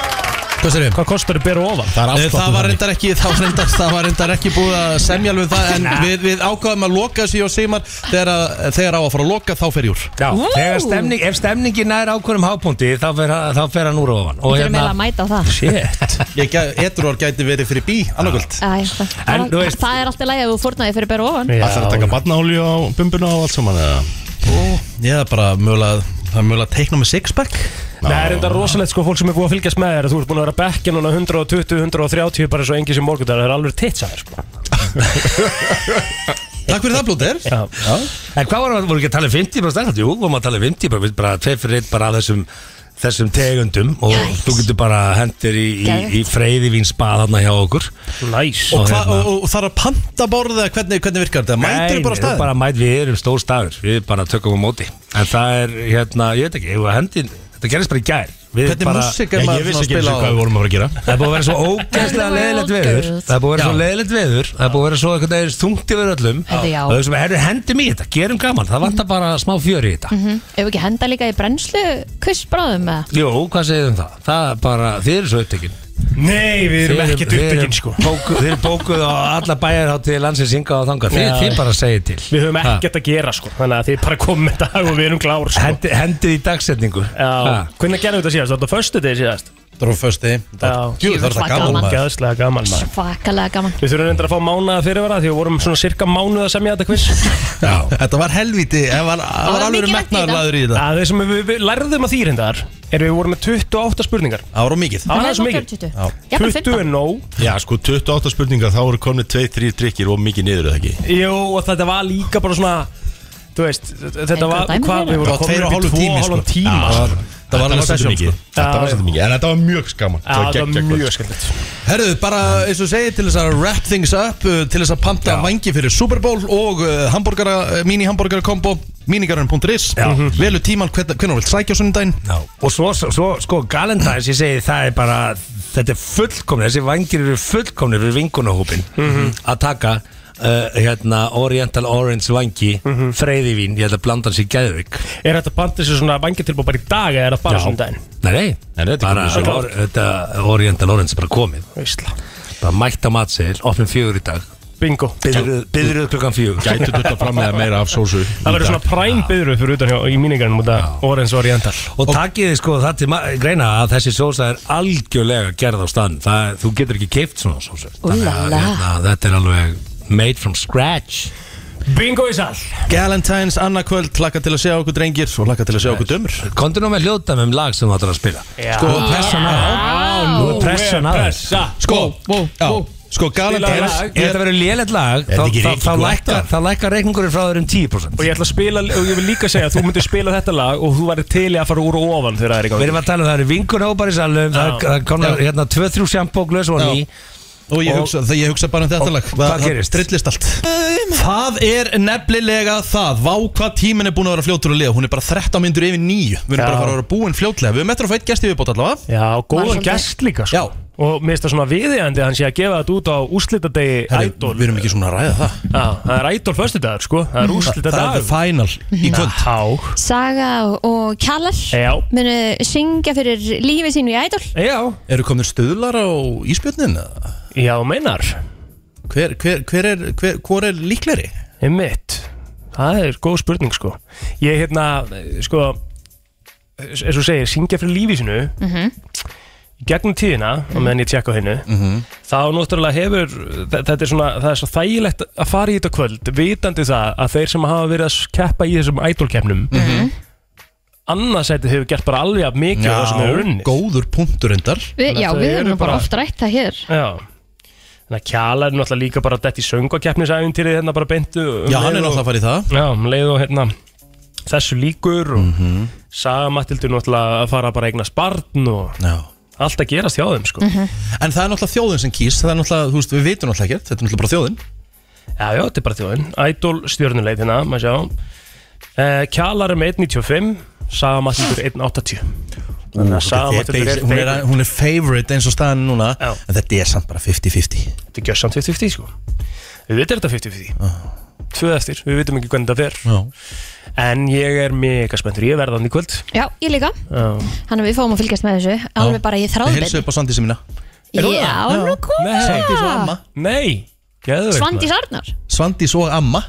Hvað kostar að bera ofan? Eh, Það Nei, Það var reyndar ekki, það var reyndar, það var reyndar ekki búið að semja alveg það En við, við ákvaðum að loka þessu og Sigmar þegar, að- þegar á að fara að loka þá fer júr Já, þegar stemning, ef stemningin nær ákvörðum hápunkti þá fer, þá fer hann úr og Þú ofan og þurfum eiginlega að mæta á það Shit Ég Edruar gæti verið fyrir bí, annarkvöld Æ, það, En, þú það, veist- það er alltaf lægið að þú fórnaði fyrir bera ofan Það er að taka batnaólju á bumbuna og allt saman eða Ég er bara mögulega, það er mögulega að teikna með sixpack Nei, það er enda rosalegt sko fólk sem er búið að fylgjast með þér Þú ert búin að vera bekkja núna 120-130 bara svo engi sem morgundar Það er alveg titt sæðir sko Takk fyrir það blóðir En hvað vorum við vorum ekki að tala um 50 bara stærnat? Jú, vorum að tala um 50 bara, við bara tveir fyrir einn bara að þessum þessum tegundum og þú getur bara hendir í, í, í freyðivínsbað þarna hjá okkur hérna- Næs Og, hérna- hva, og, og þarf að panta borða hvernig, hvernig virkar þetta? Mætir bara á staðinn? Bara mæt, við erum stór staður, við bara tökum á móti En það er, hérna, ég veit ekki, ef að hendin, þetta gerist bara í gær Við Hvernig bara- músík er maður ég vissi svona að ekki einu spila sinni á? hvað við vorum að fara að gera Það er búið að vera svo ógæslega Hello leðilegt world, veður girls. Það er búið að vera svo Já. leðilegt veður Það er búið að vera svo eitthvað eða þungt yfir öllum Þetta já. Og þessum, herru, hendum í þetta, gerum gaman Það vantar bara smá fjör í þetta Mhm. Ef ekki henda líka í brennslu kussbráðum eða? Jú, hvað segir þið um það? Það er bara, þið eru svo upptekinn Nei, við erum ekkert upptekin, sko. bóku, Þið eru bókuð á alla bæjarháttið landsins yngað og þangað Þið, Já. þið bara segir til Við höfum ekkert að gera sko Þannig að þið bara komum með dag og við erum klár sko. Hendi, Hendið í dagsetningu Já, Ha. hvernig gerðum við þetta síðast? Var Þetta var förstu degi síðast Það var förstu degi Jú, það er það gaman, maður. Gæðslega gaman maður Svakalega gaman Við þurfum reyndar að fá mánuða fyrirvara því við vorum svona cirka mánuða sem ég þetta quiz Þetta var helviti, það var, það var alveg metnaðarlaður í þetta Það er sem við, við lærðum að þýrindar er við vorum með 28 spurningar Það var of mikið Það var aðeins mikið 20 er nóg Já, sko 28 spurningar, þá eru komni 2-3 drikkir og mikið niður eða ekki Jú, og þetta var líka bara svona Þú veist, þetta var hvað við vorum komin upp í tvo og hálfum tíma sko. Þetta var alveg svolítið mikið Þetta var Já, svolítið mikið, en þetta var mjög skaman Já, þetta var mjög skemmt Herðu, bara eins og segið til þess að wrap things up uh, Til þess að panta vangi fyrir Super Bowl Og uh, hamburgara, uh, mini-hamburgara kombo Minigarun.is Velu tíman hvern- hvenær þú vilt sækja á sunnudaginn Já, og svo, svo, svo sko Galendans, ég segi það er bara þetta er fullkomni, þessi vangir eru fullkomni fyrir vingunahópin Mhm. að taka uh, hérna Oriental Orange vangi mm -hmm. freyðivín, ég ætla að blanda hans í Geðvik Mhm. Er þetta bandið sér svona vangið tilbúið bara í dag eða er það bara Já. svona um daginn? Nei, nei, nei bara, komið svo or, þetta Oriental Orange er bara komið Veistla. bara mætt á matsegil, opnum fjögur í dag Bingo Byðruð klukkan fjögur Gætu dutta fram með meira af sósu Það verður svona præm byðru fyrir utan hjá í míningarinn múta Orange Oriental Og takkið þið sko það til ma- greina að þessi sósa er algjörlega gerð á stann það, Þú getur ekki keift svona sósa Þannig að Úlala. hérna, þetta er alveg made from scratch Bingo í sall Galentines, annarkvöld, laka til að sjá okkur drengir Og laka til að sjá okkur dömur Kondur nú með hljóta með um lag sem þú ætlar að spila Sko, pressan á Nú er pressan á Pressa. Sko, já, sko Galentines Ef þetta verður lélegt lag Er þá, þetta ekki þá, reykingu þá, gott, lækkar, þá lækkar reikningurinn frá þér um 10% Og ég ætla að spila, og ég vil líka segja að þú myndir spila þetta lag og þú væri til í að fara úr og ofan þegar það er í gangi Við erum að tala um það eru vingunahópar í salum Það er- það er konar Já. hérna 2-3 sjampóglös og ný Og ég hugsa, það ég hugsa bara um þetta og lag hvað Það- það gerist? Trillist allt Það er nefnilega það Vá hvað tíminn er búin að vera fljótur að liða Hún er bara 13 myndur yfir nýju Við erum Já. bara að fara að vera búin fljótlega Við erum eftir að fá eitt gæst í viðbót allavega Já, og Var góðan svolítið- gest líka sko. Og mér finnst það svona viðjandi að hann sé að gefa þetta út á úrslitadegi Ædol Við erum ekki svona að ræða það Já, það er Ædol föstudagur sko Það er Það er úrslitadagur the final í kvöld Já Saga og Kjallar Já. munu syngja fyrir lífið sínu í ædol Já Eru komin stöðlar á íspjörnin? Já, meinar Hver, hver, hver er, hver, hvor er líkleri? Einmitt Það er góð spurning sko Ég hérna, eh, sko eins og segir, syngja fyrir lífi sinu í gegnum tíðina á Mhm. meðan ég tjekka á hennu þá náttúrulega hefur þ- þetta er svona, það er svo þægilegt að fara í þetta kvöld vitandi það að þeir sem hafa verið að keppa í þessum ædolkeppnum mm -hmm. Mhm. annarsætið hefur gert bara alveg af mikið af það sem hefur unnið góður punktur endar við, Já, við erum nú bara oft rætt það hér Já Þannig að Kjala er náttúrulega líka bara dætt í söngakeppnisævintýrið hérna bara beintu Já, hann er náttúrulega að fara í það Já, um leið og hérna þessu líkur og mm Mhm. -hmm. Saga Matildur náttúrulega að fara bara að eignast barn og Já. allt að gerast hjá þeim sko Mhm. En það er náttúrulega þjóðin sem kýst Það er náttúrulega, þú veist, við vitum náttúrulega ekkert Þetta er náttúrulega bara þjóðin Já, já, þetta er bara þjóðin Idol stjörnuleit hérna, maður sjá uh, Kjalar er með 1.95 Saga Matildur 1.80 Þannig að Saga Þetta Matildur er, er hún, er, favorite. hún er favorite eins og staðan núna En þetta er samt bara 50-50 Þetta er gjössamt 50-50 sko Við veitum þetta 50-50 Ah. Tvöð eftir, við veitum ekki hvernig þetta fer Já. En ég er mega spenntur, ég verða hann í kvöld Já, ég líka Já. Þannig að við fáum að fylgjast með þessu Alveg bara ég Ég þráðbyrn heilsu upp á Sandísi mína Já, hún er koma Nei geðveikt, Svandís maður. Arnar Svandís og amma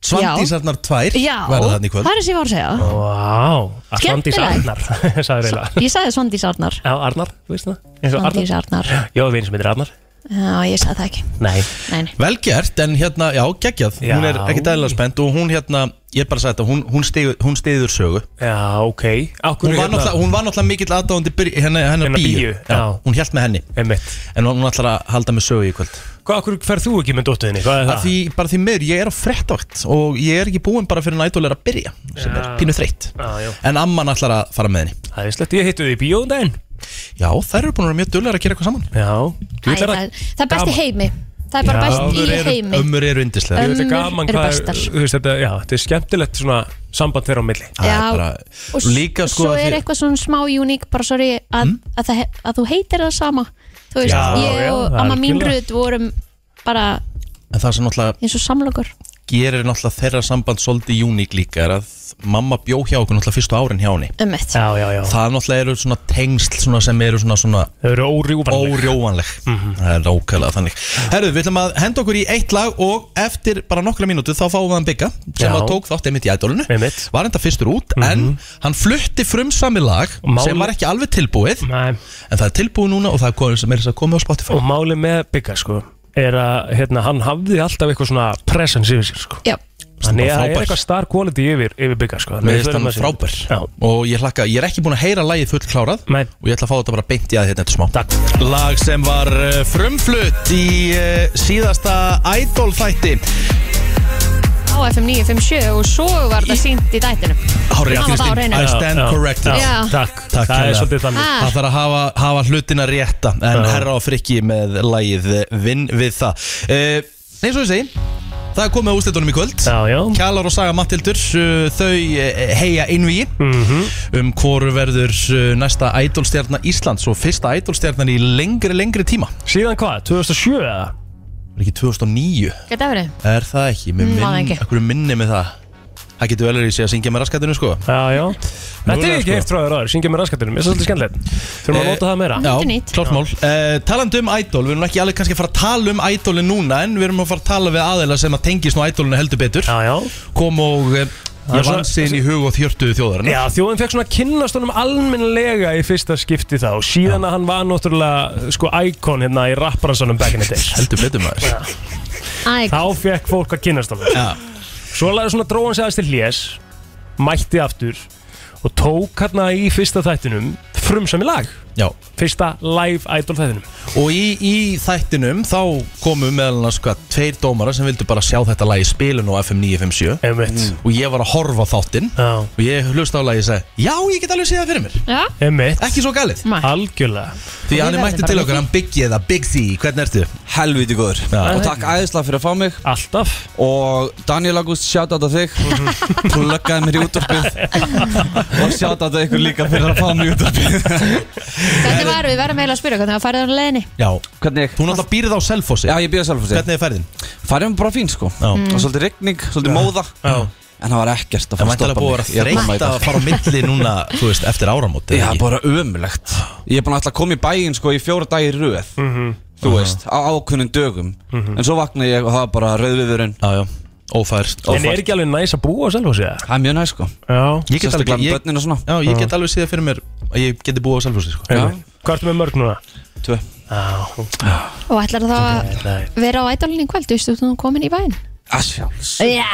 Svandís Arnar tvær Já, verða þarna í kvöld Ah, það er sem ég var að segja Vá, að Svandís Skemmtilegt. Arnar Sæður eiginlega Ég sagði Svandís Arnar Já, Arnar, þú veist það Eins og Svandís Arnar Já, við erum sem heitir Arnar Já, ég sagði það ekki Nei Nei, nei. Vel gert, en hérna, já, geggjað Hún er ekki dæla spennt og hún hérna Ég er bara að segja þetta, hún, hún, stigur, hún stiður sögu Já, ok hérna? Hún var, náttúrulega, hún var náttúrulega mikill aðdáðandi hennar, hennar Hennar bíu, bíu, Já, já. Hún hjælt með henni Einmitt. En hún ætlar að halda með sögu í kvöld Hvað, okkur ferð þú ekki með dóttuðinni? Hvað er Að það? því, Bara því meður, ég er á frettavakt Og ég er ekki búinn bara fyrir nætól er að byrja Sem er Já. pínu þreytt Já, já. En amman ætlar að fara með henni Það er slett, ég hittu því í bíóðum daginn Já, þær eru búin að vera mjög dullar að gera eitthvað saman Já, Æ, það, það er best í heimi Það er bara best í heimi Ömmur eru yndislega Ömmur eru bestar. þetta, já, þetta er skemmtilegt svona samband þeirra á milli Já, og s- líka sko svo að er því- eitthvað svona smá uník bara sorry að, að, það, he- að þú heitir það sama þú veist, Já, ég já, og það er amma mín algjörlega. röð vorum bara En það sem náttúrulega eins og samlokur gerir náttúrulega þeirra samband svolítið júník líka er að mamma bjó hjá okkur náttúrulega fyrstu árin hjá henni Ömmett Já, já, já Það náttúrulega eru svona tengsl svona sem eru svona, svona eru Mhm. órjúvanleg Órjúvanleg Það er ókæðlega þannig Herðu, við ætlum að henda okkur í eitt lag og eftir bara nokkra mínútu þá fáum við hann bygga sem Já. að tók þátt einmitt í ædólinu einmitt. Mhm. Var enda fyrstur út en hann flutti frumsami lag sem var ekki alveg tilbúið Nei. En það er tilbúið núna og það er komið sem er þess að komið á Spotify og máli með bygga sko er að hérna, hann hafði alltaf eitthvað svona presence yfir sér sko Já hann er, Bara er frábær. eitthvað star quality yfir, yfir bygga sko Mér finnst hann frábær og ég hlakka, ég er ekki búin að heyra lagið full klárað Nei. og ég ætla að fá þetta bara beint í að hérna eftir smá Takk. Lag sem var eh, frumflutt í eh, síðasta Idol þætti á FM 957 og svo var það sínt í dætinu Hárið, Hafa það á Kristín, hreinu. I Já, stand já, corrected já. Takk. Takk Það er kærlega. svolítið þannig. Ha. Það þarf að hafa, hafa hlutina rétta en Já. herra á frikki með lagið eh, vinn við það Eh, Nei, svo ég segi Það er komið á úsleitunum í kvöld já, já. Kjalar og Saga Mattildur uh, Þau eh, heia innví Mhm. Um hvoru verður uh, næsta ædolstjarnar Íslands Og fyrsta ædolstjarnar í lengri, lengri tíma Síðan hvað, 2007 eða? Er ekki 2009? Geta verið Er það ekki? Mér Mm, minn, man það ekki. Akkur minni með það Það getur vel verið í sig að syngja með raskatunum sko Já, já Þetta er ekki eitt frá þér áður, syngja með raskatunum, það er svolítið skemmtilegt Þurfum að Eh, nota það meira Já, klart mál uh, Talandi um Idol, við erum ekki alveg kannski að fara að tala um Idolin núna En við erum að fara að tala við aðeila sem að tengist nú Idolinu heldur betur Já, já Kom og uh, Það er ég svona- vann síðan í hug og þjörtu þjóðarinn Já, þjóðin fekk svona að kynnast honum almennlega í fyrsta skipti þá Síðan að hann var náttúrulega sko íkon hérna í rappransanum back in the days Heldur betur maður Þá fekk fólk að kynnast honum Já. Svo laði svona dróðan sig aðeins til hlés Mætti aftur Og tók hérna í fyrsta þættinum Frumsami lag Já Fyrsta live idol þættinum Og í, í þættinum þá komu meðal annars hvað, tveir dómarar sem vildu bara sjá þetta lag í spilun á FM 957 Einmitt. Mm. Og ég var að horfa á þáttinn Já. Og ég hlusta á lagið og sagði Já, ég get alveg séð það fyrir mér Já, Einmitt Ekki svo galið Algjörlega Því hann er mættið til okkar, hann byggið eða Big Z, hvernig ertu? Helviti góður Og takk æðislega fyrir að fá mig Alltaf Og Daniel August, shout out að þig Pluggaði mér í útvarpið Og shout out að ykkur líka fyrir að fá mig í útvarpið Hvernig var við verðum eiginlega að spyrja hvernig það farið á leiðinni Já Hvernig? Þú náttúrulega býrð á Selfossi Já, ég býði á Selfossi Hvernig er ferðin? Færðin bara fín sko Já. Og svolítið rigning, svolítið móða Já. En það var ekkert að Það fara mætti alveg búið að Ég er vera mamma í þreytt dag. að fara á milli núna, þú veist, eftir áramóti Já, bara ömulegt Ég er búin að ætla að koma í bæinn sko í fjóra dagir röð Mhm. Þú veist, á ákunnum dögum En svo vakna ég og það var bara rauðviðurinn Já, já, ófært En er ekki alveg næs að búa á Selfossi eða? Það er mjög næst sko Já Ég get alveg, Sérstaklega með ég, börnin og svona já, ég get alveg séð það fyrir mér að ég geti búið á Selfossi sko. Já. Hvað ertu með mörg núna? Tvö Já og ætlar þá að vera á ædólinni í kveld, þú veist, þú ert komin í bæinn Asjáls Já,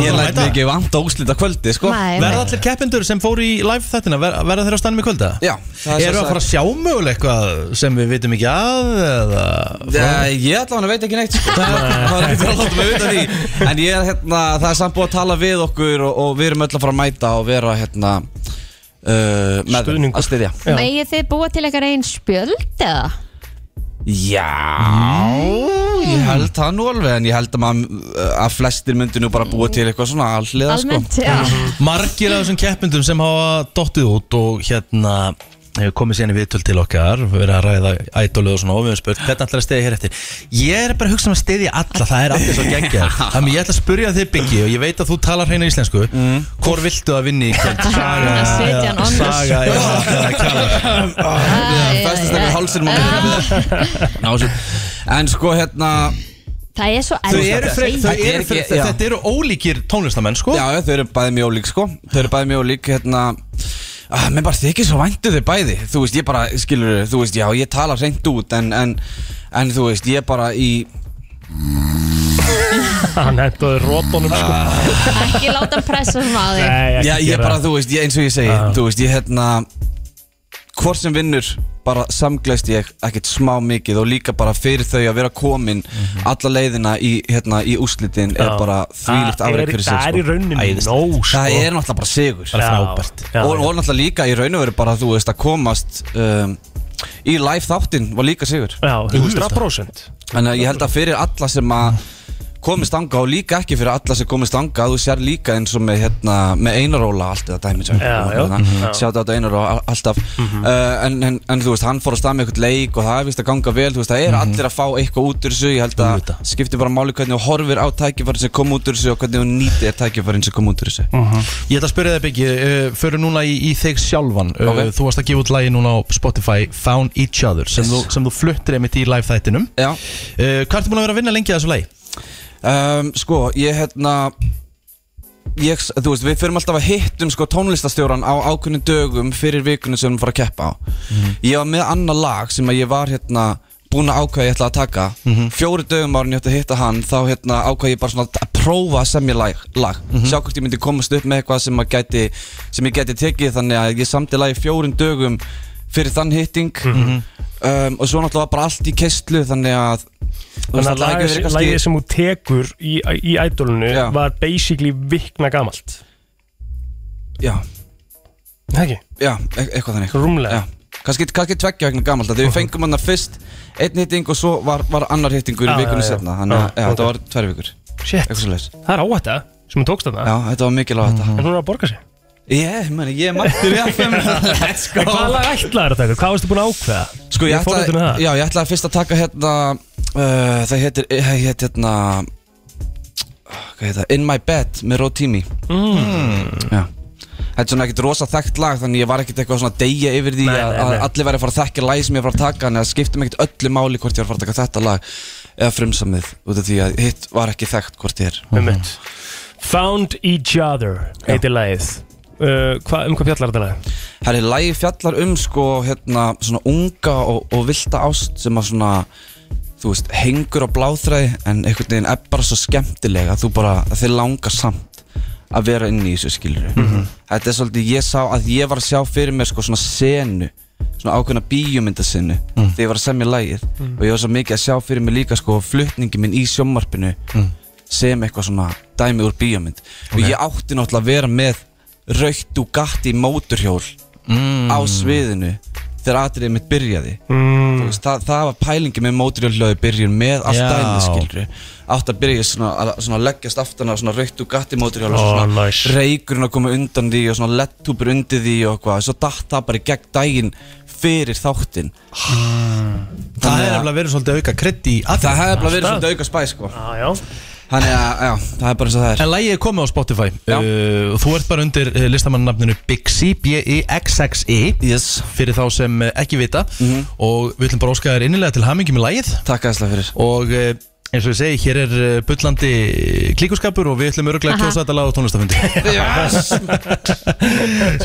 Ég læt mig ekki vant óslita kvöldi sko Nei, Verða allir keppindur sem fóru í live þettina, verða þeirra á stannum í kvölda? Já það er Eru svo að fara að sjá möguleg eitthvað sem við vitum ekki að eða Nei, ég allavega veit ekki neitt sko. Það var ekkert að láta mig vita því En ég er hérna, það er samt búið að tala við okkur og, og við erum öll að fara að mæta og vera hérna uh, með Stuðningur. að styðja Megið þið búa til eitthvað einn spjöld eða? Já, Mm. ég held það nú alveg En ég held að, man, að flestir myndu nú bara búa til eitthvað svona alliða sko. Almennt, já Margir af þessum keppindum sem hafa dottið út og hérna hefur komið síðan í viðtöl til okkar við erum að ræða ædolið og svona og við höfum spurt hvernig ætlar að stiðja hér eftir ég er bara að hugsa um að stiðja alla, það er allir svo geggjað þannig ég ætla að spurja þig Byggi og ég veit að þú talar hreina íslensku Mm. hvor viltu að vinni í kvöld? Saga, Að setja hann eða- on the saga eða kjala Festast ekki hálsinn Ná, svo- En sko hérna Það er svo Þau erfitt eru að frek- segja. þau Þetta er eru ekki- frek- já. þetta eru ólíkir tónlistamenn sko Já, já, þau eru bæði mjög ólík sko Þau eru bæði mjög ólík hérna ah, mér bara þykir svo væntu þau bæði þú veist, ég bara, skilur, þú veist, já, ég tala reynd út en, en, en þú veist, ég bara í Hann hendaði rótunum Ah. sko Ekki láta hann pressa sem að þig Nei, ekki Já, ég gera bara, það. þú veist, ég, eins og ég segi Já. Þú veist, ég hérna Hvort sem vinnur, bara samglæst ég ekkert smá mikið og líka bara fyrir þau að vera komin alla leiðina í, hérna, í úslitin er Mhm. Já. bara þvílíkt Það afrek er- fyrir sig það er sko. í rauninni Æðislegt. nóg, sko. Það er náttúrulega bara sigur Bara Já. frábært. Já, og, já. og náttúrulega líka í raun og veru bara, þú veist, að komast um, í live þáttinn var líka sigur Já, 100% Þannig að ég held að fyrir alla sem að komist anga og líka ekki fyrir alla sem komist anga þú sér líka eins og með, hérna, með einaróla allt eða dæmi Já, já. hérna. Mhm. Já. sjátt á þetta einaróla al- alltaf uh, en, en, en þú veist, hann fór að stað með eitthvað leik og það er vist að ganga vel, þú veist, það er Mhm. allir að fá eitthvað út úr þessu, ég held að skipti bara máli hvernig þú horfir á tækifærin sem kom út úr þessu og hvernig þú nýtir tækifærin sem kom út úr þessu Ég ætla að spyrja þig Biggi, uh, förum núna í, í þig sjálfan Ok. uh, Þú varst að gefa út lagi núna á Spotify Found Each Other sem, þú, sem þú fluttir einmitt í live þættinum Já uh, Hvað ertu búin að vera að vinna lengi að þessu lagi? um, Sko, ég hérna ég, Þú veist, við fyrir alltaf að hittum sko, tónlistastjóran á ákveðnum dögum fyrir vikunum sem við fara að keppa á Mhm. Ég var með annað lag sem að ég var hérna búin að ákveða ég ætla að taka Mhm. Fjóri dögum árin ég ætti að hitta hann þá hérna ákveða ég bara svona að prófa að semja lag, lag. Mhm. Sjá hvort ég myndi komast upp með eitthvað sem, að gæti, sem ég gæti tekið þannig að ég samti lagi fjórum dögum fyrir þann hitting Mhm. um, og svo náttúrulega var bara allt í keistlu þannig að þú veist, Þannig lagið að lagið verið kannski- lagið sem hún tekur í, í ædolunu var basically vikna gamalt Já Ekki? Já, e eitthvað þannig Rúmlega Já, kannski, kannski tveggja vegna gamalt Þegar við fengum hann fyrst einn hitting og svo var, var annar hittingur Já, í vikunni Ah, já, já. setna Þannig Já, að já, ok. þetta var tvær vikur Shit. Eitthvað svo Það er áhætta sem hún tókst þarna Mhm. Já, þetta var mikil áhætta En hún er að borga sig Ég, meni, ég er mættur í FM Let's go En Hvað lag ætlaði þetta? Hvað varstu búin að ákveða? Sko, ég fór út með ætlaði, það já, ég ætlaði fyrst að taka hérna uh, Það heitir, hei, heit hérna Hvað heit það? In My Bed með Rotimi Mm. Já Þetta er svona ekkert rosa þekkt lag Þannig ég var ekkert eitthvað svona að deyja yfir því Nei, nei, að, nei. að allir væri að fara að þekka lagi sem ég var að taka Þannig að skiptum ekkert öllu máli hvort ég var að fara að taka þetta lag Eða frumsamið Út af því að hitt var ekki þekkt hvort ég er Mhm. Einmitt. Found Each Other heitir lagið uh, hva, Um hvað fjallar þetta lag? Herri, lagi fjallar um sko hérna svona unga og, og vilda ást sem að svona þú veist, hengur á bláþræði en einhvern veginn er bara svo skemmtilega að þú bara, að þið langar samt að vera inn í þessu skilur Mhm. þetta er svolítið, ég sá að ég var að sjá fyrir mér sko svona senu svona ákveðna bíómyndasenu Mm. þegar ég var að semja lagið Mm. og ég var svo mikið að sjá fyrir mér líka sko flutningi minn í sjómmarpinu Mm. sem eitthvað svona dæmi úr bíómynd og Ok. ég átti náttúrulega að vera með raukt og gatti móturhjól Mm. á sviðinu þegar atriðið mitt byrjaði Mm. Þú veist, það, það var pælingi með móturjólöðu byrjun með allt Já. dæmi skilri átt að byrja svona, að, svona að leggjast aftan á svona raukt og gatti móturjól Ó, og svona nice. reykurinn að koma undan því og svona lettúpur undir því og hvað svo datt það bara í gegn daginn fyrir þáttinn Ah. Það hefði nefnilega verið svolítið auka krydd í atriðið. það hefði bara verið Alltaf. svona auka spæ sko ah, já. þannig að já, það er bara eins og það er En lægið er komið á Spotify uh, og Þú ert bara undir uh, listamannanafninu Bixi E B-I-X-X-I yes. Mhm. Fyrir þá sem uh, ekki vita Og við ætlum bara að óska þér innilega til hamingi með lægið Takk aðeinslega fyrir Og uh, eins og ég segi, hér er uh, bullandi klíkuskapur Og við ætlum öruglega að Aha. kjósa þetta lag á tónlistafundi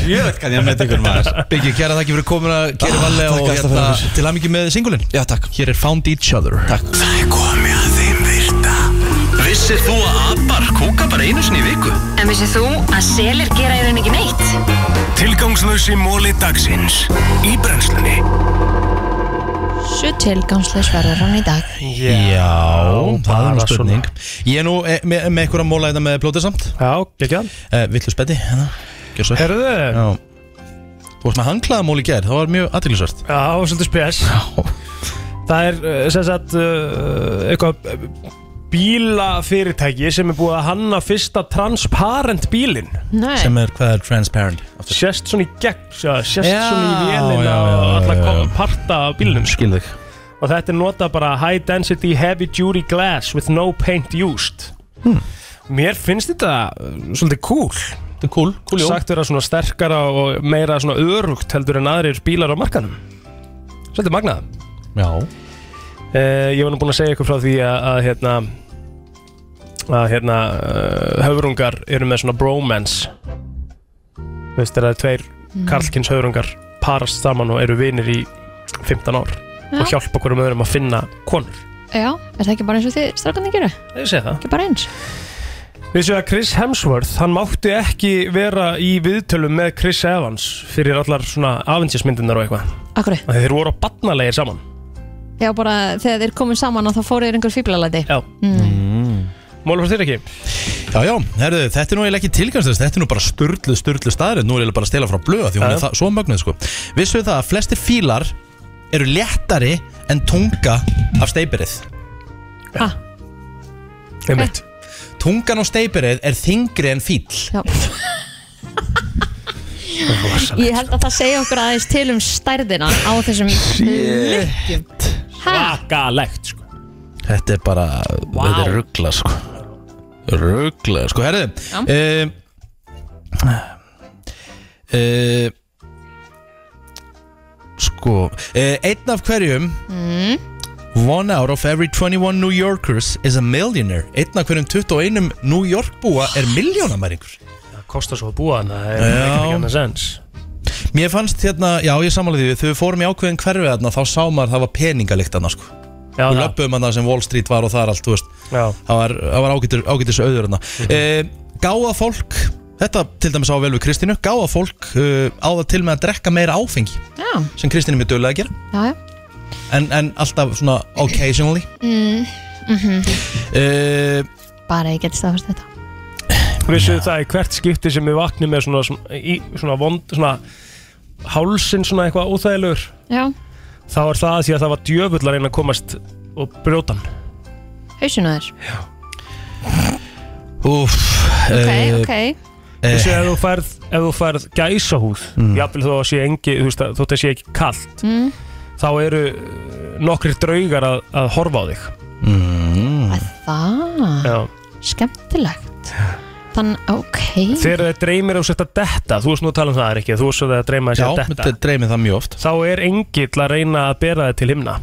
Yes. Ég veit kann ég að metta ykkur maður Byggji, kæra þakki fyrir komuna, kæri Valle Ah, takk Og aðeinslega fyrir hérna, okkur. til hamingi með singulinn Já, takk Hér er Found Each Other Takk Það er komið að þeim virta Vissir þú að abar kúka bara einu sinni í viku? En vissið þú að selir gera í raun ekki neitt? Tilgangslösi móli dagsins Í brennslunni Svo tilgangsleis verður hann í dag Já, það er nú spurning Ég er nú eh, með, með einhverja móla þetta með blótið samt Já, ekki að uh, Villu spetti, hérna, gjör svo Herðu Já Þú varst með handklaða móli gær, það var mjög aðtillisvært Já, það var svolítið spes Það er uh, sem sagt uh, eitthvað uh, bílafyrirtæki sem er búið að hanna fyrsta transparent bílinn Nei. Sem er, hvað er transparent? Sérst svona í gegn, sjá, sérst Já, svona í já, vélina já, og já, alla já, kom- já. parta af bílnum Skil þig og þetta er nota bara high density heavy duty glass with no paint used Mér finnst þetta uh, svolítið cool Þetta er cool, cool jól. Sagt vera svona sterkara og meira svona örugt heldur en aðrir bílar á markanum Svolítið magnað Já Eh, Ég var nú búinn að segja ykkur frá því að, að hérna að hérna uh, höfrungar eru með svona bromance Þú veist þegar það er tveir Mm. karlkins höfrungar parast saman og eru vinir í 15 ár Já. og hjálpa hverjum öðrum að finna konur Já, er það ekki bara eins og þið strákarnir gera? Ég segi það Ekki bara eins Við séum að Chris Hemsworth, hann mátti ekki vera í viðtölum með Chris Evans fyrir allar svona avengismyndunar og eitthvað Akkur Af því Þeir voru á batnalegir saman Já, bara þegar þeir komu saman og þá fóru þeir einhver fíblalæti Já mm. Málur fyrir ekki Já, já, herðu, þetta er nú eiginlega ekki tilgangslöst Þetta er nú bara störlu, störlu staðurinn Nú er eiginlega bara að stela frá blöða því hún Já, er já. það, svo mögnuð sko. Vissu það að flestir fílar eru léttari en tunga af steipirið Ha? Einmitt Tungan og steipirið er þingri en fíl Já Ég held að það segja okkur aðeins til um stærðina á þessum lykkjum Hæ? Svakalegt sko Þetta er bara, þetta er ruggla sko Ruggla, sko, herðu eh, Já. um, uh, Sko, uh, einn af hverjum Mm. One out of every 21 New Yorkers is a millionaire Einn af hverjum 21 New York-búa er milljónamæringur Það kostar svo að búa hann Það er Já. ekki annað sens Mér fannst hérna, já ég samanlega því Þegar við fórum í ákveðin hverfið þarna Þá sá maður það var peningalikt þarna sko Já, Við löpum þarna sem Wall Street var og það er allt, þú veist Já. Mhm. Það var, það var ágætis, ágætis auður þarna e, Gáða fólk Þetta til dæmis á vel við Kristínu Gáða fólk uh, á það til með að drekka meira áfengi Já, Sem Kristínu mér dögulega að gera já, já En, en alltaf svona occasionally mm. Mm e, Bara ég geti staðfæst þetta Vissuðu það í hvert skipti sem við vaknum með svona, svona, í, svona vond svona hálsin svona eitthvað óþægilegur Já, þá er það því að það var djöfull að reyna að komast og brjóta hann hausinu þér Úf Ok, eh, ok Þessi ef þú færð, ef þú færð gæsahúð mm. jafnvel þó að sé engi, þú veist að þótt að sé ekki kalt mm. þá eru eh, nokkrir draugar að, að horfa á þig mm. Það, Já. Ah, skemmtilegt Þann, ok Þegar það dreymir að setja detta þú veist nú að tala um það er ekki, þú veist að það dreyma að Já, setja þetta detta dreymið það mjög oft þá er engill að reyna að bera þig til himna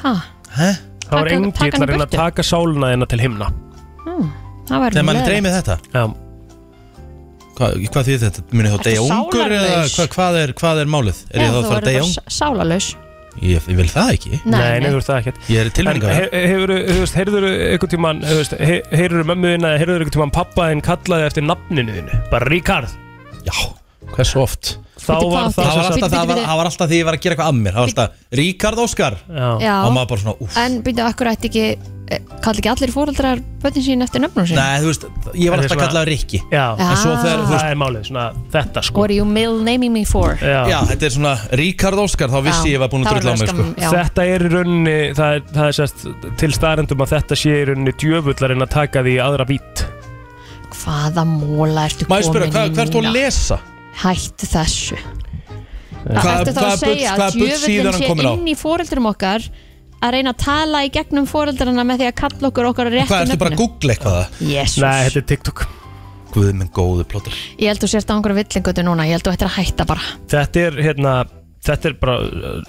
Hæ? þá er Taka- engill taka hann í að reyna að burtu? taka sáluna þina til himna Mm. Það væri Þegar mann leiðilegt. dreymið þetta Já Hvað, hvað því þetta? Munið þá Ertu degja ungur eða sálarlaus? hvað, hvað, er, hvað er málið? Er Já, ég þá þú að fara að verður degja bara ungur? s- Sálalaus Ég, ég vil það ekki Nei, Nei, nei. nei, þú veist það ekkert Ég er En tilmynga he- hefur, þú veist, heyrður einhvern tímann, þú veist, he- heyrður mömmu þín eða heyrður einhvern tímann pappa þinn kallaði eftir nafninu þínu, bara Ríkard Hversu oft? Þá Bíddu, var hvað? það það var sem alltaf sagt- það var, Bíddu, bíddu. það var alltaf því ég var að gera eitthvað af mér Það var alltaf Ríkard Óskar Já. Og maður bara svona úff En byrju, akkur ætti ekki eh, Kalla ekki allir fóreldrar bötin sín eftir nöfnum sín Nei, þú veist, ég var Þetta er alltaf svona- að kalla Ríkki Já En svo þegar, þú það veist er málið, svona þetta sko What are you male naming me for? Já. Já, þetta er svona Ríkard Óskar Þá vissi Já, ég var búin það að var drulla á alveg mig sko skamm, um, já. Þetta er í rauninni, það er, það er sérst til staðarendum að þetta sé í rauninni djöfullarinn að taka því í aðra vít Hvaða móla ertu Má ég komin spyrja, hvað- í hvað ertu að núna? lesa? Hættu þessu Hvað- Hvað ertu þá hvaða að bull- segja hvaða að bull síðan djöfullin hann sé kominn á? inn í fóreldrum okkar að reyna að tala í gegnum fóreldrana með því að kalla okkur okkar réttu Hvað, ertu bara að nöfnum googla eitthvað? Jesús. Nei, þetta er TikTok Guð minn góðu plótur Ég held þú sért á einhverju villingutu núna Ég held þú ættir að hætta bara Þetta er hérna, þetta er bara uh,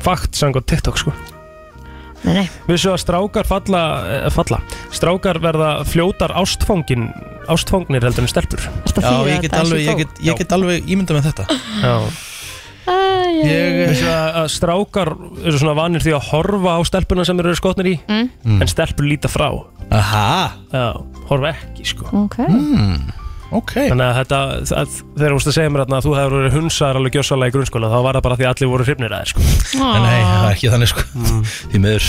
fakt sangot TikTok sko Nei, nei Vissu að strákar falla, eh, falla Strákar verða fljótar ástfangin ástfangnir heldur en stelpur að Já, þýða ég get þetta alveg- eins og ég get- ég get alveg ímynda með þetta eh, Já Æ, Ég Vissu að að strákar eru svona vanir því að horfa á stelpuna sem þeir eru skotnir í Mm. en stelpur líta frá Aha Já, horfa ekki sko Ok Hmm. okay. Þannig að þetta, að, þegar þú veist að segja mér þarna að þú hefur verið hunsaðar alveg gjössalega í grunnskóla þá var það bara því að allir voru hrifnir að þér sko Ah. En nei, það er ekki þannig sko Mm. Því miður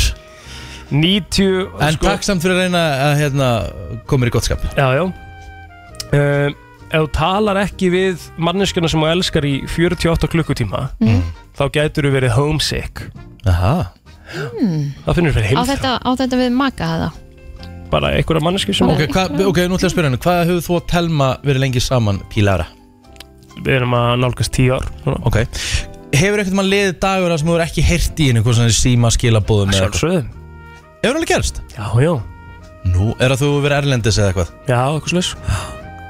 90 En takk samt fyrir að reyna að hérna Komir í gott skap sko. Já, já um, Ef þú talar ekki við manneskjana sem þú elskar í 48 klukkutíma Mm. þá gætur þú verið homesick Aha mm. Það finnur fyrir á, heimþrá þetta, á þetta við maka það bara einhverja manneski sem Ok, hva, ok, nú ætla ég að spyrja henni Hvað hefur þú og Telma verið lengi saman pílara? Við erum að nálgast tíu ár Ok Hefur einhvern mann liðið dagur þar sem þú er ekki heyrt í henni Hvað svona síma skilabóðum eða eitthvað? Sjálfsögðum Hefur alveg gerst? Já, já Nú, er að þú verið erlendis eða eitthvað? Já, eitthvað slags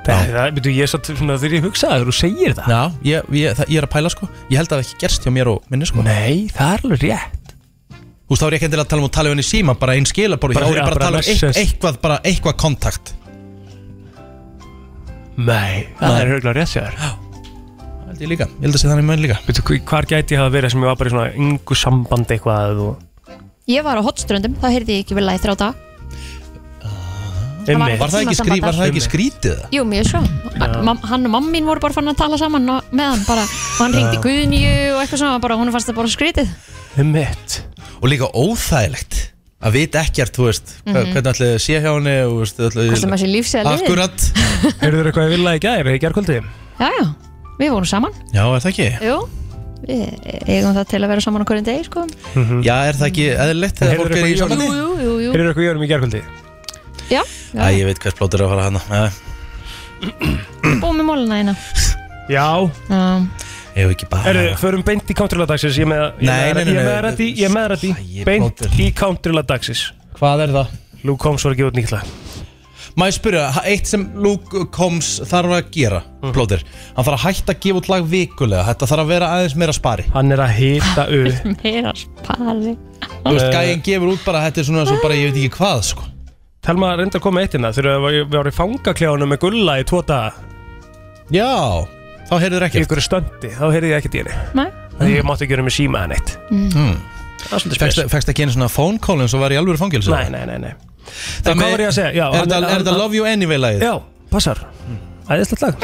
Það er, betur ég satt svona þegar ég hugsaði þegar þú segir það Já, ég, ég, það, ég er að pæla sko Ég held að það hafi ekki gerst hjá mér og minni sko Nei, það er alveg rétt Þú veist, þá er ég ekki endilega að tala um að tala um henni í síma Bara einn skilabóð Þá Bara- er ég já, bara að bara tala um eit- message. eitthvað, bara eitthvað kontakt Nei, það Nei. er huglega rétt sér held ég líka, ég held að sé þannig menn líka Veitu, hví- hvar gæti ég hafa verið sem ég var bara í svona yngu sambandi eitthvað og... Ég var á hotströndum, þá heyrði ég ekki vel að í þrjá dag Einmitt. Var það ekki, skrí, var það ekki skrítið það? Jú, mjög svo Já. Mam, Hann og mamma mín voru bara fann að tala saman og, með hann bara, og hann ringdi Já. Guðnju og eitthvað svona, bara, hún fannst það bara skrítið Einmitt Og líka óþægilegt að vita ekkert, þú veist, mm Mhm. -hmm. hvernig ætlaði að sé hjá henni og þú veist, ætlaði Alltaf maður sé lífsega liðið Akkurat Heyrðu þér eitthvað ég vilja í gæri, í gærkvöldi? Já, já, við vorum saman Já, er það ekki? Jú, við eigum það til að vera saman á hverjum degi sko. Já, er það ekki eðlilegt þegar Mhm. Heyrðu fólk er eitthvað í í sambandi? Jú, jú, jú, jú. Heyrðu eitthvað í honum í gærkvöldi? Já, Æ, já. ég veit hvers plótur er að fara hana búið með móluna þína Já um, Ég hef ekki bara Heyrðu, förum beint í countrylað dagsins Ég er með- ég Nei, er nei, með nei, ég er nei. með rætti, ég er með rætti Beint í countrylað dagsins Hvað er það? Luke Combs var að gefa út nýtt lag Má ég spyrja, ha- eitt sem Luke Combs þarf að gera, Mhm. plótur Hann þarf að hætta að gefa út lag vikulega Þetta þarf að vera aðeins meira spari Hann er að hita upp Meira spari Þú veist, gæinn gefur út bara, þetta er svona svo bara, ég veit ekki hvað, sko Telma reyndi að koma eitt inn það Þegar við varum í fangakljáinu með gulla í tvo daga Já, þá heyrður ekki Ykkur stöndi, þá heyrði ég ekkert í henni Nei. Þannig ég mátti ekki gera með síma hann eitt mm. Það er svolítið spes. Fekst fekst ekki einu svona phone call eins og var í alvöru fangilsi? Nei, nei, nei, nei. En með- hvað var ég að segja? Já, er hann- þetta- er hann- þetta Love You Anyway lagið? Hmm. Já, passar Æðislegt lag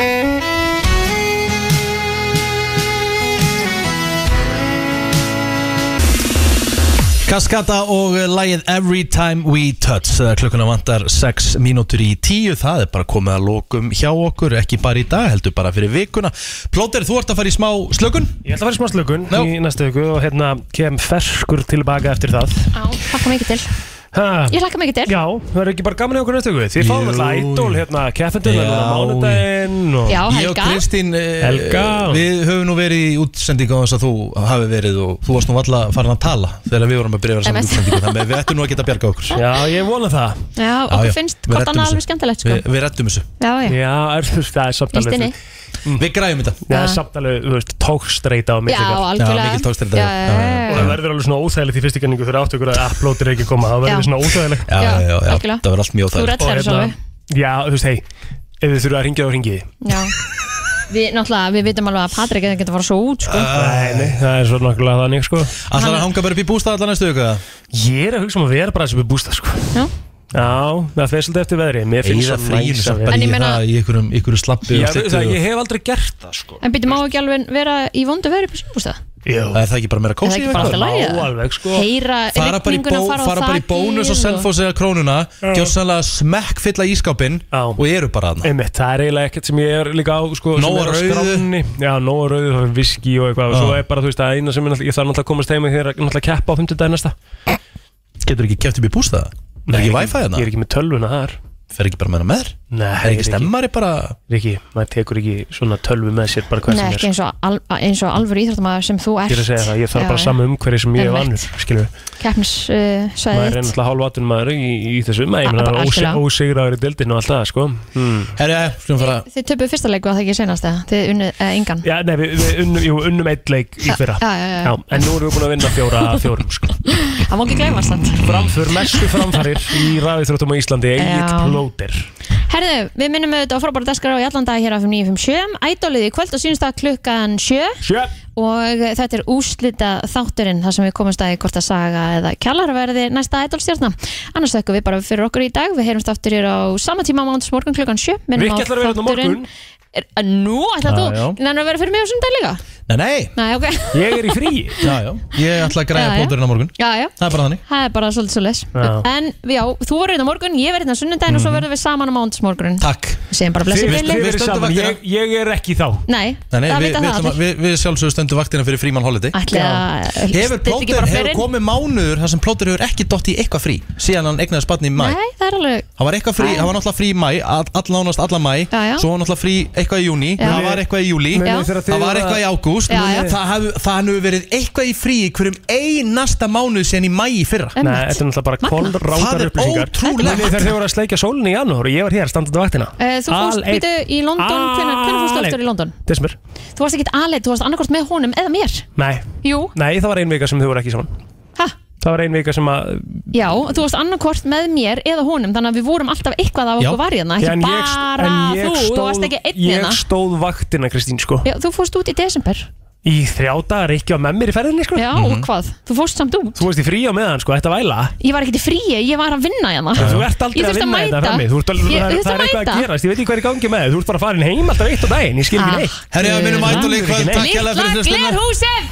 Kaskata og eh, lagið Every Time We Touch Eh, klukkuna vantar 6 mínútur í 10 það er bara komið að lokum hjá okkur ekki bara í dag, heldur bara fyrir vikuna Plóter, þú ert að fara í smá slökun? Ég ætla að fara í smá slökun í næstu viku og hérna kem ferskur tilbaka eftir það Já, hlakka mikið til ha, Ég hlakka mikið til Ah. Já, það er ekki bara gaman í okkur næstu viku Þið fáum Jú, alltaf ædol hérna, Já, keffendun hérna, mánudaginn og... Já, Ég og Helga. Kristín eh, Helga. Við höfum nú verið í útsendingu á þess að þú hafi verið og þú varst nú alltaf farin að tala þegar við vorum að byrja að vera saman í MS. útsendingu þannig að við ættum nú að geta að bjarga okkur Já, ég vona það Já, Já, okkur já, finnst við hvort annað reddum þessu. alveg skemmtilegt sko. Við, við rettum þessu Já, já, Já, er, það er samt Víst alveg Mm. inni. Við græjum þetta Það er samt alveg, þú veist, tókstreita á milli Já, ykkar. algjörlega. Já, mikil tókstreita, já. Já, já, já, já. Og það verður alveg svona óþægilegt í fyrstu kenningu þegar áttu ykkur að upload er ekki að koma Það Já. verður svona óþægilegt Já, já, já, algjörlega. það verður allt Þú mjög óþægilegt. reddar þessu Og alveg. hérna- Já, þú veist, hei, ef þið þurfa að ringja þá ringið já. Við, náttúrulega, við vitum alveg að Patrik er að geta að fara svo út sko. Nei, nei, það er svo nokkulega þannig sko Ætlar að hanga bara upp í bústað allar næstu ykkur? Ég er að hugsa um að vera bara sem er bústað sko Já. Já, það fer svolítið eftir veðri Mér finnst Eða svo fríinu næs samt að bara vera- í það í einhverjum, einhverjum slappi Ég, og veit stuttu það, og- ég hef aldrei gert það sko En býtum á ekki alveg vera í vondu veru Bústa Það er það ekki bara meira Er það kósí ekki bara allt í lagi, eða? sko. Heyra fara bara í, rigninguna bó, fara á fara bara í þakið bónus og og- selfos eða krónuna gjóðsannlega smekk fylla ískápinn og eru bara aðna Einmitt, það er eiginlega ekkert sem ég er líka á sko, sem Nóg er á að rauðu. skránni. Já, nóa rauðu, það er viski og eitthvað og Já. Svo er bara, þú veist, það eina sem ég, náttúrulega- ég þarf náttúrulega að komast heim Þegar ég náttúrulega að keppa á 50 dag næsta getur ekki kæft upp í bústaða er ekki wifi aðna Ég er ekki með tölvuna þar fer ekki bara með hana með þér Nei, er ekki stemmari bara Riki, maður tekur ekki svona tölvu með sér bara hvað Nei, sem er ekki eins og, al, eins og alvöru íþróttamæður sem þú Ég ert er að segja það, ég þarf Já, bara já. sama umhverfi sem ég er Einmitt. vannur Skilur Keppnissvæðið maður er þitt. náttúrulega hálf atun maður í, í þessu Nei, ég Bara meina óse- algjörlega. ósigraður í deildinu og allt það, sko hmm. Herri, slum fara Þið töpuðu fyrsta leiku að það ekki senast eða Þið unnið eh, engan Já, nei, við, við unnum, jú, unnum eitt leik í Já, fyrra já, já, já. En nú erum við búin að vinna fjóra að fjórum sko. Það má ekki gleyma samt Framför, mestu framfarir í ræðiþróttum á Íslandi Egil Já. Plóter Herðu, við minnum auðvitað á frábæra daskar á allan dag hér á 957 Ædólið í kvöld og sínstag klukkan 7 Sjö og þetta er úslita þátturinn þar sem við komumst að í hvort að saga eða kjallarverði næsta ædólstjarnar annars þökkum við bara fyrir okkur í dag við heyrumst aftur hér á sama tíma mánus morgun klukkan 7 Minnum á Rikki ætlar að vera hérna á þátturinn- morgun. Er- að Nú, ætlar Já, já. þú? Nennar að vera fyrir mig á sundag líka? nei, nei, Nei, ok ég er í frí já, já. ég ætla að Já, græja já. plóturinn á morgun Já, já það er bara þannig Það er bara svolítið svo les Já. En já, þú verður hérna á morgun, ég verður hérna á sunnudaginn Mhm. og svo verðum við saman á mándagsmorgun Takk Við segjum bara blessið Þið- þið verið saman, ég, ég er ekki þá Nei, Nei, nei, það við, vita við, það ætlum að- allir við, við sjálfsögum stöndum vaktina fyrir fríman holiday Ætli að- Já. stilla Hefur ekki plótur, bara hefur fyrir? komið mánuður þar sem plótur hefur ekki dott í eitthvað frí síðan hann egnaði spatni í mæ Nei, það er alveg Hann var eitthvað frí, hann var náttúrulega frí í mæ, all- allánast alla mæ Já, já. Svo var náttúrulega frí eitthvað í júni, Já. það var eitthvað í júli Munið Já. þegar þið Það var voru eitthvað í að- ágúst Já, já. Það hef- það hann hefur verið eitthvað í frí í hverjum einasta mánuð sen í mæ í fyrra Nei, þetta er náttúrulega bara Það kolrángar er upplýsingar ótrúlegt. Munið Þegar þið voru að sleikja sólinni í janúar og ég var hér standandi vaktina Eh, Þú fórst, Aleinn. býtu, í London, hvenær hvenær fórstu Aleinn. aftur í London? Desmer Þú varst ekkit aðleitt, þú varst annarkort með honum eða mér Nei, Jú, nei, það var ein vika sem þið voru ekki saman Ha? það var ein vika sem að Já, þú varst annarkort með mér eða honum þannig að við vorum alltaf eitthvað af Já. okkur varjana ekki En ég st- bara en ég þú, stóð- þú varst ekki einn Ég hérna stóð vaktina Kristín sko Já, þú fórst út í desember Í þrjá dagar ekki á með mér í ferðinni sko Já, Mhm. og hvað? Þú fórst samt út Þú varst í frí á meðan sko, þetta væla Ég var ekkert í fríi, ég var að vinna hérna En Þú ert aldrei Ah. Ég að þurfti vinna þetta mæta. frammi Þú ert alveg, Ég- ég það, er- þurfti það er eitthvað að mæta. gerast Ég veit ekki hvað er í gangi með þig. Þú ert bara farin heim alltaf eitt á daginn Ég skil Ah, ekki neitt um Herri, að minnum ætluleik kvöld, takk hérlega fyrir Litla hlustuna. glerhúsið